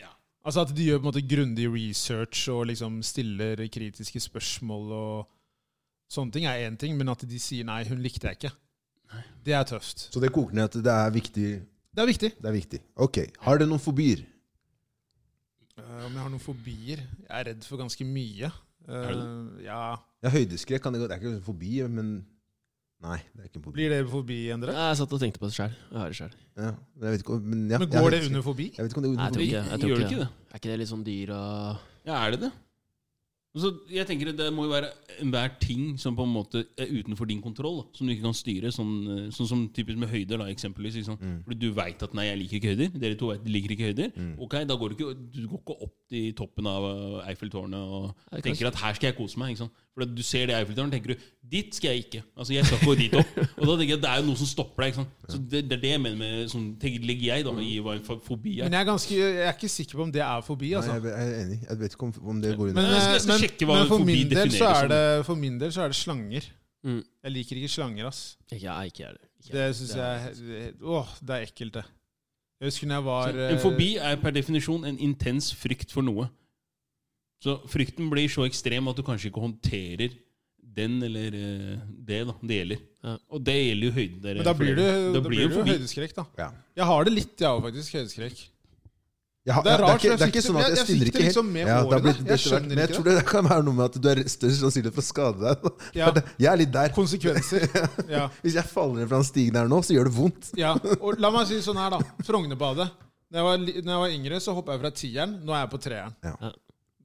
Speaker 2: Ja.
Speaker 1: Altså at de gjør på en måte grundig research og liksom stiller kritiske spørsmål og sånne ting er én ting, men at de sier 'nei, hun likte jeg ikke', det er tøft.
Speaker 3: Så det koker ned til det er viktig.
Speaker 1: Det er viktig.
Speaker 3: Det er viktig. Ok, Har dere noen fobier?
Speaker 1: Eh, om jeg har noen fobier? Jeg er redd for ganske mye. Eh,
Speaker 2: Er
Speaker 1: ja.
Speaker 3: Ja, Høydeskrekk kan det gå Det er ikke en fobi, men Nei, det er ikke en fobi.
Speaker 1: Blir det fobi, Endre?
Speaker 4: Jeg satt og tenkte på det sjøl. Jeg har det sjøl.
Speaker 3: Ja, men jeg vet ikke, om- men ja,
Speaker 1: Men går
Speaker 3: jeg har
Speaker 1: det
Speaker 3: høydeskrekk.
Speaker 1: under fobi?
Speaker 3: Jeg vet ikke om det er
Speaker 4: Nei,
Speaker 3: under
Speaker 4: jeg tror
Speaker 3: fobi.
Speaker 4: ikke, jeg tror
Speaker 2: Gjør det ikke det?
Speaker 4: Er ikke det litt sånn dyr og
Speaker 2: Ja, er det det? Så jeg tenker at Det må jo være enhver ting som på en måte er utenfor din kontroll. Da, som du ikke kan styre. Sånn, eh, sånn som typisk med høyder. da, eksempelvis ikke sant? Fordi Du veit at 'nei, jeg liker ikke høyder'. Dere to vet, liker ikke høyder. Ok, Da går du ikke, du går ikke opp til toppen av eh, Eiffeltårnet og
Speaker 4: Nei, kanskje.
Speaker 2: tenker at 'her skal jeg kose meg'. ikke sant? For at Du ser det Eiffeltårnet, tenker du 'dit skal jeg ikke'. Altså, Jeg skal ikke dit opp. Og da tenker jeg at det er jo noe som stopper deg. ikke sant? Så Det, det er det jeg mener med sånn, tenker, legger jeg da,
Speaker 4: Mm.
Speaker 2: i hva en fo- fobi er.
Speaker 1: Men jeg er, ganske, jeg er ikke sikker på om det er fobi.
Speaker 3: Nei,
Speaker 1: altså.
Speaker 3: jeg, jeg er enig. Jeg vet ikke om, om det går under.
Speaker 1: Men, eh,
Speaker 2: Jeg skal- jeg skal
Speaker 1: men,
Speaker 2: sjekke hva
Speaker 1: men for,
Speaker 2: fobi
Speaker 1: min del så
Speaker 2: defineres
Speaker 1: er det, for min del så er det slanger.
Speaker 4: Mm.
Speaker 1: Jeg liker ikke slanger, ass.
Speaker 4: Ikke jeg, ikke jeg heller. Ikke
Speaker 1: Det
Speaker 4: jeg.
Speaker 1: syns
Speaker 4: Det er-
Speaker 1: jeg Åh, det er ekkelt, det. Jeg husker når jeg var eh,
Speaker 2: Så En fobi er per definisjon en intens frykt for noe. Så frykten blir så ekstrem at du kanskje ikke håndterer den eller eh, det da, det gjelder.
Speaker 4: Ja.
Speaker 2: Og det gjelder jo høyden. dere-
Speaker 1: Men da blir det,
Speaker 2: Da
Speaker 1: da blir det jo
Speaker 2: fobi.
Speaker 1: høydeskrekk, da.
Speaker 3: Ja.
Speaker 1: Jeg har det litt, jeg òg, faktisk. Høydeskrekk.
Speaker 3: Jeg har-
Speaker 1: Det er
Speaker 3: ja,
Speaker 1: rart, for
Speaker 3: det er, ikke,
Speaker 1: jeg
Speaker 3: det er ikke
Speaker 1: fikk det-
Speaker 3: sånn at
Speaker 1: jeg-
Speaker 3: jeg,
Speaker 1: jeg
Speaker 3: stiller
Speaker 1: fikk det
Speaker 3: ikke
Speaker 1: liksom med
Speaker 3: ja,
Speaker 1: hårene.
Speaker 3: det har blitt
Speaker 1: Jeg
Speaker 3: etter hvert,
Speaker 1: skjønner
Speaker 3: Men jeg
Speaker 1: ikke
Speaker 3: tror det der kan være noe med at du er større sannsynlig for å skade deg.
Speaker 1: Ja.
Speaker 3: Jeg er litt der.
Speaker 1: Konsekvenser. Ja.
Speaker 3: Hvis jeg faller ned fra den stigen her nå, så gjør det vondt.
Speaker 1: ja. Og la meg si det sånn her, da. Frognerbadet. Da jeg var, li- når jeg var yngre, så hoppa jeg fra tieren. Nå er jeg på treeren.
Speaker 3: Ja.
Speaker 4: Ja.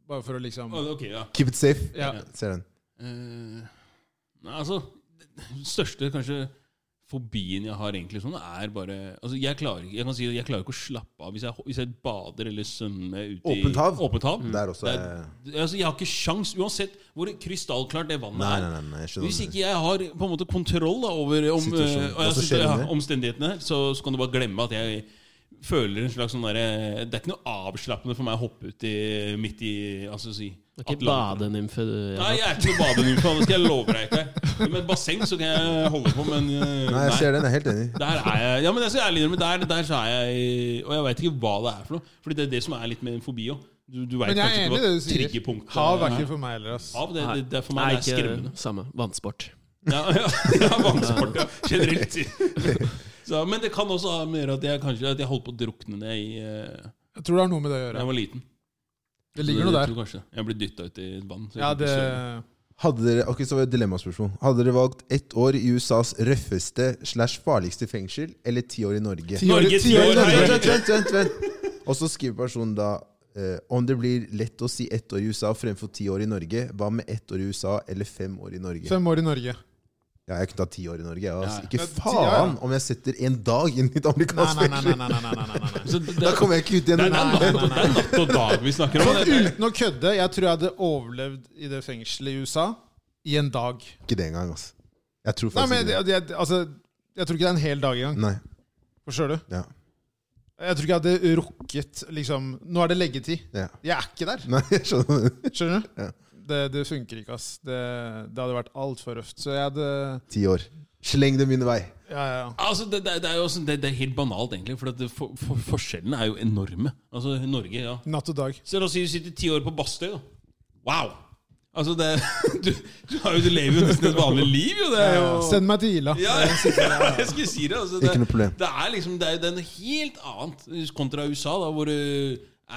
Speaker 1: Bare for å liksom
Speaker 2: Å, ok, ja.
Speaker 3: Keep it safe.
Speaker 1: Ja.
Speaker 3: Ser den.
Speaker 2: Eh, nei, altså, den største kanskje fobien jeg har egentlig sånn, er bare altså, jeg, klarer, ikke- jeg kan si at jeg klarer ikke å slappe av hvis jeg, hvis jeg bader eller svømmer ute i
Speaker 3: Åpent hav?
Speaker 2: Åpent
Speaker 1: Mm.
Speaker 2: hav.
Speaker 3: Der også
Speaker 2: Det
Speaker 3: er-
Speaker 2: altså, jeg har ikke sjans, uansett hvor krystallklart det vannet
Speaker 3: Nei,
Speaker 2: er.
Speaker 3: nei, nei, nei, jeg skjønner
Speaker 2: Hvis
Speaker 3: hva du
Speaker 2: ikke jeg har på en måte kontroll da, over om,
Speaker 3: Situasjonen.
Speaker 2: eh,
Speaker 3: Hva som
Speaker 2: synes-
Speaker 3: skjer
Speaker 2: ja,
Speaker 3: inni.
Speaker 2: omstendighetene her, så, så kan du bare glemme at jeg føler en slags sånn derre Det er ikke noe avslappende for meg å hoppe ut i, midt i altså si,
Speaker 4: Det er ikke
Speaker 2: Atlanteren.
Speaker 4: badenymfe du
Speaker 2: Nei, jeg er ikke noe badenymfe. Det skal jeg love deg ikke. Med et basseng så kan jeg holde på, men eh,
Speaker 3: Nei, jeg
Speaker 2: nei.
Speaker 3: ser den. Jeg er helt enig.
Speaker 2: Der er jeg Ja, men jeg skal ærlig innrømme, der, der så er jeg Og jeg veit ikke hva det er for noe. Fordi det er det som er litt med en fobi òg. Du, du vet
Speaker 1: Men jeg
Speaker 2: kanskje
Speaker 1: er enig
Speaker 2: ikke
Speaker 1: i
Speaker 2: hva
Speaker 1: det du sier.
Speaker 2: triggerpunktet
Speaker 1: Hav er
Speaker 2: er.
Speaker 1: ikke for meg heller, ass.
Speaker 2: Hav, det, det, det er for
Speaker 4: Nei,
Speaker 2: meg det er skremmende.
Speaker 4: ikke samme. Vannsport.
Speaker 2: Ja, ja, ja vannsport, ja. Generelt. Så, men det kan også ha med å gjøre at jeg kanskje at jeg holdt på å drukne da jeg, eh,
Speaker 1: Jeg tror det har noe med det å
Speaker 2: da jeg
Speaker 1: gjøre.
Speaker 2: var liten.
Speaker 1: Det ligger noe
Speaker 2: Så jeg
Speaker 1: der.
Speaker 2: tror kanskje Jeg ble dytta ut i et vann. så jeg
Speaker 1: Ja,
Speaker 2: ble
Speaker 1: det
Speaker 2: søvnig.
Speaker 3: Hadde dere, ok, så var det et dilemmaspørsmål. Hadde dere valgt ett år i USAs røffeste slash farligste fengsel eller ti år i Norge?
Speaker 1: Ti år-
Speaker 2: Norge,
Speaker 1: ti år i
Speaker 2: ti år,
Speaker 1: Norge.
Speaker 3: Vent, vent, vent, vent, vent. Og så skriver personen da eh, om det blir lett å si ett år i USA fremfor ti år i Norge, hva med ett år i USA eller fem år i Norge?
Speaker 1: Fem år i Norge.
Speaker 3: Ja, jeg kunne tatt ti år i Norge. jeg, Altså.
Speaker 2: Ja.
Speaker 3: Ikke
Speaker 1: Ja, ti år, ja.
Speaker 3: faen om jeg setter en dag inn i et
Speaker 1: Nei,
Speaker 3: amerikansk
Speaker 1: nei, nei.
Speaker 3: fengsel!
Speaker 1: nei, nei, nei, nei, nei, nei.
Speaker 2: Så det,
Speaker 3: Da
Speaker 2: det,
Speaker 3: kommer jeg ikke ut igjen.
Speaker 2: det, er- det, er
Speaker 1: Nei, nei,
Speaker 2: natt og- det er natt og dag vi snakker om. Det, det,
Speaker 1: Sånn, Uten å kødde, jeg tror jeg hadde overlevd i det fengselet i USA i en dag.
Speaker 3: Ikke det engang, altså. Jeg tror
Speaker 1: Nei,
Speaker 3: faktisk
Speaker 1: men
Speaker 3: ikke det.
Speaker 1: jeg, jeg, altså, jeg tror ikke det er en hel dag engang.
Speaker 3: Nei.
Speaker 1: Forstår du?
Speaker 3: Ja.
Speaker 1: Jeg tror ikke jeg hadde rukket liksom Nå er det leggetid.
Speaker 3: ja.
Speaker 1: Jeg er ikke der.
Speaker 3: Nei, jeg skjønner.
Speaker 1: Skjønner du?
Speaker 3: Ja.
Speaker 1: Det, det funker ikke, ass. Det, det hadde vært altfor røft. Så jeg hadde
Speaker 3: Ti år. Sleng det min vei.
Speaker 1: Ja, ja, ja.
Speaker 2: altså, det, det, det er jo sånn, det, det er helt banalt, egentlig. For, at det, for, for forskjellene er jo enorme. Altså, i Norge, ja.
Speaker 1: Natt og dag.
Speaker 2: Så la oss si du sitter ti år på Bastøy, da. Wow! Altså, det Du, du, har jo, du lever jo nesten et vanlig liv, jo. Det er jo
Speaker 1: Send meg til Ila.
Speaker 2: Ja, jeg, jeg skulle si det. Altså, det,
Speaker 3: Ikke noe problem.
Speaker 2: Det er liksom det er, det er noe helt annet kontra USA, da, hvor det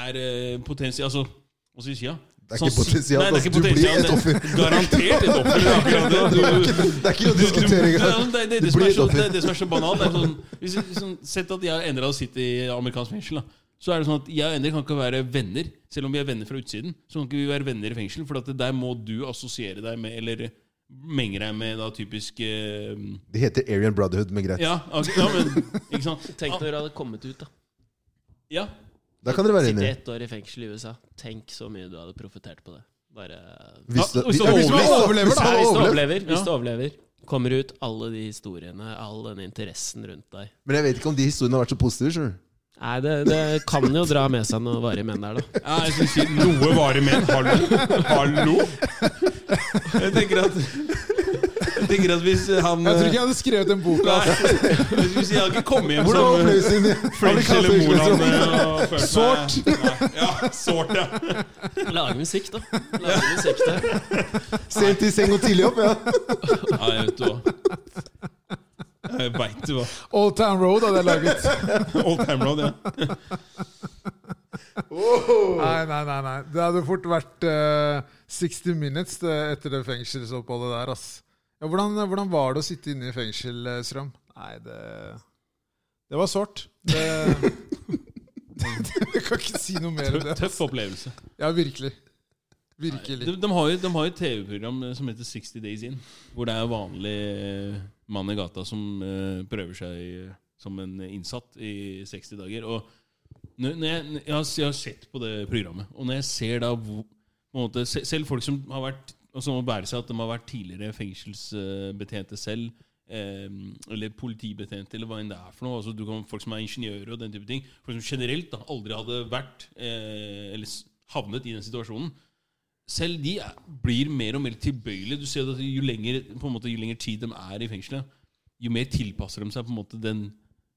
Speaker 2: er potensial Altså, hva skal vi si? Ja? Sånn-
Speaker 3: Det er ikke potensial,
Speaker 2: Nei, det er ikke
Speaker 3: altså, du blir
Speaker 2: potensial,
Speaker 3: et offer.
Speaker 2: det- Garantert et offer. det er akkurat det. Du-
Speaker 3: Det er ikke noe å
Speaker 2: du- du-
Speaker 3: diskutere
Speaker 2: det er
Speaker 3: engang.
Speaker 2: sånn- det er det
Speaker 3: Du
Speaker 2: som er
Speaker 3: blir et
Speaker 2: så- det
Speaker 3: offer.
Speaker 2: er det som er så banalt. Det er sånn, hvis, hvis sånn, sett at jeg og Endre hadde sittet i amerikansk fengsel. da så er det sånn at Jeg og Endre kan ikke være venner, selv om vi er venner fra utsiden. Så kan ikke vi være venner i fengsel, for at det der må du assosiere deg med, eller menge deg med, da typisk eh,
Speaker 3: Det heter Arian Brotherhood, men greit.
Speaker 2: ja, ok, ja, men Ikke sant? Ah,
Speaker 4: Tenk
Speaker 1: Ah.
Speaker 4: når du hadde kommet ut, da.
Speaker 2: Ja,
Speaker 3: Da kan dere være
Speaker 4: Sitte
Speaker 3: enige.
Speaker 4: ett år i fengsel i USA. Tenk så mye du hadde profitert på det. Bare
Speaker 3: Hvis
Speaker 2: Ja,
Speaker 3: det-
Speaker 2: hvis
Speaker 3: ja,
Speaker 2: det
Speaker 3: hvis man
Speaker 1: overlever, da.
Speaker 3: overlever, da.
Speaker 4: Nei, hvis du
Speaker 3: Overlever.
Speaker 4: overlever, hvis
Speaker 2: Ja.
Speaker 4: du overlever kommer ut alle de historiene, all den interessen rundt deg.
Speaker 3: Men jeg vet ikke om de historiene har vært så positive. skjønner du?
Speaker 4: Nei, det, det kan jo dra med seg noe varig menn der, da.
Speaker 2: ja jeg skulle si noe varig men. Hallo? Hallo? Jeg tenker at Jeg tenker at hvis han eh,
Speaker 1: Jeg tror ikke jeg hadde skrevet den boka.
Speaker 2: Nei,
Speaker 1: altså.
Speaker 2: jeg skulle si jeg hadde ikke kommet hjem
Speaker 3: Hvordan var
Speaker 2: som eh,
Speaker 3: opplevelsen din?
Speaker 2: French
Speaker 3: Amerikansk
Speaker 2: eller
Speaker 1: sånn-
Speaker 2: Moland.
Speaker 3: ekspedisjon.
Speaker 2: eh, og følt meg-
Speaker 1: Sort.
Speaker 2: Nei, Ja, sort, ja.
Speaker 4: Lage musikk, da. Lage musikk der.
Speaker 3: sånn Sent i seng og tidlig opp, ja.
Speaker 2: Nei, jeg vet du hva. Jeg veit du hva.
Speaker 1: Old Town Road hadde jeg laget.
Speaker 2: Old Time Road, ja.
Speaker 1: Nei, nei, nei. nei. Det hadde fort vært eh, 60 minutes det, etter det fengselsoppholdet der, ass. Ja, hvordan, eh, hvordan var det å sitte inne i fengsel, eh, Strøm? Nei, det Det var sårt. Det, jeg kan ikke si noe mer om det.
Speaker 2: Tøff opplevelse.
Speaker 1: Ja, virkelig.
Speaker 2: De,
Speaker 1: Virkelig.
Speaker 2: de har jo de har jo et TV-program som heter 60 Days In, hvor det er vanlig eh, mann i gata som eh, prøver seg som en innsatt i 60 dager. Og når når jeg, jeg, har, jeg har sett på det programmet, og når jeg ser da hvor- på en måte, se- Selv folk som har vært og som må bære seg at de har vært tidligere fengselsbetjente selv, eh, eller politibetjente, eller hva enn det er for noe. Altså, du kan, folk som er ingeniører og den type ting. Folk som generelt da, aldri hadde vært, eh, eller s- havnet i den situasjonen selv de er, blir mer og mer tilbøyelige. Du ser at jo lenger, på en måte, jo lenger tid de er i fengselet, jo mer tilpasser de seg på en måte den,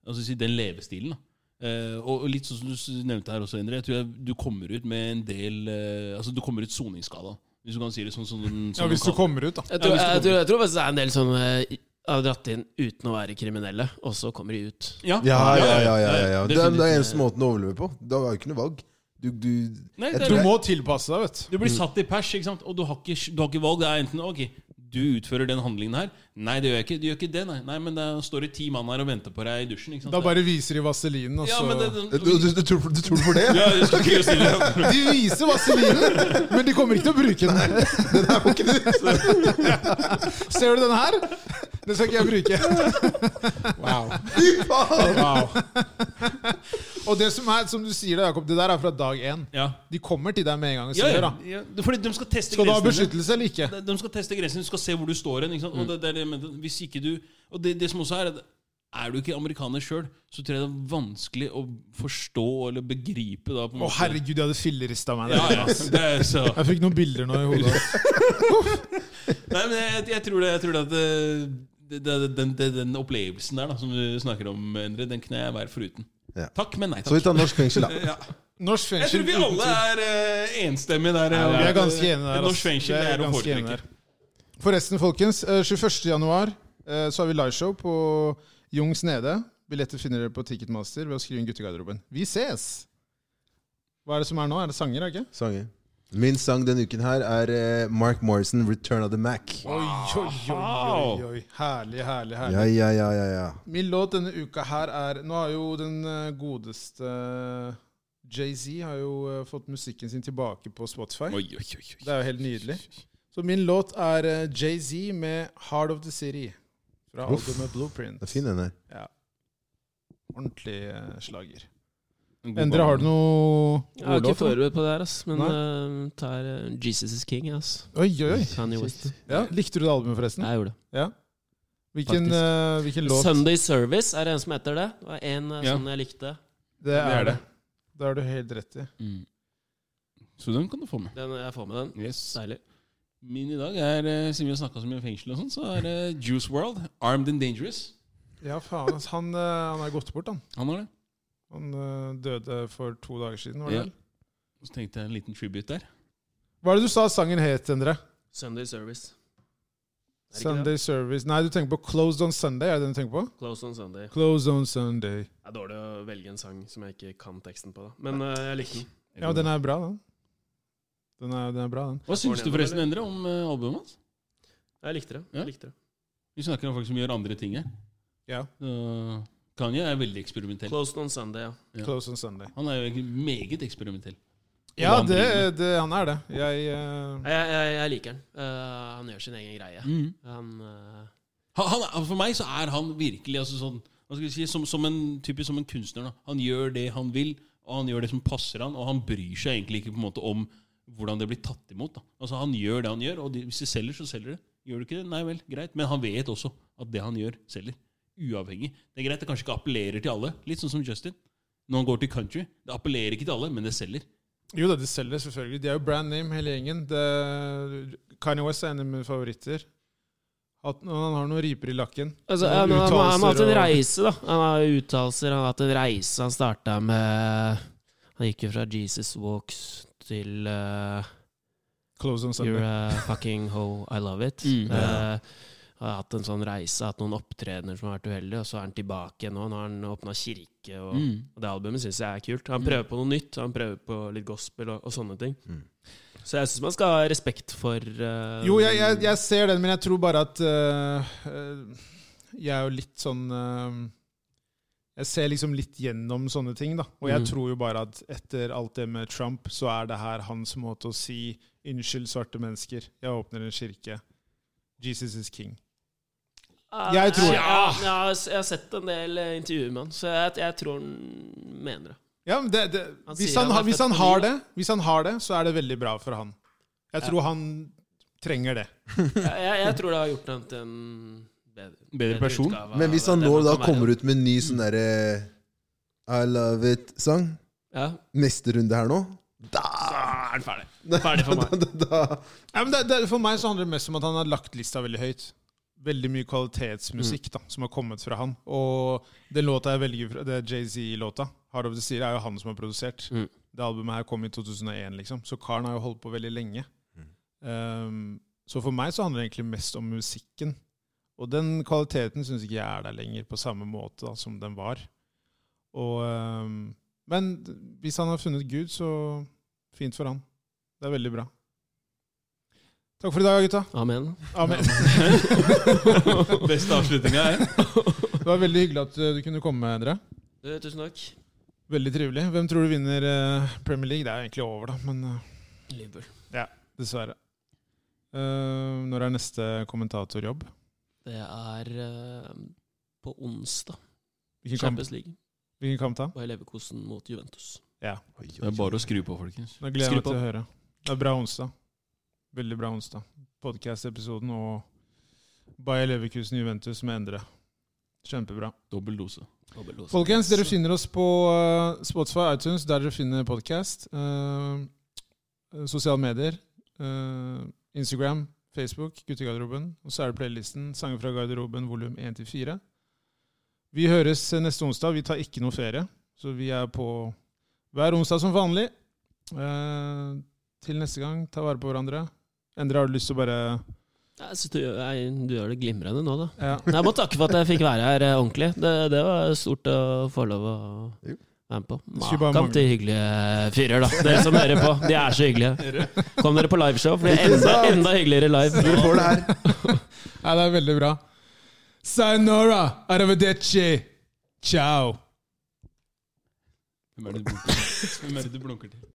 Speaker 2: altså, si, den levestilen. Da. Eh, og og litt sånn som du s- nevnte her også, Endre. Jeg tror jeg, du kommer ut med en del eh, Altså, du kommer ut soningsskada. Hvis du kan si det sånn. sånn, sånn
Speaker 1: Ja, hvis du kommer ut, da.
Speaker 4: Jeg
Speaker 2: Ja,
Speaker 4: tror,
Speaker 2: hvis du
Speaker 4: jeg, tror, jeg tror faktisk det er en del sånne eh, har dratt inn uten å være kriminelle, og så kommer de ut.
Speaker 2: Ja,
Speaker 3: Ja, ja, ja. ja, ja, ja. Det, er- det
Speaker 2: definitivt.
Speaker 3: er eneste måten å overleve på. Da har du ikke noe valg. Du, du,
Speaker 2: Nei,
Speaker 3: jeg
Speaker 2: det er-
Speaker 3: tror
Speaker 1: Du
Speaker 3: jeg-
Speaker 1: må tilpasse deg, vet du.
Speaker 2: Du blir satt i pers, ikke sant? og du har ikke, du har ikke valg. Det er enten ok, du utfører den handlingen her. Nei, det gjør jeg ikke. Du gjør ikke det, nei. nei men det står det ti mann her og venter på deg i dusjen. ikke sant?
Speaker 1: Da bare viser de vaselinen, og
Speaker 2: ja,
Speaker 1: så
Speaker 2: men det,
Speaker 3: du, du, du, tror, du tror for det?
Speaker 2: ja, jeg skal ikke stille.
Speaker 1: De viser vaselinen, men de kommer ikke til å bruke den.
Speaker 3: Det der var ikke det.
Speaker 1: Ser du den her? Den skal ikke jeg bruke. Wow.
Speaker 3: Fy faen!
Speaker 1: Og det som er, som du sier da, Jakob, det der er fra dag én.
Speaker 2: Ja.
Speaker 1: De kommer til deg med en gang og
Speaker 2: Ja,
Speaker 1: sier
Speaker 2: ja,
Speaker 1: da.
Speaker 2: ja. Det- Fordi de skal teste
Speaker 1: Skal du ha
Speaker 2: grensene dine.
Speaker 1: beskyttelse eller ikke?
Speaker 2: De de skal teste grensen, du skal se hvor du står hen. Ikke sant? Og det, det er det, jeg mente. hvis ikke du Og det, det som også er, at er du ikke amerikaner sjøl, så tror jeg det er vanskelig å forstå eller begripe da på en
Speaker 1: Å,
Speaker 2: måte.
Speaker 1: herregud, jeg hadde fillerista meg
Speaker 2: Ja,
Speaker 1: der.
Speaker 2: ja. Det er så
Speaker 1: Jeg fikk noen bilder nå i hodet.
Speaker 2: Nei, men jeg, jeg tror det, jeg tror det at eh, det, det, den, det, den opplevelsen der da, som du snakker om, Endre, den kunne jeg være foruten.
Speaker 3: Ja.
Speaker 2: Takk, men nei
Speaker 3: Så vi
Speaker 2: takk.
Speaker 3: tar norsk fengsel, da.
Speaker 2: Ja.
Speaker 1: Norsk
Speaker 2: Jeg
Speaker 1: fengsel
Speaker 2: tror vi alle er eh, enstemmige der. eh,
Speaker 1: Ja, vi
Speaker 2: om
Speaker 1: er
Speaker 2: at,
Speaker 1: ganske
Speaker 2: eh,
Speaker 1: enige der. ass.
Speaker 2: Norsk fengsel
Speaker 1: Vi
Speaker 2: det er å
Speaker 1: ganske enige
Speaker 2: foretrekke.
Speaker 1: der. Forresten, folkens. eh, 21. januar eh, så har vi liveshow på Jungs Nede. Billetter finner dere på Ticketmaster ved å skrive inn guttegarderoben. Vi ses! Hva er det som er nå? Er det sanger, er det ikke?
Speaker 3: Sanger. Min sang denne uken her er eh, Mark Morrison, 'Return of the Mac'.
Speaker 1: Oi, oi, oi, oi, oi. Herlig, herlig, herlig.
Speaker 3: Ja, ja, ja, ja, ja.
Speaker 1: Min låt denne uka her er Nå har jo den eh, godeste Jay-Z har jo eh, fått musikken sin tilbake på Spotify.
Speaker 2: Oi, oi, oi, oi.
Speaker 1: Det er jo helt nydelig. Så min låt er eh, Jay-Z med 'Heart of the City' fra
Speaker 3: Uff.
Speaker 1: albumet Blueprint.
Speaker 3: Det er fin, den der.
Speaker 1: Ja. Ordentlig eh, slager.
Speaker 2: En god
Speaker 1: Endre, har du
Speaker 2: bane.
Speaker 1: noe
Speaker 4: Jeg er ikke
Speaker 1: ordlåt? da?
Speaker 4: forberedt på det her, ass, men eh, tar eh, Jesus is King, ass.
Speaker 1: Oi, oi, oi.
Speaker 4: Kanye West.
Speaker 1: Ja, likte du det albumet, forresten?
Speaker 4: Jeg gjorde det.
Speaker 1: Ja. Hvilken,
Speaker 4: Faktisk.
Speaker 1: eh, hvilken låt?
Speaker 4: Sunday Service er det en som heter det. Det var en eh,
Speaker 2: Ja.
Speaker 4: sånn jeg likte.
Speaker 1: Det
Speaker 2: er
Speaker 1: er
Speaker 2: det.
Speaker 1: det. Det har du helt rett i.
Speaker 2: Mm. Så den kan du få med.
Speaker 4: Den, eh, jeg får med den.
Speaker 2: Yes.
Speaker 4: Deilig.
Speaker 2: Min i dag er, eh, siden vi har snakka så mye om fengsel, og sånn, så er det Juice World, Armed and Dangerous.
Speaker 1: Ja, faen. ass. Han, eh, han er gått bort, han.
Speaker 2: Han har det.
Speaker 1: Han ø, døde for to dager siden. var det
Speaker 2: Ja.
Speaker 1: vel?
Speaker 2: Så tenkte jeg en liten tribute der.
Speaker 1: Hva er det du sa sangen het, Endre?
Speaker 4: Sunday Service. Er det ikke
Speaker 1: Sunday Service Nei, du tenker på Closed On Sunday? er det den du tenker på?
Speaker 4: det? Close on Sunday.
Speaker 1: Closed On Sunday.
Speaker 4: Det er dårlig å velge en sang som jeg ikke kan teksten på, da. Men eh, jeg likte den.
Speaker 1: Ja, den er bra, den. Den er, den er bra, den.
Speaker 2: Hva syns du
Speaker 4: Går nedover,
Speaker 2: forresten,
Speaker 4: eller?
Speaker 2: Endre, om eh, albumet hans?
Speaker 4: Jeg likte det.
Speaker 2: Ja.
Speaker 4: Jeg likte det.
Speaker 2: Vi snakker om folk som gjør andre ting her.
Speaker 1: Ja.
Speaker 2: Så Kanye er veldig eksperimentell.
Speaker 4: Closed on Sunday, ja.
Speaker 2: Ja.
Speaker 1: Closed On Sunday.
Speaker 2: Han er jo egentlig meget eksperimentell. Og hva
Speaker 1: Ja,
Speaker 2: han driver
Speaker 1: det, det, han er det. Jeg eh, ø,
Speaker 4: Jeg, jeg, jeg liker den. Eh, han gjør sin egen greie.
Speaker 2: med. Mm.
Speaker 4: Han eh,
Speaker 2: Han, han, er- for meg så er han virkelig altså sånn hva skal vi si, som, som en, typisk som en kunstner. Da. Han gjør det han vil, og han gjør det som passer han, og han bryr seg egentlig ikke på en måte om hvordan det blir tatt imot. Da. Altså Han gjør det han gjør, og de, hvis det selger, så selger det. Gjør det ikke det? Nei vel, greit. Men han vet også at det han gjør, selger. Uavhengig. Det er greit, det kanskje ikke appellerer til alle. Litt sånn som Justin. Når han går til country. Det appellerer ikke til alle, men det selger.
Speaker 1: Jo da, de selger selvfølgelig. De er jo brand name, hele gjengen. Det, Kanye West er en av mine favoritter. At, han har noen riper i lakken.
Speaker 4: Altså,
Speaker 1: Noen
Speaker 4: han, han, han har hatt
Speaker 1: uttalelser
Speaker 4: en
Speaker 1: og-
Speaker 4: reise, da. Han har uttalelser, han har hatt en reise. Han starta med Han gikk jo fra Jesus Walks til eh,
Speaker 1: Close on
Speaker 4: You're
Speaker 1: Sunday.
Speaker 4: a fucking hoe, I love it.
Speaker 2: Mm.
Speaker 4: Eh, har hatt en sånn reise, hatt noen opptredener som har vært uheldige, og så er han tilbake igjen nå. Nå har han åpna kirke, og,
Speaker 2: Mm.
Speaker 4: og det albumet syns jeg er kult. Han prøver på noe nytt, han prøver på litt gospel og, og sånne ting.
Speaker 3: Mm.
Speaker 4: Så jeg syns man skal ha respekt for eh,
Speaker 1: Jo, jeg, jeg, jeg ser den, men jeg tror bare at øh, øh, Jeg er jo litt sånn øh, Jeg ser liksom litt gjennom sånne ting, da. Og jeg
Speaker 4: Mm.
Speaker 1: tror jo bare at etter alt det med Trump, så er det her hans måte å si 'Unnskyld, svarte mennesker, jeg åpner en kirke'. Jesus is king.
Speaker 4: Ah,
Speaker 1: Jeg tror-
Speaker 4: ja, ja, jeg har sett en del eh, intervjuer med han, så jeg, jeg tror han mener det.
Speaker 1: Ja, men det, det,
Speaker 4: Han
Speaker 1: hvis,
Speaker 4: sier
Speaker 1: han,
Speaker 4: han
Speaker 1: har-
Speaker 4: er
Speaker 1: hvis,
Speaker 4: født
Speaker 1: han
Speaker 4: på
Speaker 1: har
Speaker 4: ny,
Speaker 1: det, hvis han har det, så er det veldig bra for han. Jeg tror han trenger det.
Speaker 4: Jeg, jeg, jeg tror det har gjort han til en bedre,
Speaker 2: Bedre person.
Speaker 4: utgave
Speaker 3: Men hvis
Speaker 4: av
Speaker 3: han
Speaker 4: det
Speaker 3: nå da
Speaker 4: kan være,
Speaker 3: kommer ut med en ny sånn derre I love it-sang
Speaker 4: ja.
Speaker 3: neste runde her nå Da
Speaker 4: Ah, er han ferdig. Ferdig for meg.
Speaker 3: da, da,
Speaker 1: Ja, men det, det, for meg så handler det mest om at han har lagt lista veldig høyt. Veldig mye kvalitetsmusikk da, som har kommet fra han. Og den låta jeg velger fra, det er Jay-Z-låta, Hard Of The Seer, er jo han som har produsert.
Speaker 4: Mm.
Speaker 1: Det albumet her kom i 2001, liksom. Så karen har jo holdt på veldig lenge. Um, så for meg så handler det egentlig mest om musikken. Og den kvaliteten syns ikke jeg er der lenger, på samme måte da, som den var. Og, um, men hvis han har funnet Gud, så fint for han. Det er veldig bra. Takk for i dag, gutta.
Speaker 4: Amen.
Speaker 1: Amen.
Speaker 2: Beste avslutninga er
Speaker 1: Det var veldig hyggelig at eh, du kunne komme, Endre.
Speaker 4: Du, tusen takk.
Speaker 1: Veldig trivelig. Hvem tror du vinner eh, Premier League? Det er jo egentlig over, da, men eh,
Speaker 4: Liverpool.
Speaker 1: dessverre. Eh, når er neste kommentatorjobb?
Speaker 4: Det er eh, på onsdag.
Speaker 1: Hvilken kamp,
Speaker 4: Champions League.
Speaker 1: hvilken kamp da?
Speaker 4: Bayer Leverkosen mot Juventus.
Speaker 3: Oi, oi,
Speaker 2: Det er bare å skru på, folkens.
Speaker 1: Da gleder jeg
Speaker 4: Skru
Speaker 1: meg til å høre. Det er bra onsdag. Veldig bra onsdag. Podcast-episoden og Bayer Leverkusen Juventus med Endre. Kjempebra.
Speaker 2: Dobbel dose.
Speaker 4: Dobbeltdose.
Speaker 1: Folkens, dere finner oss på eh, Spotify, iTunes, der dere finner podkast. sosiale medier. eh, Instagram, Facebook, Guttegarderoben. Og så er det playlisten Sanger fra garderoben volum 1 til 4. Vi høres eh, neste onsdag. Vi tar ikke noe ferie, så vi er på hver onsdag som vanlig. Eh, til neste gang, ta vare på hverandre. Endre, har du lyst til å bare
Speaker 4: Jeg synes du, gjør- jeg, du gjør det glimrende nå, da.
Speaker 1: ja.
Speaker 4: Jeg må takke for at jeg fikk være her eh, ordentlig. Det, det var stort å få lov å
Speaker 3: Jo.
Speaker 4: være med på.
Speaker 1: skulle bare
Speaker 4: Makan til hyggelige fyrer, da. Dere som hører på. De er så hyggelige. Kom dere på liveshow, for det blir enda, enda hyggeligere live.
Speaker 3: Dere får det her.
Speaker 1: Nei, det er veldig bra. Sayonara, arrivederci, ciao.
Speaker 2: Hvem er det du blunker til? Hvem er det du blunker til?